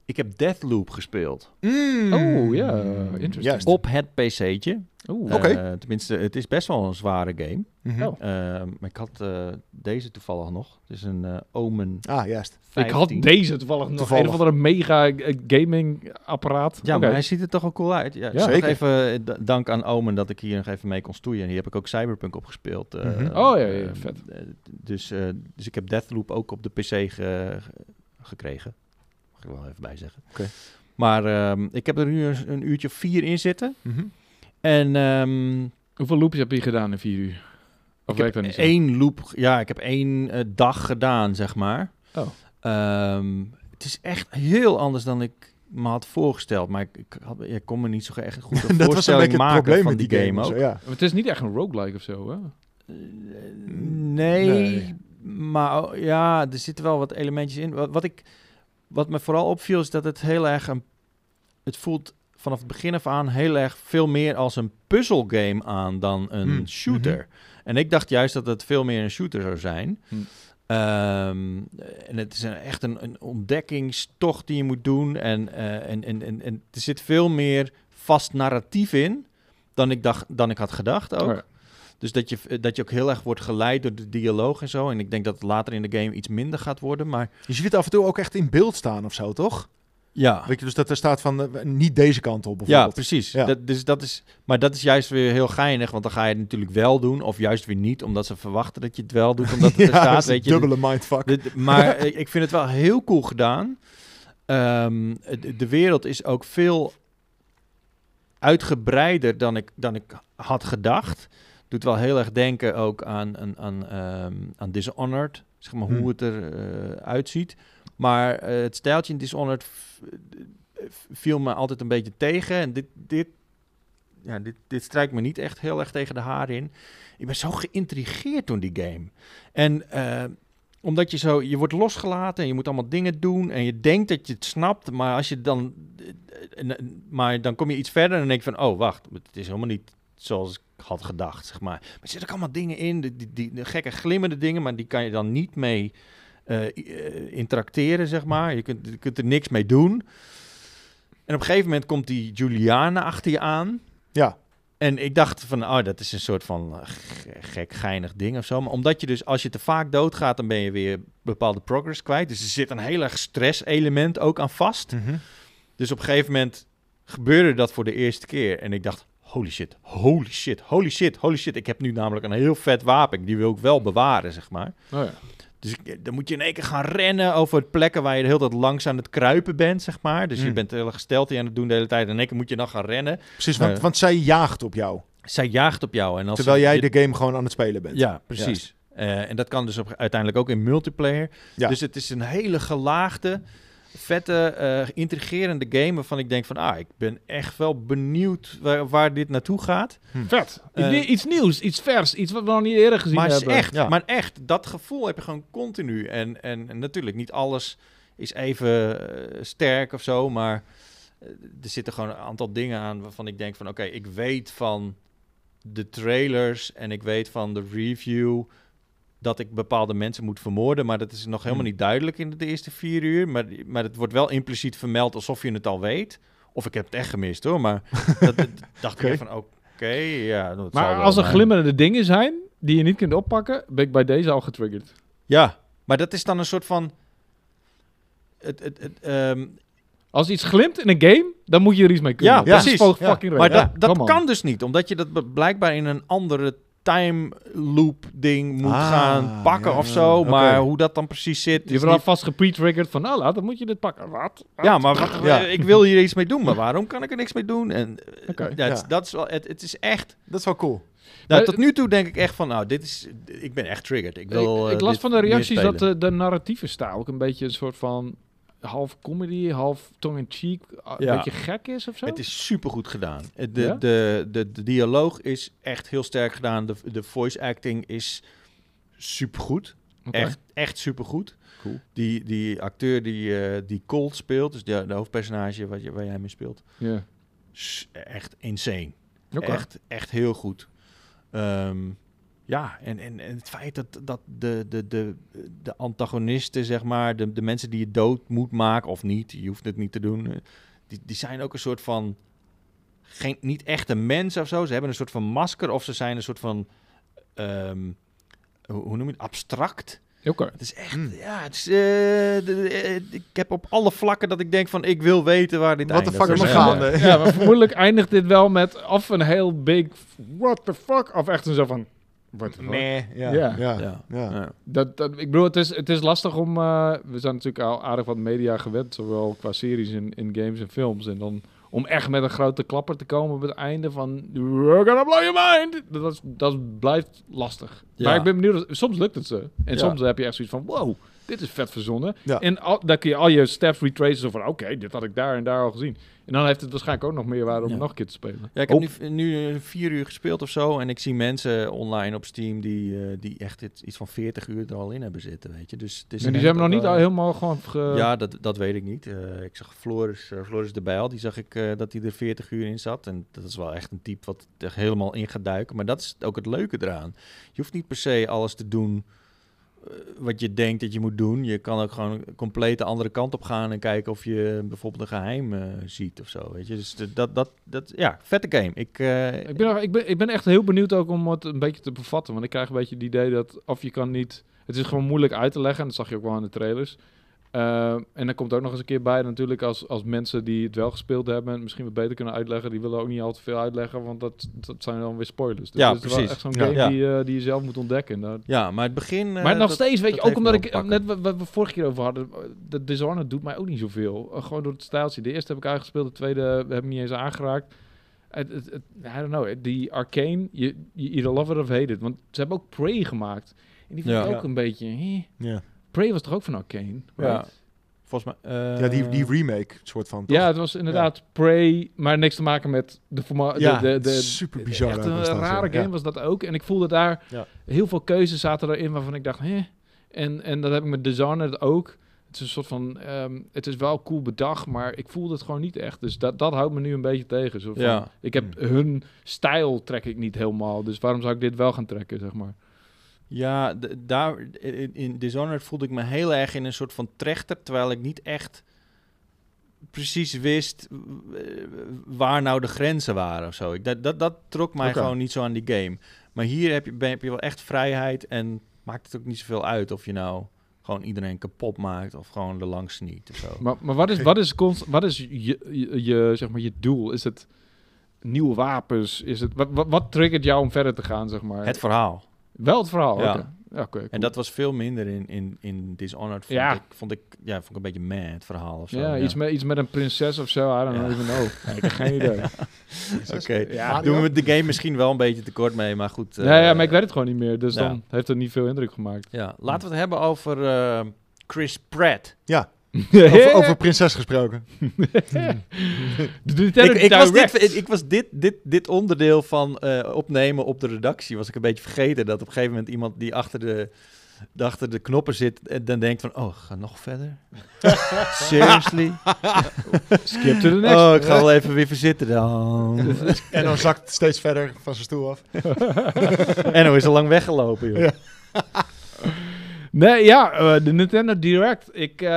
C: ik heb Deathloop gespeeld.
A: Mm.
B: Oh, ja, interesting.
A: Juist.
C: Op het PC'tje.
B: Oeh.
C: Eh,
A: Oké.
C: tenminste, het is best wel een zware game.
A: Mhm.
B: Oh.
C: Eh, maar ik had eh, deze toevallig nog. Het is een eh, Omen
A: Ah, juist.
C: 15.
B: Ik had deze toevallig nog.
A: Toevallig.
B: Een of andere mega eh, gaming apparaat.
C: Ja,
B: Oké.
C: maar hij ziet er toch ook cool uit. Ja,
B: Ja.
C: ja.
A: Zeker.
C: Even eh, d- dank aan Omen dat ik hier nog even mee kon stoeien. En hier heb ik ook Cyberpunk op gespeeld. eh,
A: Mhm.
B: Oh, ja, ja, ja,
C: eh,
B: vet.
C: eh, dus, eh, dus ik heb Deathloop ook op de PC ge- ge- gekregen. Mag ik er wel even bij zeggen.
A: Oké.
C: Maar ehm, ik heb er nu een, een uurtje of vier in zitten.
A: Mhm.
C: En ehm,
B: Hoeveel loops heb je gedaan in vier uur? Of
C: ik
B: weet ik dat
C: heb
B: niet zo?
C: één loop, g- ja, ik heb één eh, dag gedaan, zeg maar.
B: Oh.
C: Ehm, het is echt heel anders dan ik me had voorgesteld. Maar ik, ik, had, ik kon me niet zo echt goed
A: Dat
C: een
A: was een
C: voorstelling
A: beetje het
C: maken
A: probleem
C: van
A: met
C: die,
A: die
C: game,
A: of
C: ook.
A: zo, ja.
B: Maar Het is niet echt een roguelike of zo, hè?
C: Nee,
A: Nee.
C: maar o- ja, er zitten wel wat elementjes in. Wat, wat, ik, wat me vooral opviel is dat het heel erg een... Het voelt vanaf het begin af aan heel erg veel meer als een puzzelgame aan dan een
A: Hmm.
C: shooter. En ik dacht juist dat het veel meer een shooter zou zijn.
B: Mhm. Hmm.
C: Ehm, en het is een, echt een, een ontdekkingstocht die je moet doen. En, eh, en, en, en, en er zit veel meer vast narratief in dan ik, dacht, dan ik had gedacht ook.
B: Oh, ja.
C: Dus dat je, dat je ook heel erg wordt geleid door de dialoog en zo. En ik denk dat het later in de game iets minder gaat worden. Maar
A: Je ziet het af en toe ook echt in beeld staan of zo, toch?
C: ja,
A: Weet je, dus dat er staat van eh, niet deze kant op
C: Ah. ja
A: bijvoorbeeld.
C: precies.
A: Ja.
C: Dat, dus dat is, maar dat is juist weer heel geinig. Want dan ga je het natuurlijk wel doen. Of juist weer niet. Omdat ze verwachten dat je het wel doet. Omdat het er
A: dat
C: staat.
A: is een
C: Weet je,
A: dubbele mindfuck.
C: Dit- maar eh, ik vind het wel heel cool gedaan. Ehm, de, de wereld is ook veel uitgebreider dan ik, dan ik had gedacht. Doet wel heel erg denken ook aan, aan, aan, ehm, aan Dishonored. Zeg maar
A: Hmm.
C: hoe het eruit uitziet. Maar eh, het stijltje in Dishonored f- f- viel me altijd een beetje tegen. En dit, dit, ja, dit, dit strijkt me niet echt heel erg tegen de haren in. Ik ben zo geïntrigeerd door die game. En eh, omdat je zo, je wordt losgelaten en je moet allemaal dingen doen en je denkt dat je het snapt, maar als je dan, eh, eh, maar dan kom je iets verder en dan denk je van, oh wacht, het is helemaal niet zoals ik had gedacht, zeg maar. Maar er zitten ook allemaal dingen in, die, die, die- de gekke glimmende dingen, maar die kan je dan niet mee eh, i- eh, interacteren, zeg maar. Je kunt, je kunt er niks mee doen. En op een gegeven moment komt die Juliana achter je aan.
A: Ja.
C: En ik dacht van, oh, dat is een soort van eh, ge- gek, geinig ding of zo. Maar omdat je dus, als je te vaak doodgaat, dan ben je weer bepaalde progress kwijt. Dus er zit een heel erg stress-element ook aan vast.
A: Mhm.
C: Dus op een gegeven moment gebeurde dat voor de eerste keer. En ik dacht, holy shit, holy shit, holy shit, holy shit. Ik heb nu namelijk een heel vet wapen. Die wil ik wel bewaren, zeg maar.
B: Oh, ja.
C: Dus ik- dan moet je in één keer gaan rennen over plekken waar je de hele tijd langs aan het kruipen bent, zeg maar. Dus je
A: Mm.
C: bent heel erg gesteld die aan het doen de hele tijd. En in één keer moet je dan gaan rennen.
A: Precies,
C: Nou
A: want,
C: ja.
A: want zij jaagt op jou.
C: Zij jaagt op jou. En als
A: Terwijl jij
C: je-
A: de game gewoon aan het spelen bent.
C: Ja, precies. Eh, en dat kan dus op, uiteindelijk ook in multiplayer.
A: Ja.
C: Dus het is een hele gelaagde, vette, eh intrigerende game waarvan ik denk van... Ah, ik ben echt wel benieuwd waar, waar dit naartoe gaat.
B: Vet.
C: Eh,
B: Iets nie- iets nieuws, iets vers, iets wat we nog niet eerder gezien
C: maar
B: hebben.
C: is echt,
A: Ja.
C: maar echt, dat gevoel heb je gewoon continu. En, en, en natuurlijk, niet alles is even eh, sterk of zo, maar eh, er zitten gewoon een aantal dingen aan waarvan ik denk van, oké, ik weet van de trailers en ik weet van de review dat ik bepaalde mensen moet vermoorden, maar dat is nog helemaal
A: Hmm.
C: niet duidelijk in de eerste vier uur. Maar, maar het wordt wel impliciet vermeld alsof je het al weet. Of ik heb het echt gemist hoor, maar dat, dat dacht
A: Oké.
C: ik even van, oké, ja. dat zal
B: Maar
C: wel,
B: als er
C: maar-
B: glimmerende dingen zijn die je niet kunt oppakken, ben ik bij deze al getriggerd.
C: Ja, maar dat is dan een soort van. Het, het, het, ehm,
B: Als iets glimt in een game, dan moet je er iets mee kunnen.
C: Ja,
B: Dat is
C: precies.
B: gewoon
A: Ja.
B: fucking
C: maar
B: reden.
C: dat,
B: Ja,
C: dat
B: come on.
C: kan dus niet, omdat je dat be- blijkbaar in een andere time loop ding moet
A: Ah,
C: gaan pakken
A: ja,
C: of
A: ja,
C: zo.
A: oké.
C: Maar hoe dat dan precies zit.
B: Je
C: is
B: wordt al
C: niet-
B: vast gepre-triggered van, nou laat, dan moet je dit pakken. Wat? Wat?
C: Ja, maar wat-
A: Ja.
C: ik wil hier iets mee doen, maar waarom kan ik er niks mee doen? En, eh,
B: Oké,
C: ja, het,
A: ja.
C: dat is wel, het, het is echt.
A: Dat is wel cool.
C: Nou,
B: Maar-
C: tot nu toe denk ik echt van, nou, dit is. Ik ben echt triggered. Ik, wil,
B: ik,
C: eh,
B: ik las
C: dit
B: van de
C: meer
B: reacties dat
C: spelen.
B: de, de narratieve stijl ook een beetje een soort van half comedy, half tongue-in-cheek, a- een
C: Ja.
B: beetje gek is of zo.
C: Het is supergoed gedaan. Eh, De,
B: Oh. Ja?
C: de, de, de dialoog is echt heel sterk gedaan. De, de voice acting is supergoed.
B: Oké.
C: Echt, echt supergoed.
B: Cool.
C: Die, die acteur die, eh, die Colt speelt, dus de, de hoofdpersonage wat je, waar jij mee speelt,
B: Ja.
C: is echt insane.
B: Oké.
C: Echt, echt heel goed. Ehm, ja, en, en, en het feit dat, dat de, de, de, de antagonisten, zeg maar, de, de mensen die je dood moet maken of niet, je hoeft het niet te doen, eh, die, die zijn ook een soort van. Geen, niet echte mensen of zo. Ze hebben een soort van masker of ze zijn een soort van. ehm, hoe hoe noem je het? Abstract.
B: Oké.
C: Het is echt. Ja, het is, eh, de- de- eh, ik heb op alle vlakken dat ik denk van ik wil weten waar dit
A: What the
C: eindigt.
A: fuck is
C: Dat
A: er
C: wel-
A: gaande?
B: Ja, maar vermoedelijk eindigt dit wel met of een heel big what the fuck of echt een zo van what the fuck.
C: Meh, ja.
B: Ja.
A: Ja.
C: Ja.
A: ja.
C: Ja.
B: Dat, dat, ik bedoel, het is, het is lastig om. eh, we zijn natuurlijk al aardig wat media gewend, zowel qua series in, in games en films. En dan om echt met een grote klapper te komen op het einde van. We're gonna blow your mind! Dat, is, dat blijft lastig.
C: Ja.
B: Maar ik ben benieuwd, soms lukt het ze. En
C: Ja.
B: soms heb je echt zoiets van: wow, dit is vet verzonnen.
A: Ja.
B: En al, dan kun je al je steps retracen zo van: oké, dit had ik daar en daar al gezien. En dan heeft het waarschijnlijk ook nog meer waarde om
C: Ja.
B: nog een keer te spelen.
C: Ja, ik heb nu, nu eh, vier uur gespeeld of zo. En ik zie mensen online op Steam die, eh, die echt dit, iets van 40 uur er al in hebben zitten, weet je. Dus het is
B: en die
C: ineens
B: zijn nog
C: ook
B: niet
C: wel-
B: al helemaal gewoon. ge-
C: Ja, dat, dat weet ik niet. Eh, ik zag Floris, eh, Floris de Bijl, die zag ik eh, dat hij er 40 uur in zat. En dat is wel echt een type wat er helemaal in gaat duiken. Maar dat is ook het leuke eraan. Je hoeft niet per se alles te doen eh, wat je denkt dat je moet doen. Je kan ook gewoon compleet de andere kant op gaan en kijken of je bijvoorbeeld een geheim eh, ziet of zo, weet je. Dus de- dat, dat, dat, ja, vette game. Ik, eh,
B: Ik ben, nog- ik, ben, ik ben echt heel benieuwd ook om het een beetje te bevatten. Want ik krijg een beetje het idee dat of je kan niet... Het is gewoon moeilijk uit te leggen. En dat zag je ook wel in de trailers. Eh, en dan komt ook nog eens een keer bij natuurlijk als, als mensen die het wel gespeeld hebben... en het misschien wat beter kunnen uitleggen. Die willen ook niet al te veel uitleggen, want dat, dat zijn dan weer spoilers. Dus
C: Ja,
B: het is wel
C: precies.
B: echt zo'n
A: Ja.
B: game
C: Ja.
B: Die, eh, die je zelf moet ontdekken. Nou,
C: Ja, maar het begin... eh,
B: maar nog
C: dat-
B: steeds, weet je,
C: dat
B: ook
C: heeft me
B: omdat
C: wel
B: ik, eh,
C: pakken.
B: net wat, wat we vorige keer over hadden, eh, de Dishonored doet mij ook niet zoveel. Eh, gewoon door het stijltje. De eerste heb ik aangespeeld, de tweede heb ik niet eens aangeraakt. Het, het, het- I don't know, eh, die Arcane, je, je either love it of hate it. Want ze hebben ook Prey gemaakt. En die vond
C: Ja.
B: ik ook
A: Ja.
B: een beetje, hè?
A: Ja.
B: Prey was toch ook van Arcane?
C: Ja.
B: right?
C: Volgens mij... eh,
A: Ja, die, die remake, soort van. toch?
B: Ja, het was inderdaad Prey, maar niks te maken met de formaat.
A: ja
B: de, de, de,
A: Ah, super bizar.
B: Echt
A: ook
B: een
A: was dat,
B: rare
A: ja.
B: game was dat ook. En ik voelde daar
A: Ja.
B: heel veel keuzes zaten erin waarvan ik dacht, hè? En, en dat heb ik met Dishonored ook. Het is een soort van, ehm, het is wel cool bedacht, maar ik voelde het gewoon niet echt. Dus dat, dat houdt me nu een beetje tegen. Zo van,
C: Ja.
B: Ik heb
A: Hmm.
B: hun stijl trek ik niet helemaal, dus waarom zou ik dit wel gaan trekken, zeg maar?
C: Ja, d- daar, in, in Dishonored voelde ik me heel erg in een soort van trechter, terwijl ik niet echt precies wist eh, waar nou de grenzen waren of zo. Ik, dat, dat, dat trok mij
A: Oké.
C: gewoon niet zo aan die game. Maar hier heb je, ben, heb je wel echt vrijheid en maakt het ook niet zoveel uit of je nou gewoon iedereen kapot maakt of gewoon er langs niet of zo.
B: Maar, maar wat is, wat is, const, wat is je, je, je, zeg maar, je doel? Is het nieuwe wapens? Is het, wat, wat, wat triggert jou om verder te gaan, zeg maar?
C: Het verhaal.
B: wel het verhaal,
C: Ja.
B: oké. Ja, oké, cool.
C: En dat was veel minder in, in, in Dishonored. Vond
B: Ja.
C: ik, vond ik, ja, vond ik een beetje meh, het verhaal of zo.
B: ja, Iets, met, iets met een prinses of zo. I don't
C: Ja.
B: even know. Ik heb geen idee.
C: Oké.
B: Ja.
A: Mario?
C: Doen we de game misschien wel een beetje tekort mee, maar goed. eh,
B: nee, ja, maar ik weet het gewoon niet meer. Dus
C: ja.
B: dan heeft het niet veel indruk gemaakt.
C: ja. Laten we het hebben over eh, Chris Pratt.
A: Ja, over, over prinses gesproken.
B: De Nintendo
C: Ik, ik, was
B: Direct.
C: dit, ik was dit, dit, dit onderdeel van eh, opnemen op de redactie, was ik een beetje vergeten. Dat op een gegeven moment iemand die achter de, die achter de knoppen zit, en dan denkt van, oh, ga nog verder? Seriously?
B: Skip to the next.
C: Oh, ik ga wel even weer verzitten dan.
A: En dan zakt het steeds verder van zijn stoel af.
C: en hoe is al lang weggelopen, joh.
B: Nee, ja, eh, de Nintendo Direct. Ik, eh,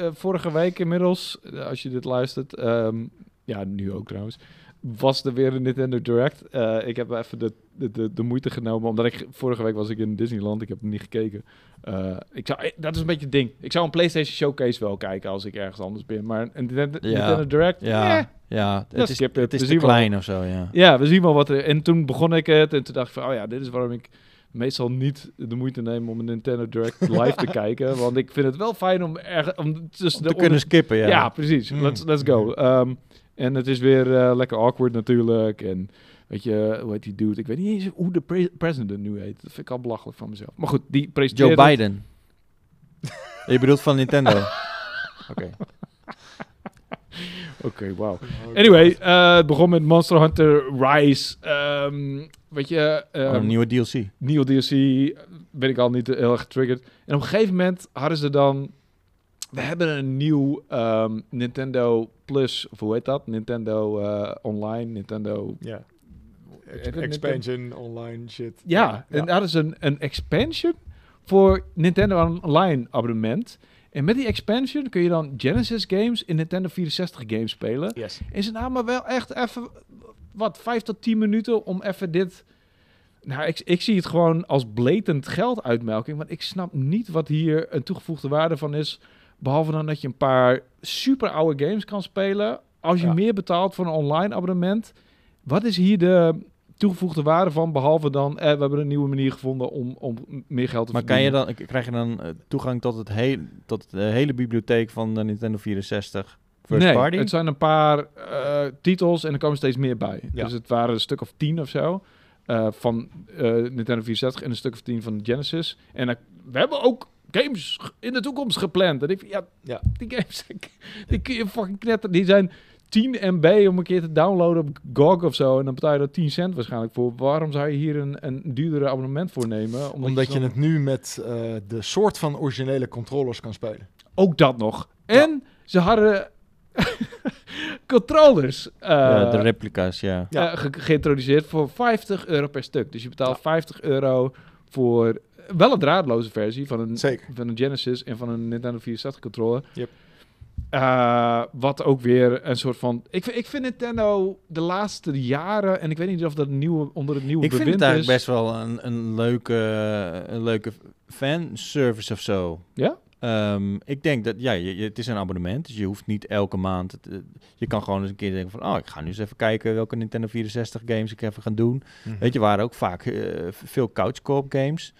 B: eh, vorige week inmiddels, eh, als je dit luistert, ehm, ja, nu ook trouwens, was er weer een Nintendo Direct. Eh, ik heb even de, de, de, de moeite genomen, omdat ik vorige week was ik in Disneyland, ik heb hem niet gekeken. Eh, ik zou, eh, dat is een beetje het ding. Ik zou een PlayStation Showcase wel kijken als ik ergens anders ben, maar een Nintendo,
C: Ja.
B: Nintendo Direct,
C: Ja,
B: eh.
C: ja.
B: Dat
C: Het is,
B: skip it.
C: het is
B: We
C: te
B: zien wel.
C: klein of zo, ja.
B: Ja, we zien wel wat er... En toen begon ik het en toen dacht ik van... Oh ja, dit is waarom ik meestal niet de moeite neem om een Nintendo Direct live te kijken. Want ik vind het wel fijn om... Er, om tussen
C: Om
B: de
C: te kunnen Hmm. skippen,
B: onder-
C: ja.
B: ja. precies. Let's, let's go. Ehm, en het is weer eh, lekker awkward natuurlijk. En weet je, hoe heet die dude? Ik weet niet eens hoe de pre- president nu heet. Dat vind ik al belachelijk van mezelf. Maar goed, die presenteert...
C: Joe
B: het.
C: Biden. Je bedoelt van Nintendo. Oké.
B: Oké, wauw.
A: Oh,
B: Anyway, eh, het begon met Monster Hunter Rise. Ehm, weet je...
C: Van
B: ehm,
C: Oh, Een nieuwe DLC.
B: nieuwe DLC. ben ik al niet heel erg getriggerd. En op een gegeven moment hadden ze dan... We hebben een nieuw ehm, Nintendo Plus, of hoe heet dat? Nintendo eh, Online, Nintendo...
A: Ja.
B: Heet het
A: Expansion, online shit.
B: Ja, en daar is een, een expansion voor Nintendo Online abonnement. En met die expansion kun je dan Genesis games en Nintendo 64 games spelen.
A: Yes.
B: En ze namen nou wel echt even, wat, 5 tot 10 minuten om even dit... Nou, ik, ik zie het gewoon als blatant gelduitmelking. Want ik snap niet wat hier een toegevoegde waarde van is. Behalve dan dat je een paar super oude games kan spelen. Als je
A: Ja.
B: meer betaalt voor een online abonnement. Wat is hier de toegevoegde waarde van? Behalve dan, eh, we hebben een nieuwe manier gevonden om, om meer geld te
C: Maar kan je
B: verdienen.
C: dan, k- krijg je dan eh, toegang tot, het heel, tot de hele bibliotheek van de Nintendo 64 First
B: nee,
C: Party?
B: het zijn een paar eh, titels en er komen steeds meer bij.
A: Ja.
B: Dus het waren een stuk of tien of zo eh, van eh, Nintendo 64 en een stuk of tien van Genesis. En eh, we hebben ook games g- in de toekomst gepland. En ik vind, ja,
A: Ja.
B: die games, die kun je fucking knetteren. Die zijn 10 MB om een keer te downloaden op GOG of zo. En dan betaal je er 10 cent waarschijnlijk voor. Waarom zou je hier een, een duurdere abonnement voor nemen? Omdat,
A: Omdat
B: je
A: je
B: dan-
A: het nu met eh, de soort van originele controllers kan spelen.
B: Ook dat nog. En ze hadden controllers. eh,
C: Ja, de replica's, ja.
A: Ja.
B: eh, ge- geïntroduceerd voor 50 euro per stuk. Dus je betaalt 50 euro voor eh, wel een draadloze versie van een,
A: Zeker.
B: van een Genesis en van een Nintendo 64 controller.
A: Yep.
B: Eh, wat ook weer een soort van... Ik, vind- ik vind Nintendo de laatste jaren... en ik weet niet of dat nieuwe, onder het nieuwe
C: Ik vind
B: bewind
C: het eigenlijk
B: is.
C: best wel een, een leuke, een leuke fanservice of zo.
B: Ja?
C: Ehm, ik denk dat, ja, je, je- het is een abonnement, dus je hoeft niet elke maand... het, eh, je kan gewoon eens een keer denken van, oh, ik ga nu eens even kijken welke Nintendo 64 games ik even ga doen.
A: Mhm.
C: Weet je, waren ook vaak eh, v- veel couch co-op games.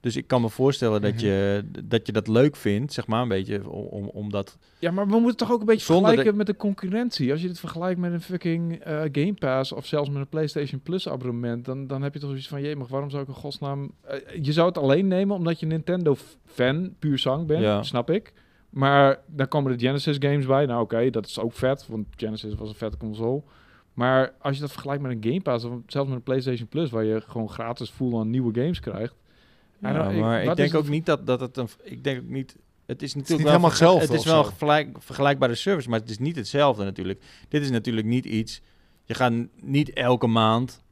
C: Dus ik kan me voorstellen dat,
A: Mhm.
C: je, dat je dat leuk vindt, zeg maar, een beetje om, om, om dat...
B: Ja, maar we moeten toch ook een beetje
C: Zonder
B: vergelijken met de concurrentie. Als je dit vergelijkt met een fucking eh, Game Pass of zelfs met een PlayStation Plus abonnement, dan, dan heb je toch zoiets van, jee, maar waarom zou ik in godsnaam... eh, je zou het alleen nemen omdat je Nintendo-fan, puur zang bent,
C: Ja.
B: snap ik. Maar daar komen de Genesis games bij. Nou oké, dat is ook vet, want Genesis was een vette console. Maar als je dat vergelijkt met een Game Pass of zelfs met een PlayStation Plus, waar je gewoon gratis full aan nieuwe games krijgt. I
C: Ja,
B: don't- nou, ik-
C: maar ik,
B: wat is
C: denk
B: het
C: ook niet dat, dat het een... Ik denk ook niet... Het is natuurlijk
A: niet helemaal
C: wel vergel-
A: hetzelfde
C: Het is
A: of
C: wel
A: zo.
C: vergelijk, vergelijkbare service, maar het is niet hetzelfde natuurlijk. Dit is natuurlijk niet iets... Je gaat n- niet elke maand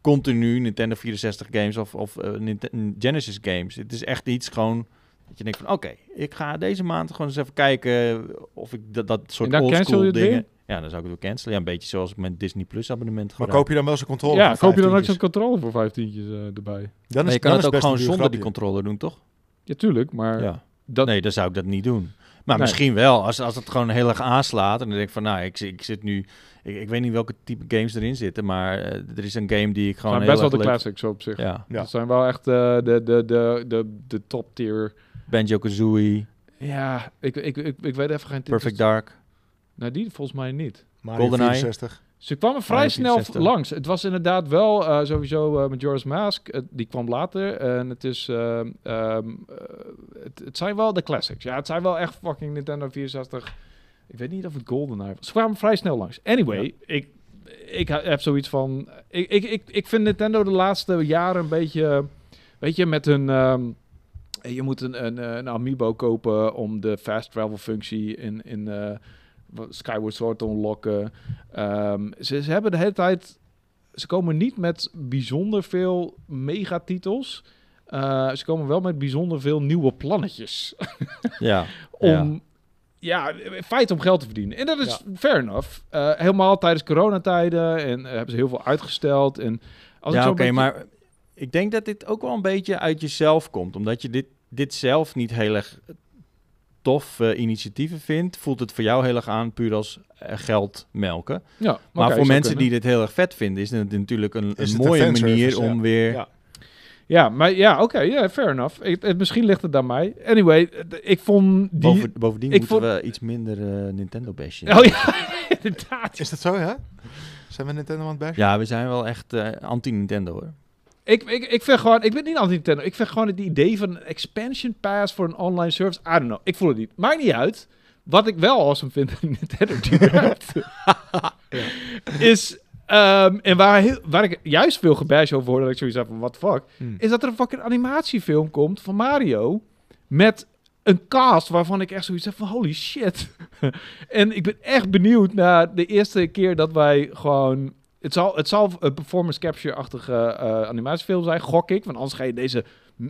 C: continu Nintendo 64 games of, of eh, Ninte- Genesis games. Het is echt iets gewoon... Dat je denkt van, oké, ik ga deze maand gewoon eens even kijken of ik dat, dat soort
B: dan cancel je
C: oldschool
B: het weer?
C: dingen... Ja, dan zou ik het weer cancelen. Ja, een beetje zoals ik mijn Disney Plus abonnement
A: Maar
C: gebruik.
A: koop je dan wel zo'n controller?
B: Ja,
A: voor
B: koop je dan ook
A: 15
B: zo'n controller voor vijftientjes eh erbij?
A: Dan
C: Maar
A: is,
C: je
A: dan
C: kan het
A: is
C: ook
A: best
C: gewoon
A: een duur
C: zonder die
A: grapje.
C: controller doen, toch?
B: Ja, tuurlijk, maar
C: Ja.
B: dat,
C: Nee, dan zou ik dat niet doen. Maar
B: Nee.
C: misschien wel, als, als het gewoon heel erg aanslaat. En dan denk ik van, nou, ik, zi- ik zit nu... Ik, ik weet niet welke type games erin zitten, maar eh, er is een game die ik gewoon
B: zijn
C: heel
B: best wel de
C: erg leuk-
B: classics op zich.
C: Ja,
A: Ja.
B: Dat zijn wel echt eh, de, de, de, de, de top tier.
C: Banjo-Kazooie,
B: Ja, ik, ik, ik, ik weet even geen titels.
C: Perfect Dark.
B: Nou, die volgens mij niet.
A: Mario
C: GoldenEye.
A: 64.
B: Ze kwamen vrij
C: Mario
B: snel
C: 64.
B: langs. Het was inderdaad wel eh, sowieso eh Majora's Mask. eh, die kwam later. En het is... ehm, ehm, eh, het, het zijn wel de classics. Ja, het zijn wel echt fucking Nintendo 64. Ik weet niet of het GoldenEye was. Ze kwamen vrij snel langs. Anyway, ik, ik ha- heb zoiets van... Ik, ik, ik, ik vind Nintendo de laatste jaren een beetje... Weet je, met hun... ehm, je moet een, een, eh, een amiibo kopen om de fast travel functie in, in eh, wat- Skyward Sword te unlocken. Ehm, ze, ze hebben de hele tijd... Ze komen niet met bijzonder veel megatitels. Eh ze komen wel met bijzonder veel nieuwe plannetjes.
C: Ja.
B: Om, ja. in feite om geld te verdienen. En dat is fair enough. Eh, helemaal tijdens coronatijden. En eh, hebben ze heel veel uitgesteld. En als
C: ja,
B: ik
C: oké,
B: zo een beetje-
C: maar ik denk dat dit ook wel een beetje uit jezelf komt. Omdat je dit, dit zelf niet heel erg tof eh, initiatieven vindt, voelt het voor jou heel erg aan puur als eh, geld melken.
B: Ja,
C: Maar voor
B: oké, zou
C: mensen
B: kunnen.
C: die dit heel erg vet vinden, is het natuurlijk een,
A: Is
C: een
A: het een
C: mooie
A: fanservice,
C: manier
A: ja.
C: om weer...
A: Ja.
B: Ja, maar ja, oké. ja, fair enough. Ik, het- misschien ligt het aan mij. Anyway, d- ik vond die...
C: Boven- bovendien
B: ik
C: moeten
B: vond-
C: we iets minder eh, Nintendo bashen.
B: Oh ja, inderdaad.
A: Is dat zo, hè? Zijn we Nintendo aan het bashen?
C: Ja, we zijn wel echt eh, anti-Nintendo hoor.
B: Ik, ik, ik vind gewoon... Ik ben niet anti-Nintendo. Ik vind gewoon het idee van een expansion pass voor een online service... I don't know. Ik voel het niet. Maakt niet uit. Wat ik wel awesome vind aan Nintendo überhaupt, is Ehm, en waar, heel- waar ik juist veel gebash over hoorde, dat ik zoiets had van, what the fuck,
A: Hmm.
B: is dat er een fucking animatiefilm komt van Mario met een cast waarvan ik echt zoiets heb van, holy shit. en ik ben echt benieuwd naar de eerste keer dat wij gewoon... Het zal, het zal een performance capture-achtige eh, animatiefilm zijn, gok ik. Want anders ga je deze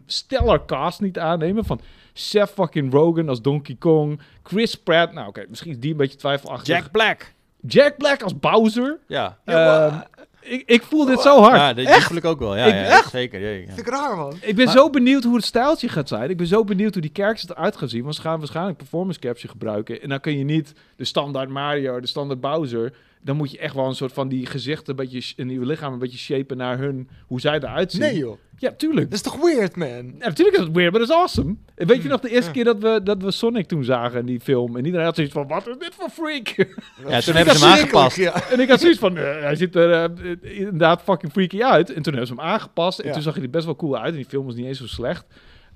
B: stellar cast niet aannemen van Seth fucking Rogen als Donkey Kong, Chris Pratt, nou oké, misschien is die een beetje twijfelachtig.
C: Jack Black.
B: Jack Black als Bowser.
C: Ja.
B: Ehm, ik, ik voel
A: Oh,
B: dit
A: eh,
B: zo hard.
C: Ja, die, die voel ik ook wel. Ja,
B: Ik-
C: ja,
B: echt?
C: Zeker. ja, ja.
A: Vind ik raar, man.
B: Ik ben zo benieuwd hoe het stijltje gaat zijn. Ik ben zo benieuwd hoe die characters eruit gaan zien. Want ze gaan waarschijnlijk performance capture gebruiken. En dan kun je niet de standaard Mario, de standaard Bowser. Dan moet je echt wel een soort van die gezichten, een beetje, sh- en die lichaam een beetje shapen naar hun, hoe zij eruit zien.
A: Nee, joh.
B: Ja, tuurlijk.
A: Dat is toch weird, man?
B: Ja, natuurlijk is het weird, maar dat is awesome. En weet je nog de eerste
A: Hmm. ja.
B: keer dat we, dat we Sonic toen zagen in die film? En iedereen had zoiets van, wat is dit voor freak?
C: Ja, toen hebben ze hem
A: Verschrikkelijk,
C: aangepast.
A: Ja.
B: En ik had zoiets van, eh, hij ziet er eh, eh, inderdaad fucking freaky uit. En toen hebben ze hem aangepast. En
A: Ja.
B: toen zag hij er best wel cool uit. En die film was niet eens zo slecht.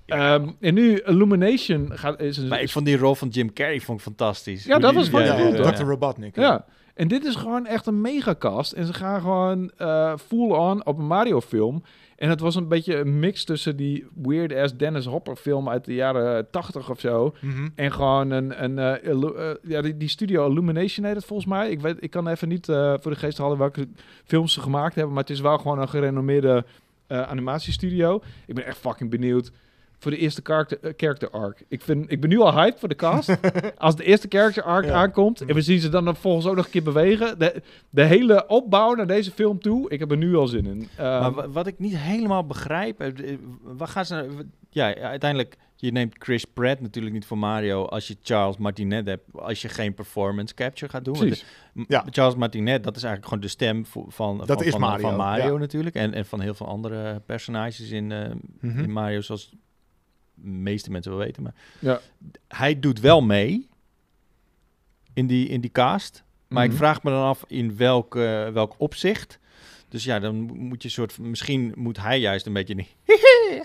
B: Ehm, en nu Illumination gaat, is een...
C: Maar ik vond die rol van Jim Carrey vond ik fantastisch.
B: Ja, dat was
A: Ja,
B: fucking
A: ja,
B: cool,
A: ja,
B: toch?
A: Dr. Robotnik.
B: ja. En dit is gewoon echt een megacast. En ze gaan gewoon eh, full on op een Mario film. En het was een beetje een mix tussen die weird ass Dennis Hopper film uit de jaren 80 of zo.
A: Mhm.
B: En gewoon een, een eh, illu- eh, ja, die, die studio Illumination heet het volgens mij. Ik, weet, ik kan even niet eh, voor de geest halen welke films ze gemaakt hebben, maar het is wel gewoon een gerenommeerde eh, animatiestudio. Ik ben echt fucking benieuwd voor de eerste character, eh, character arc. Ik, vind, ik ben nu al hyped voor de cast. Als de eerste character arc
A: Ja.
B: aankomt en we zien ze dan volgens ook nog een keer bewegen. De, de hele opbouw naar deze film toe, ik heb er nu al zin in. Ehm,
C: Maar wa- wat ik niet helemaal begrijp, eh, eh, waar gaan ze... nou- Ja, uiteindelijk, je neemt Chris Pratt natuurlijk niet voor Mario als je Charles Martinet hebt, als je geen performance capture gaat doen.
B: precies.
C: Want, eh,
A: Ja.
C: m- Charles Martinet, dat is eigenlijk gewoon de stem vo- van,
A: Dat
C: van,
A: is
C: van,
A: Mario,
C: van Mario
A: ja.
C: natuurlijk en, en van heel veel andere personages in, eh,
A: Mhm.
C: in Mario, zoals de meeste mensen wel weten. Maar
B: Ja.
C: Hij doet wel mee in die, in die cast. Maar
B: Mhm.
C: ik vraag me dan af in welk, eh, welk opzicht. Dus ja, dan mo- moet je soort. van- Misschien moet hij juist een beetje. die-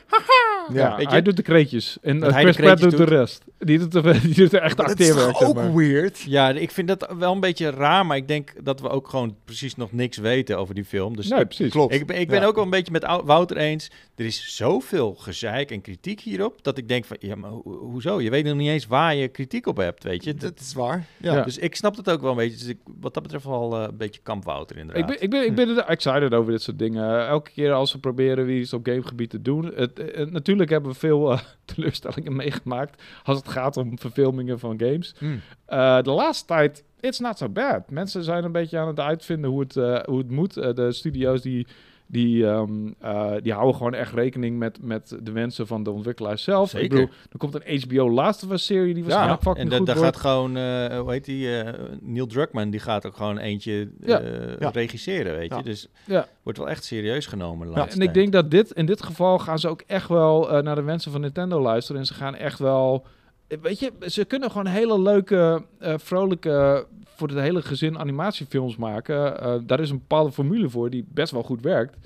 B: Ja,
A: Ja.
C: weet je?
B: hij doet de kreetjes. En
C: Dat
B: eh,
C: hij de
B: Chris Pratt doet
C: kreetjes
B: de rest. Die doet de, die doet de echte
A: Maar Dat is
B: acteerwerk.
A: toch
B: zeg
A: ook
B: maar.
A: weird?
C: Ja, ik vind dat wel een beetje raar. Maar ik denk dat we ook gewoon precies nog niks weten over die film. Dus
B: nee,
C: ik,
B: precies.
A: Klopt.
C: ik, ben- ik ben
A: Ja.
C: ook wel een beetje met Ou- Wouter eens. Er is zoveel gezeik en kritiek hierop. Dat ik denk van. Ja, maar ho- hoezo? Je weet nog niet eens waar je kritiek op hebt. Weet je. Dat-
A: Dat is waar. Ja.
B: Ja.
C: Dus ik snap dat ook wel een beetje. Dus ik, wat dat betreft wel eh, een beetje kamp Wouter inderdaad. Hm.
B: Ik ben, ik, ben, ik ben er excited over dit soort dingen. Elke keer als we proberen weer iets op gamegebied te doen. Het, eh, eh, natuurlijk hebben we veel eh, teleurstellingen meegemaakt als het gaat om verfilmingen van games.
C: Hm.
A: Mm.
B: Eh, de laatste tijd, it's not so bad. Mensen zijn een beetje aan het uitvinden hoe het, eh, hoe het moet. Eh, de studio's die, die, ehm, eh, die houden gewoon echt rekening met, met de wensen van de ontwikkelaars zelf. Ik
C: Zeker.
B: bedoel, er komt een HBO Last of Us serie die
C: Ja,
B: waarschijnlijk fucking
C: en da-
B: goed
C: daar
B: wordt.
C: gaat gewoon, eh, hoe heet die, eh, Neil Druckmann, die gaat ook gewoon eentje
B: Ja.
C: eh,
A: Ja.
C: regisseren, weet je.
A: Ja.
C: Dus
B: Ja.
C: wordt wel echt serieus genomen de
A: Ja,
C: laatste
B: en ik
C: tijd.
B: denk dat dit, in dit geval gaan ze ook echt wel eh, naar de wensen van Nintendo luisteren. En ze gaan echt wel. eh, Weet je, ze kunnen gewoon hele leuke, eh, vrolijke, voor het hele gezin animatiefilms maken. Eh, daar is een bepaalde formule voor die best wel goed werkt.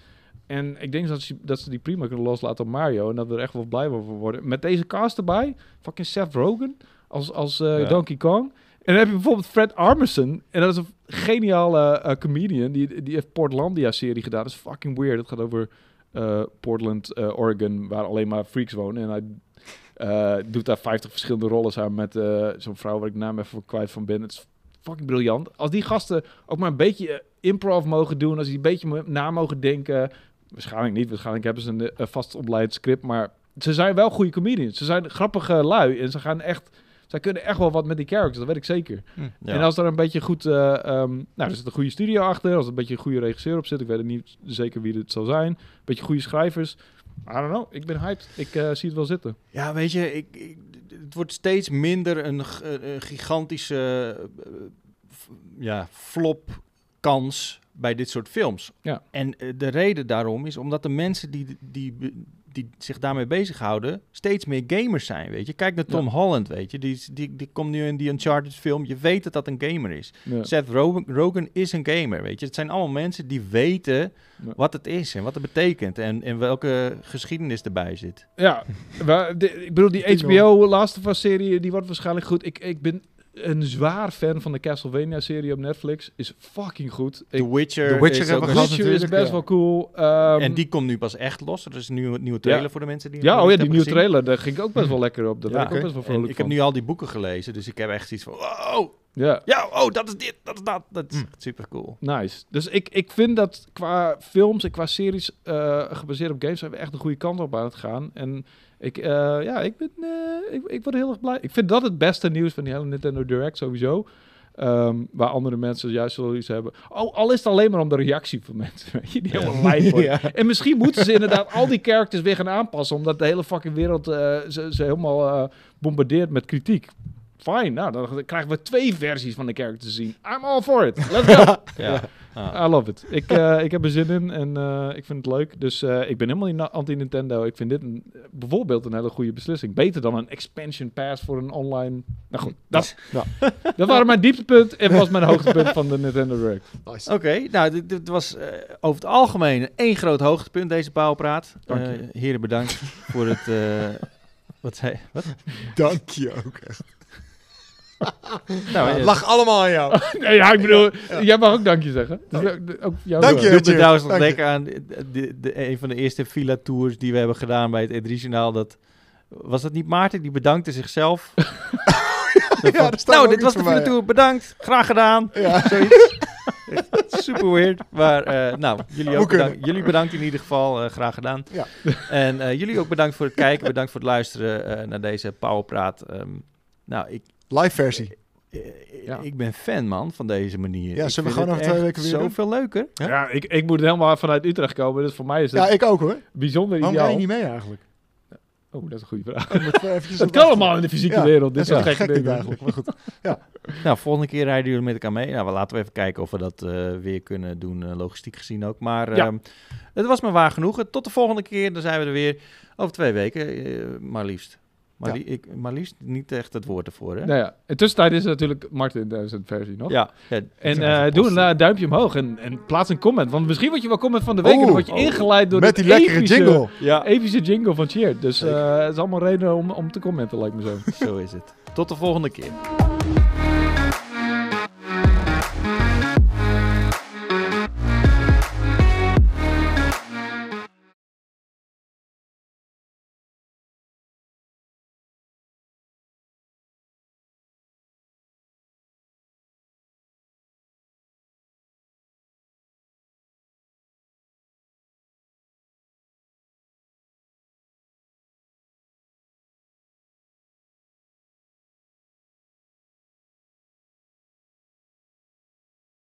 B: En ik denk dat ze, dat ze die prima kunnen loslaten op Mario. En dat we er echt wel blij over worden. Met deze cast erbij, fucking Seth Rogen als, als eh,
C: Ja.
B: Donkey Kong. En dan heb je bijvoorbeeld Fred Armisen. En dat is een geniale eh, comedian. Die, die heeft Portlandia-serie gedaan. Dat is fucking weird. Het gaat over eh, Portland, eh, Oregon, waar alleen maar freaks wonen. En hij eh, doet daar 50 verschillende rollen samen met eh, zo'n vrouw waar ik de naam even kwijt van ben. Het is fucking briljant. Als die gasten ook maar een beetje eh, improv mogen doen, als die een beetje mo- na mogen denken. Waarschijnlijk niet, waarschijnlijk hebben ze een eh, vast opleid script, maar ze zijn wel goede comedians. Ze zijn grappige lui en ze gaan echt... Zij kunnen echt wel wat met die characters, dat weet ik zeker.
C: Ja.
B: En als er een beetje goed... eh, ehm, nou, er zit een goede studio achter. Als er een beetje een goede regisseur op zit. Ik weet het niet zeker wie het zal zijn. Een beetje goede schrijvers. I don't know. Ik ben hyped. Ik eh, zie het wel zitten.
C: Ja, weet je, ik, ik- het wordt steeds minder een, g- eh, een gigantische eh, f- ja, flop kans bij dit soort films.
B: Ja.
C: En eh, de reden daarom is omdat de mensen die, die, die zich daarmee bezighouden steeds meer gamers zijn, weet je. Kijk naar Tom
B: Ja.
C: Holland, weet je. Die, is- die, die komt nu in die Uncharted film. Je weet dat dat een gamer is.
B: Ja.
C: Seth Rogen, Rogen is een gamer, weet je. Het zijn allemaal mensen die weten
B: Ja.
C: wat het is en wat het betekent en, en welke geschiedenis erbij zit.
B: Ja, maar de- ik bedoel, die
A: Ding
B: HBO Last of Us serie, die wordt waarschijnlijk goed. Ik, ik ben een zwaar fan van de Castlevania-serie op Netflix. Is fucking goed. Ik,
C: The Witcher,
A: The Witcher
C: is
A: hebben we
C: ook nog-
A: gehad.
B: Witcher is
A: natuurlijk,
B: best
A: ja.
B: wel cool. ehm,
C: En die komt nu pas echt los. Er is een nieuwe, nieuwe trailer
B: Ja.
C: voor de mensen die
B: ja, oh ja, die nieuwe
C: trailer.
B: trailer, daar ging ik ook best wel lekker op. Daar
C: Ja,
B: ben ik
A: oké.
B: ook best wel
C: En
B: vrolijk
C: ik
B: van.
C: heb nu al die boeken gelezen, dus ik heb echt iets van, wow,
B: Ja,
C: ja, oh, dat is dit, dat is dat. Dat is echt super cool.
B: nice. Dus ik, ik vind dat qua films en qua series eh, gebaseerd op games zijn we echt de goede kant op aan het gaan. En ik, eh, ja, ik, ben, eh, ik, ik word heel erg blij. Ik vind dat het beste nieuws van die hele Nintendo Direct sowieso. Ehm, waar andere mensen juist zoiets hebben. Oh, al is het alleen maar om de reactie van mensen. Weet je, die helemaal lijp worden. En misschien moeten ze inderdaad al die characters weer gaan aanpassen. Omdat de hele fucking wereld eh, ze, ze helemaal eh, bombardeert met kritiek. Fine, nou dan krijgen we twee versies van de characters te zien. I'm all for it. Let's go.
C: Ja. Ah.
B: I love it. Ik, eh, ik heb er zin in en eh, ik vind het leuk. Dus eh, ik ben helemaal niet na- anti-Nintendo. Ik vind dit een, bijvoorbeeld een hele goede beslissing. Beter dan een expansion pass voor een online... Nou goed, dat,
A: Ja.
B: dat waren mijn dieptepunt en was mijn hoogtepunt van de Nintendo Direct.
A: Nice.
C: Oké, nou, dit, dit was eh, over het algemeen één groot hoogtepunt, deze Pauwpraat.
B: Dank je.
C: Eh, heren, bedankt voor het... eh, wat zei wat?
A: Dank je ook. echt.
C: Nou, eh,
A: Lach allemaal aan jou.
B: Nee, ja, ik bedoel, jij mag ook dankje zeggen. Dus ook- ook jou
A: Dank je.
C: doet me
A: Cheers.
C: trouwens nog
A: Dank je.
C: denken aan de, de, de- een van de eerste Villa Tours die we hebben gedaan bij het Edrisionaal. Dat, was dat niet Maarten? Die bedankte zichzelf. Dat van,
A: daar staat
C: nou,
A: ook
C: dit
A: iets
C: was de
A: van
C: Villa
A: mij, ja."
C: Tour. Bedankt. Graag gedaan.
A: Ja.
C: Zoiets. Echt Super weird. Maar eh, nou, jullie
A: Hoe
C: ook
A: kunnen.
C: bedankt. Jullie bedankt in ieder geval. eh, graag gedaan.
A: Ja.
C: En eh, jullie ook bedankt voor het kijken. Bedankt voor het luisteren eh, naar deze Powerpraat. Ehm nou, ik,
A: Live versie.
C: eh,
B: Ja.
C: ik ben fan, man, van deze manier.
A: Ja,
C: Ik
A: zullen we
C: vind
A: gewoon
C: het
A: over twee
C: echt
A: weken weer doen?
C: Zoveel leuker.
B: Ja, ik, ik moet helemaal vanuit Utrecht komen, dus voor mij is het
A: Ja, ik ook hoor.
B: bijzonder
A: Waarom
B: ideaal.
A: ga je niet mee eigenlijk?
B: Oh, dat is een goede vraag.
A: Ik moet even eventjes
B: Het
A: op wachten.
B: kan allemaal in de fysieke
A: Ja,
B: wereld. Dit
A: Dat is
B: soort
A: wel
B: gekke
A: gek niet
B: dingen.
A: eigenlijk. Maar goed.
C: Nou, volgende keer rijden jullie met elkaar mee. Nou, laten we even kijken of we dat eh, weer kunnen doen, eh, logistiek gezien ook. Maar
B: Ja.
C: ehm, het was me waar genoegen. Tot de volgende keer, dan zijn we er weer over twee weken, eh, maar liefst. Maar,
A: Ja.
C: li- ik, maar liefst niet echt het woord ervoor, hè?
B: Nou ja, in tussentijd is het natuurlijk Martin in zijn versie nog.
C: Ja. ja.
B: En
C: Ja,
B: eh,
C: dat
B: doe
C: past.
B: een eh, duimpje omhoog en, en plaats een comment. Want misschien word je wel comment van de week en
A: Oh,
B: dan word je
C: oh.
B: ingeleid door
A: Met
B: de
A: die lekkere
B: epische-
A: jingle.
C: Ja,
B: Epische jingle van Cheer. Dus eh, het is allemaal reden om, om te commenten, lijkt me zo.
C: zo is het. Tot de volgende keer.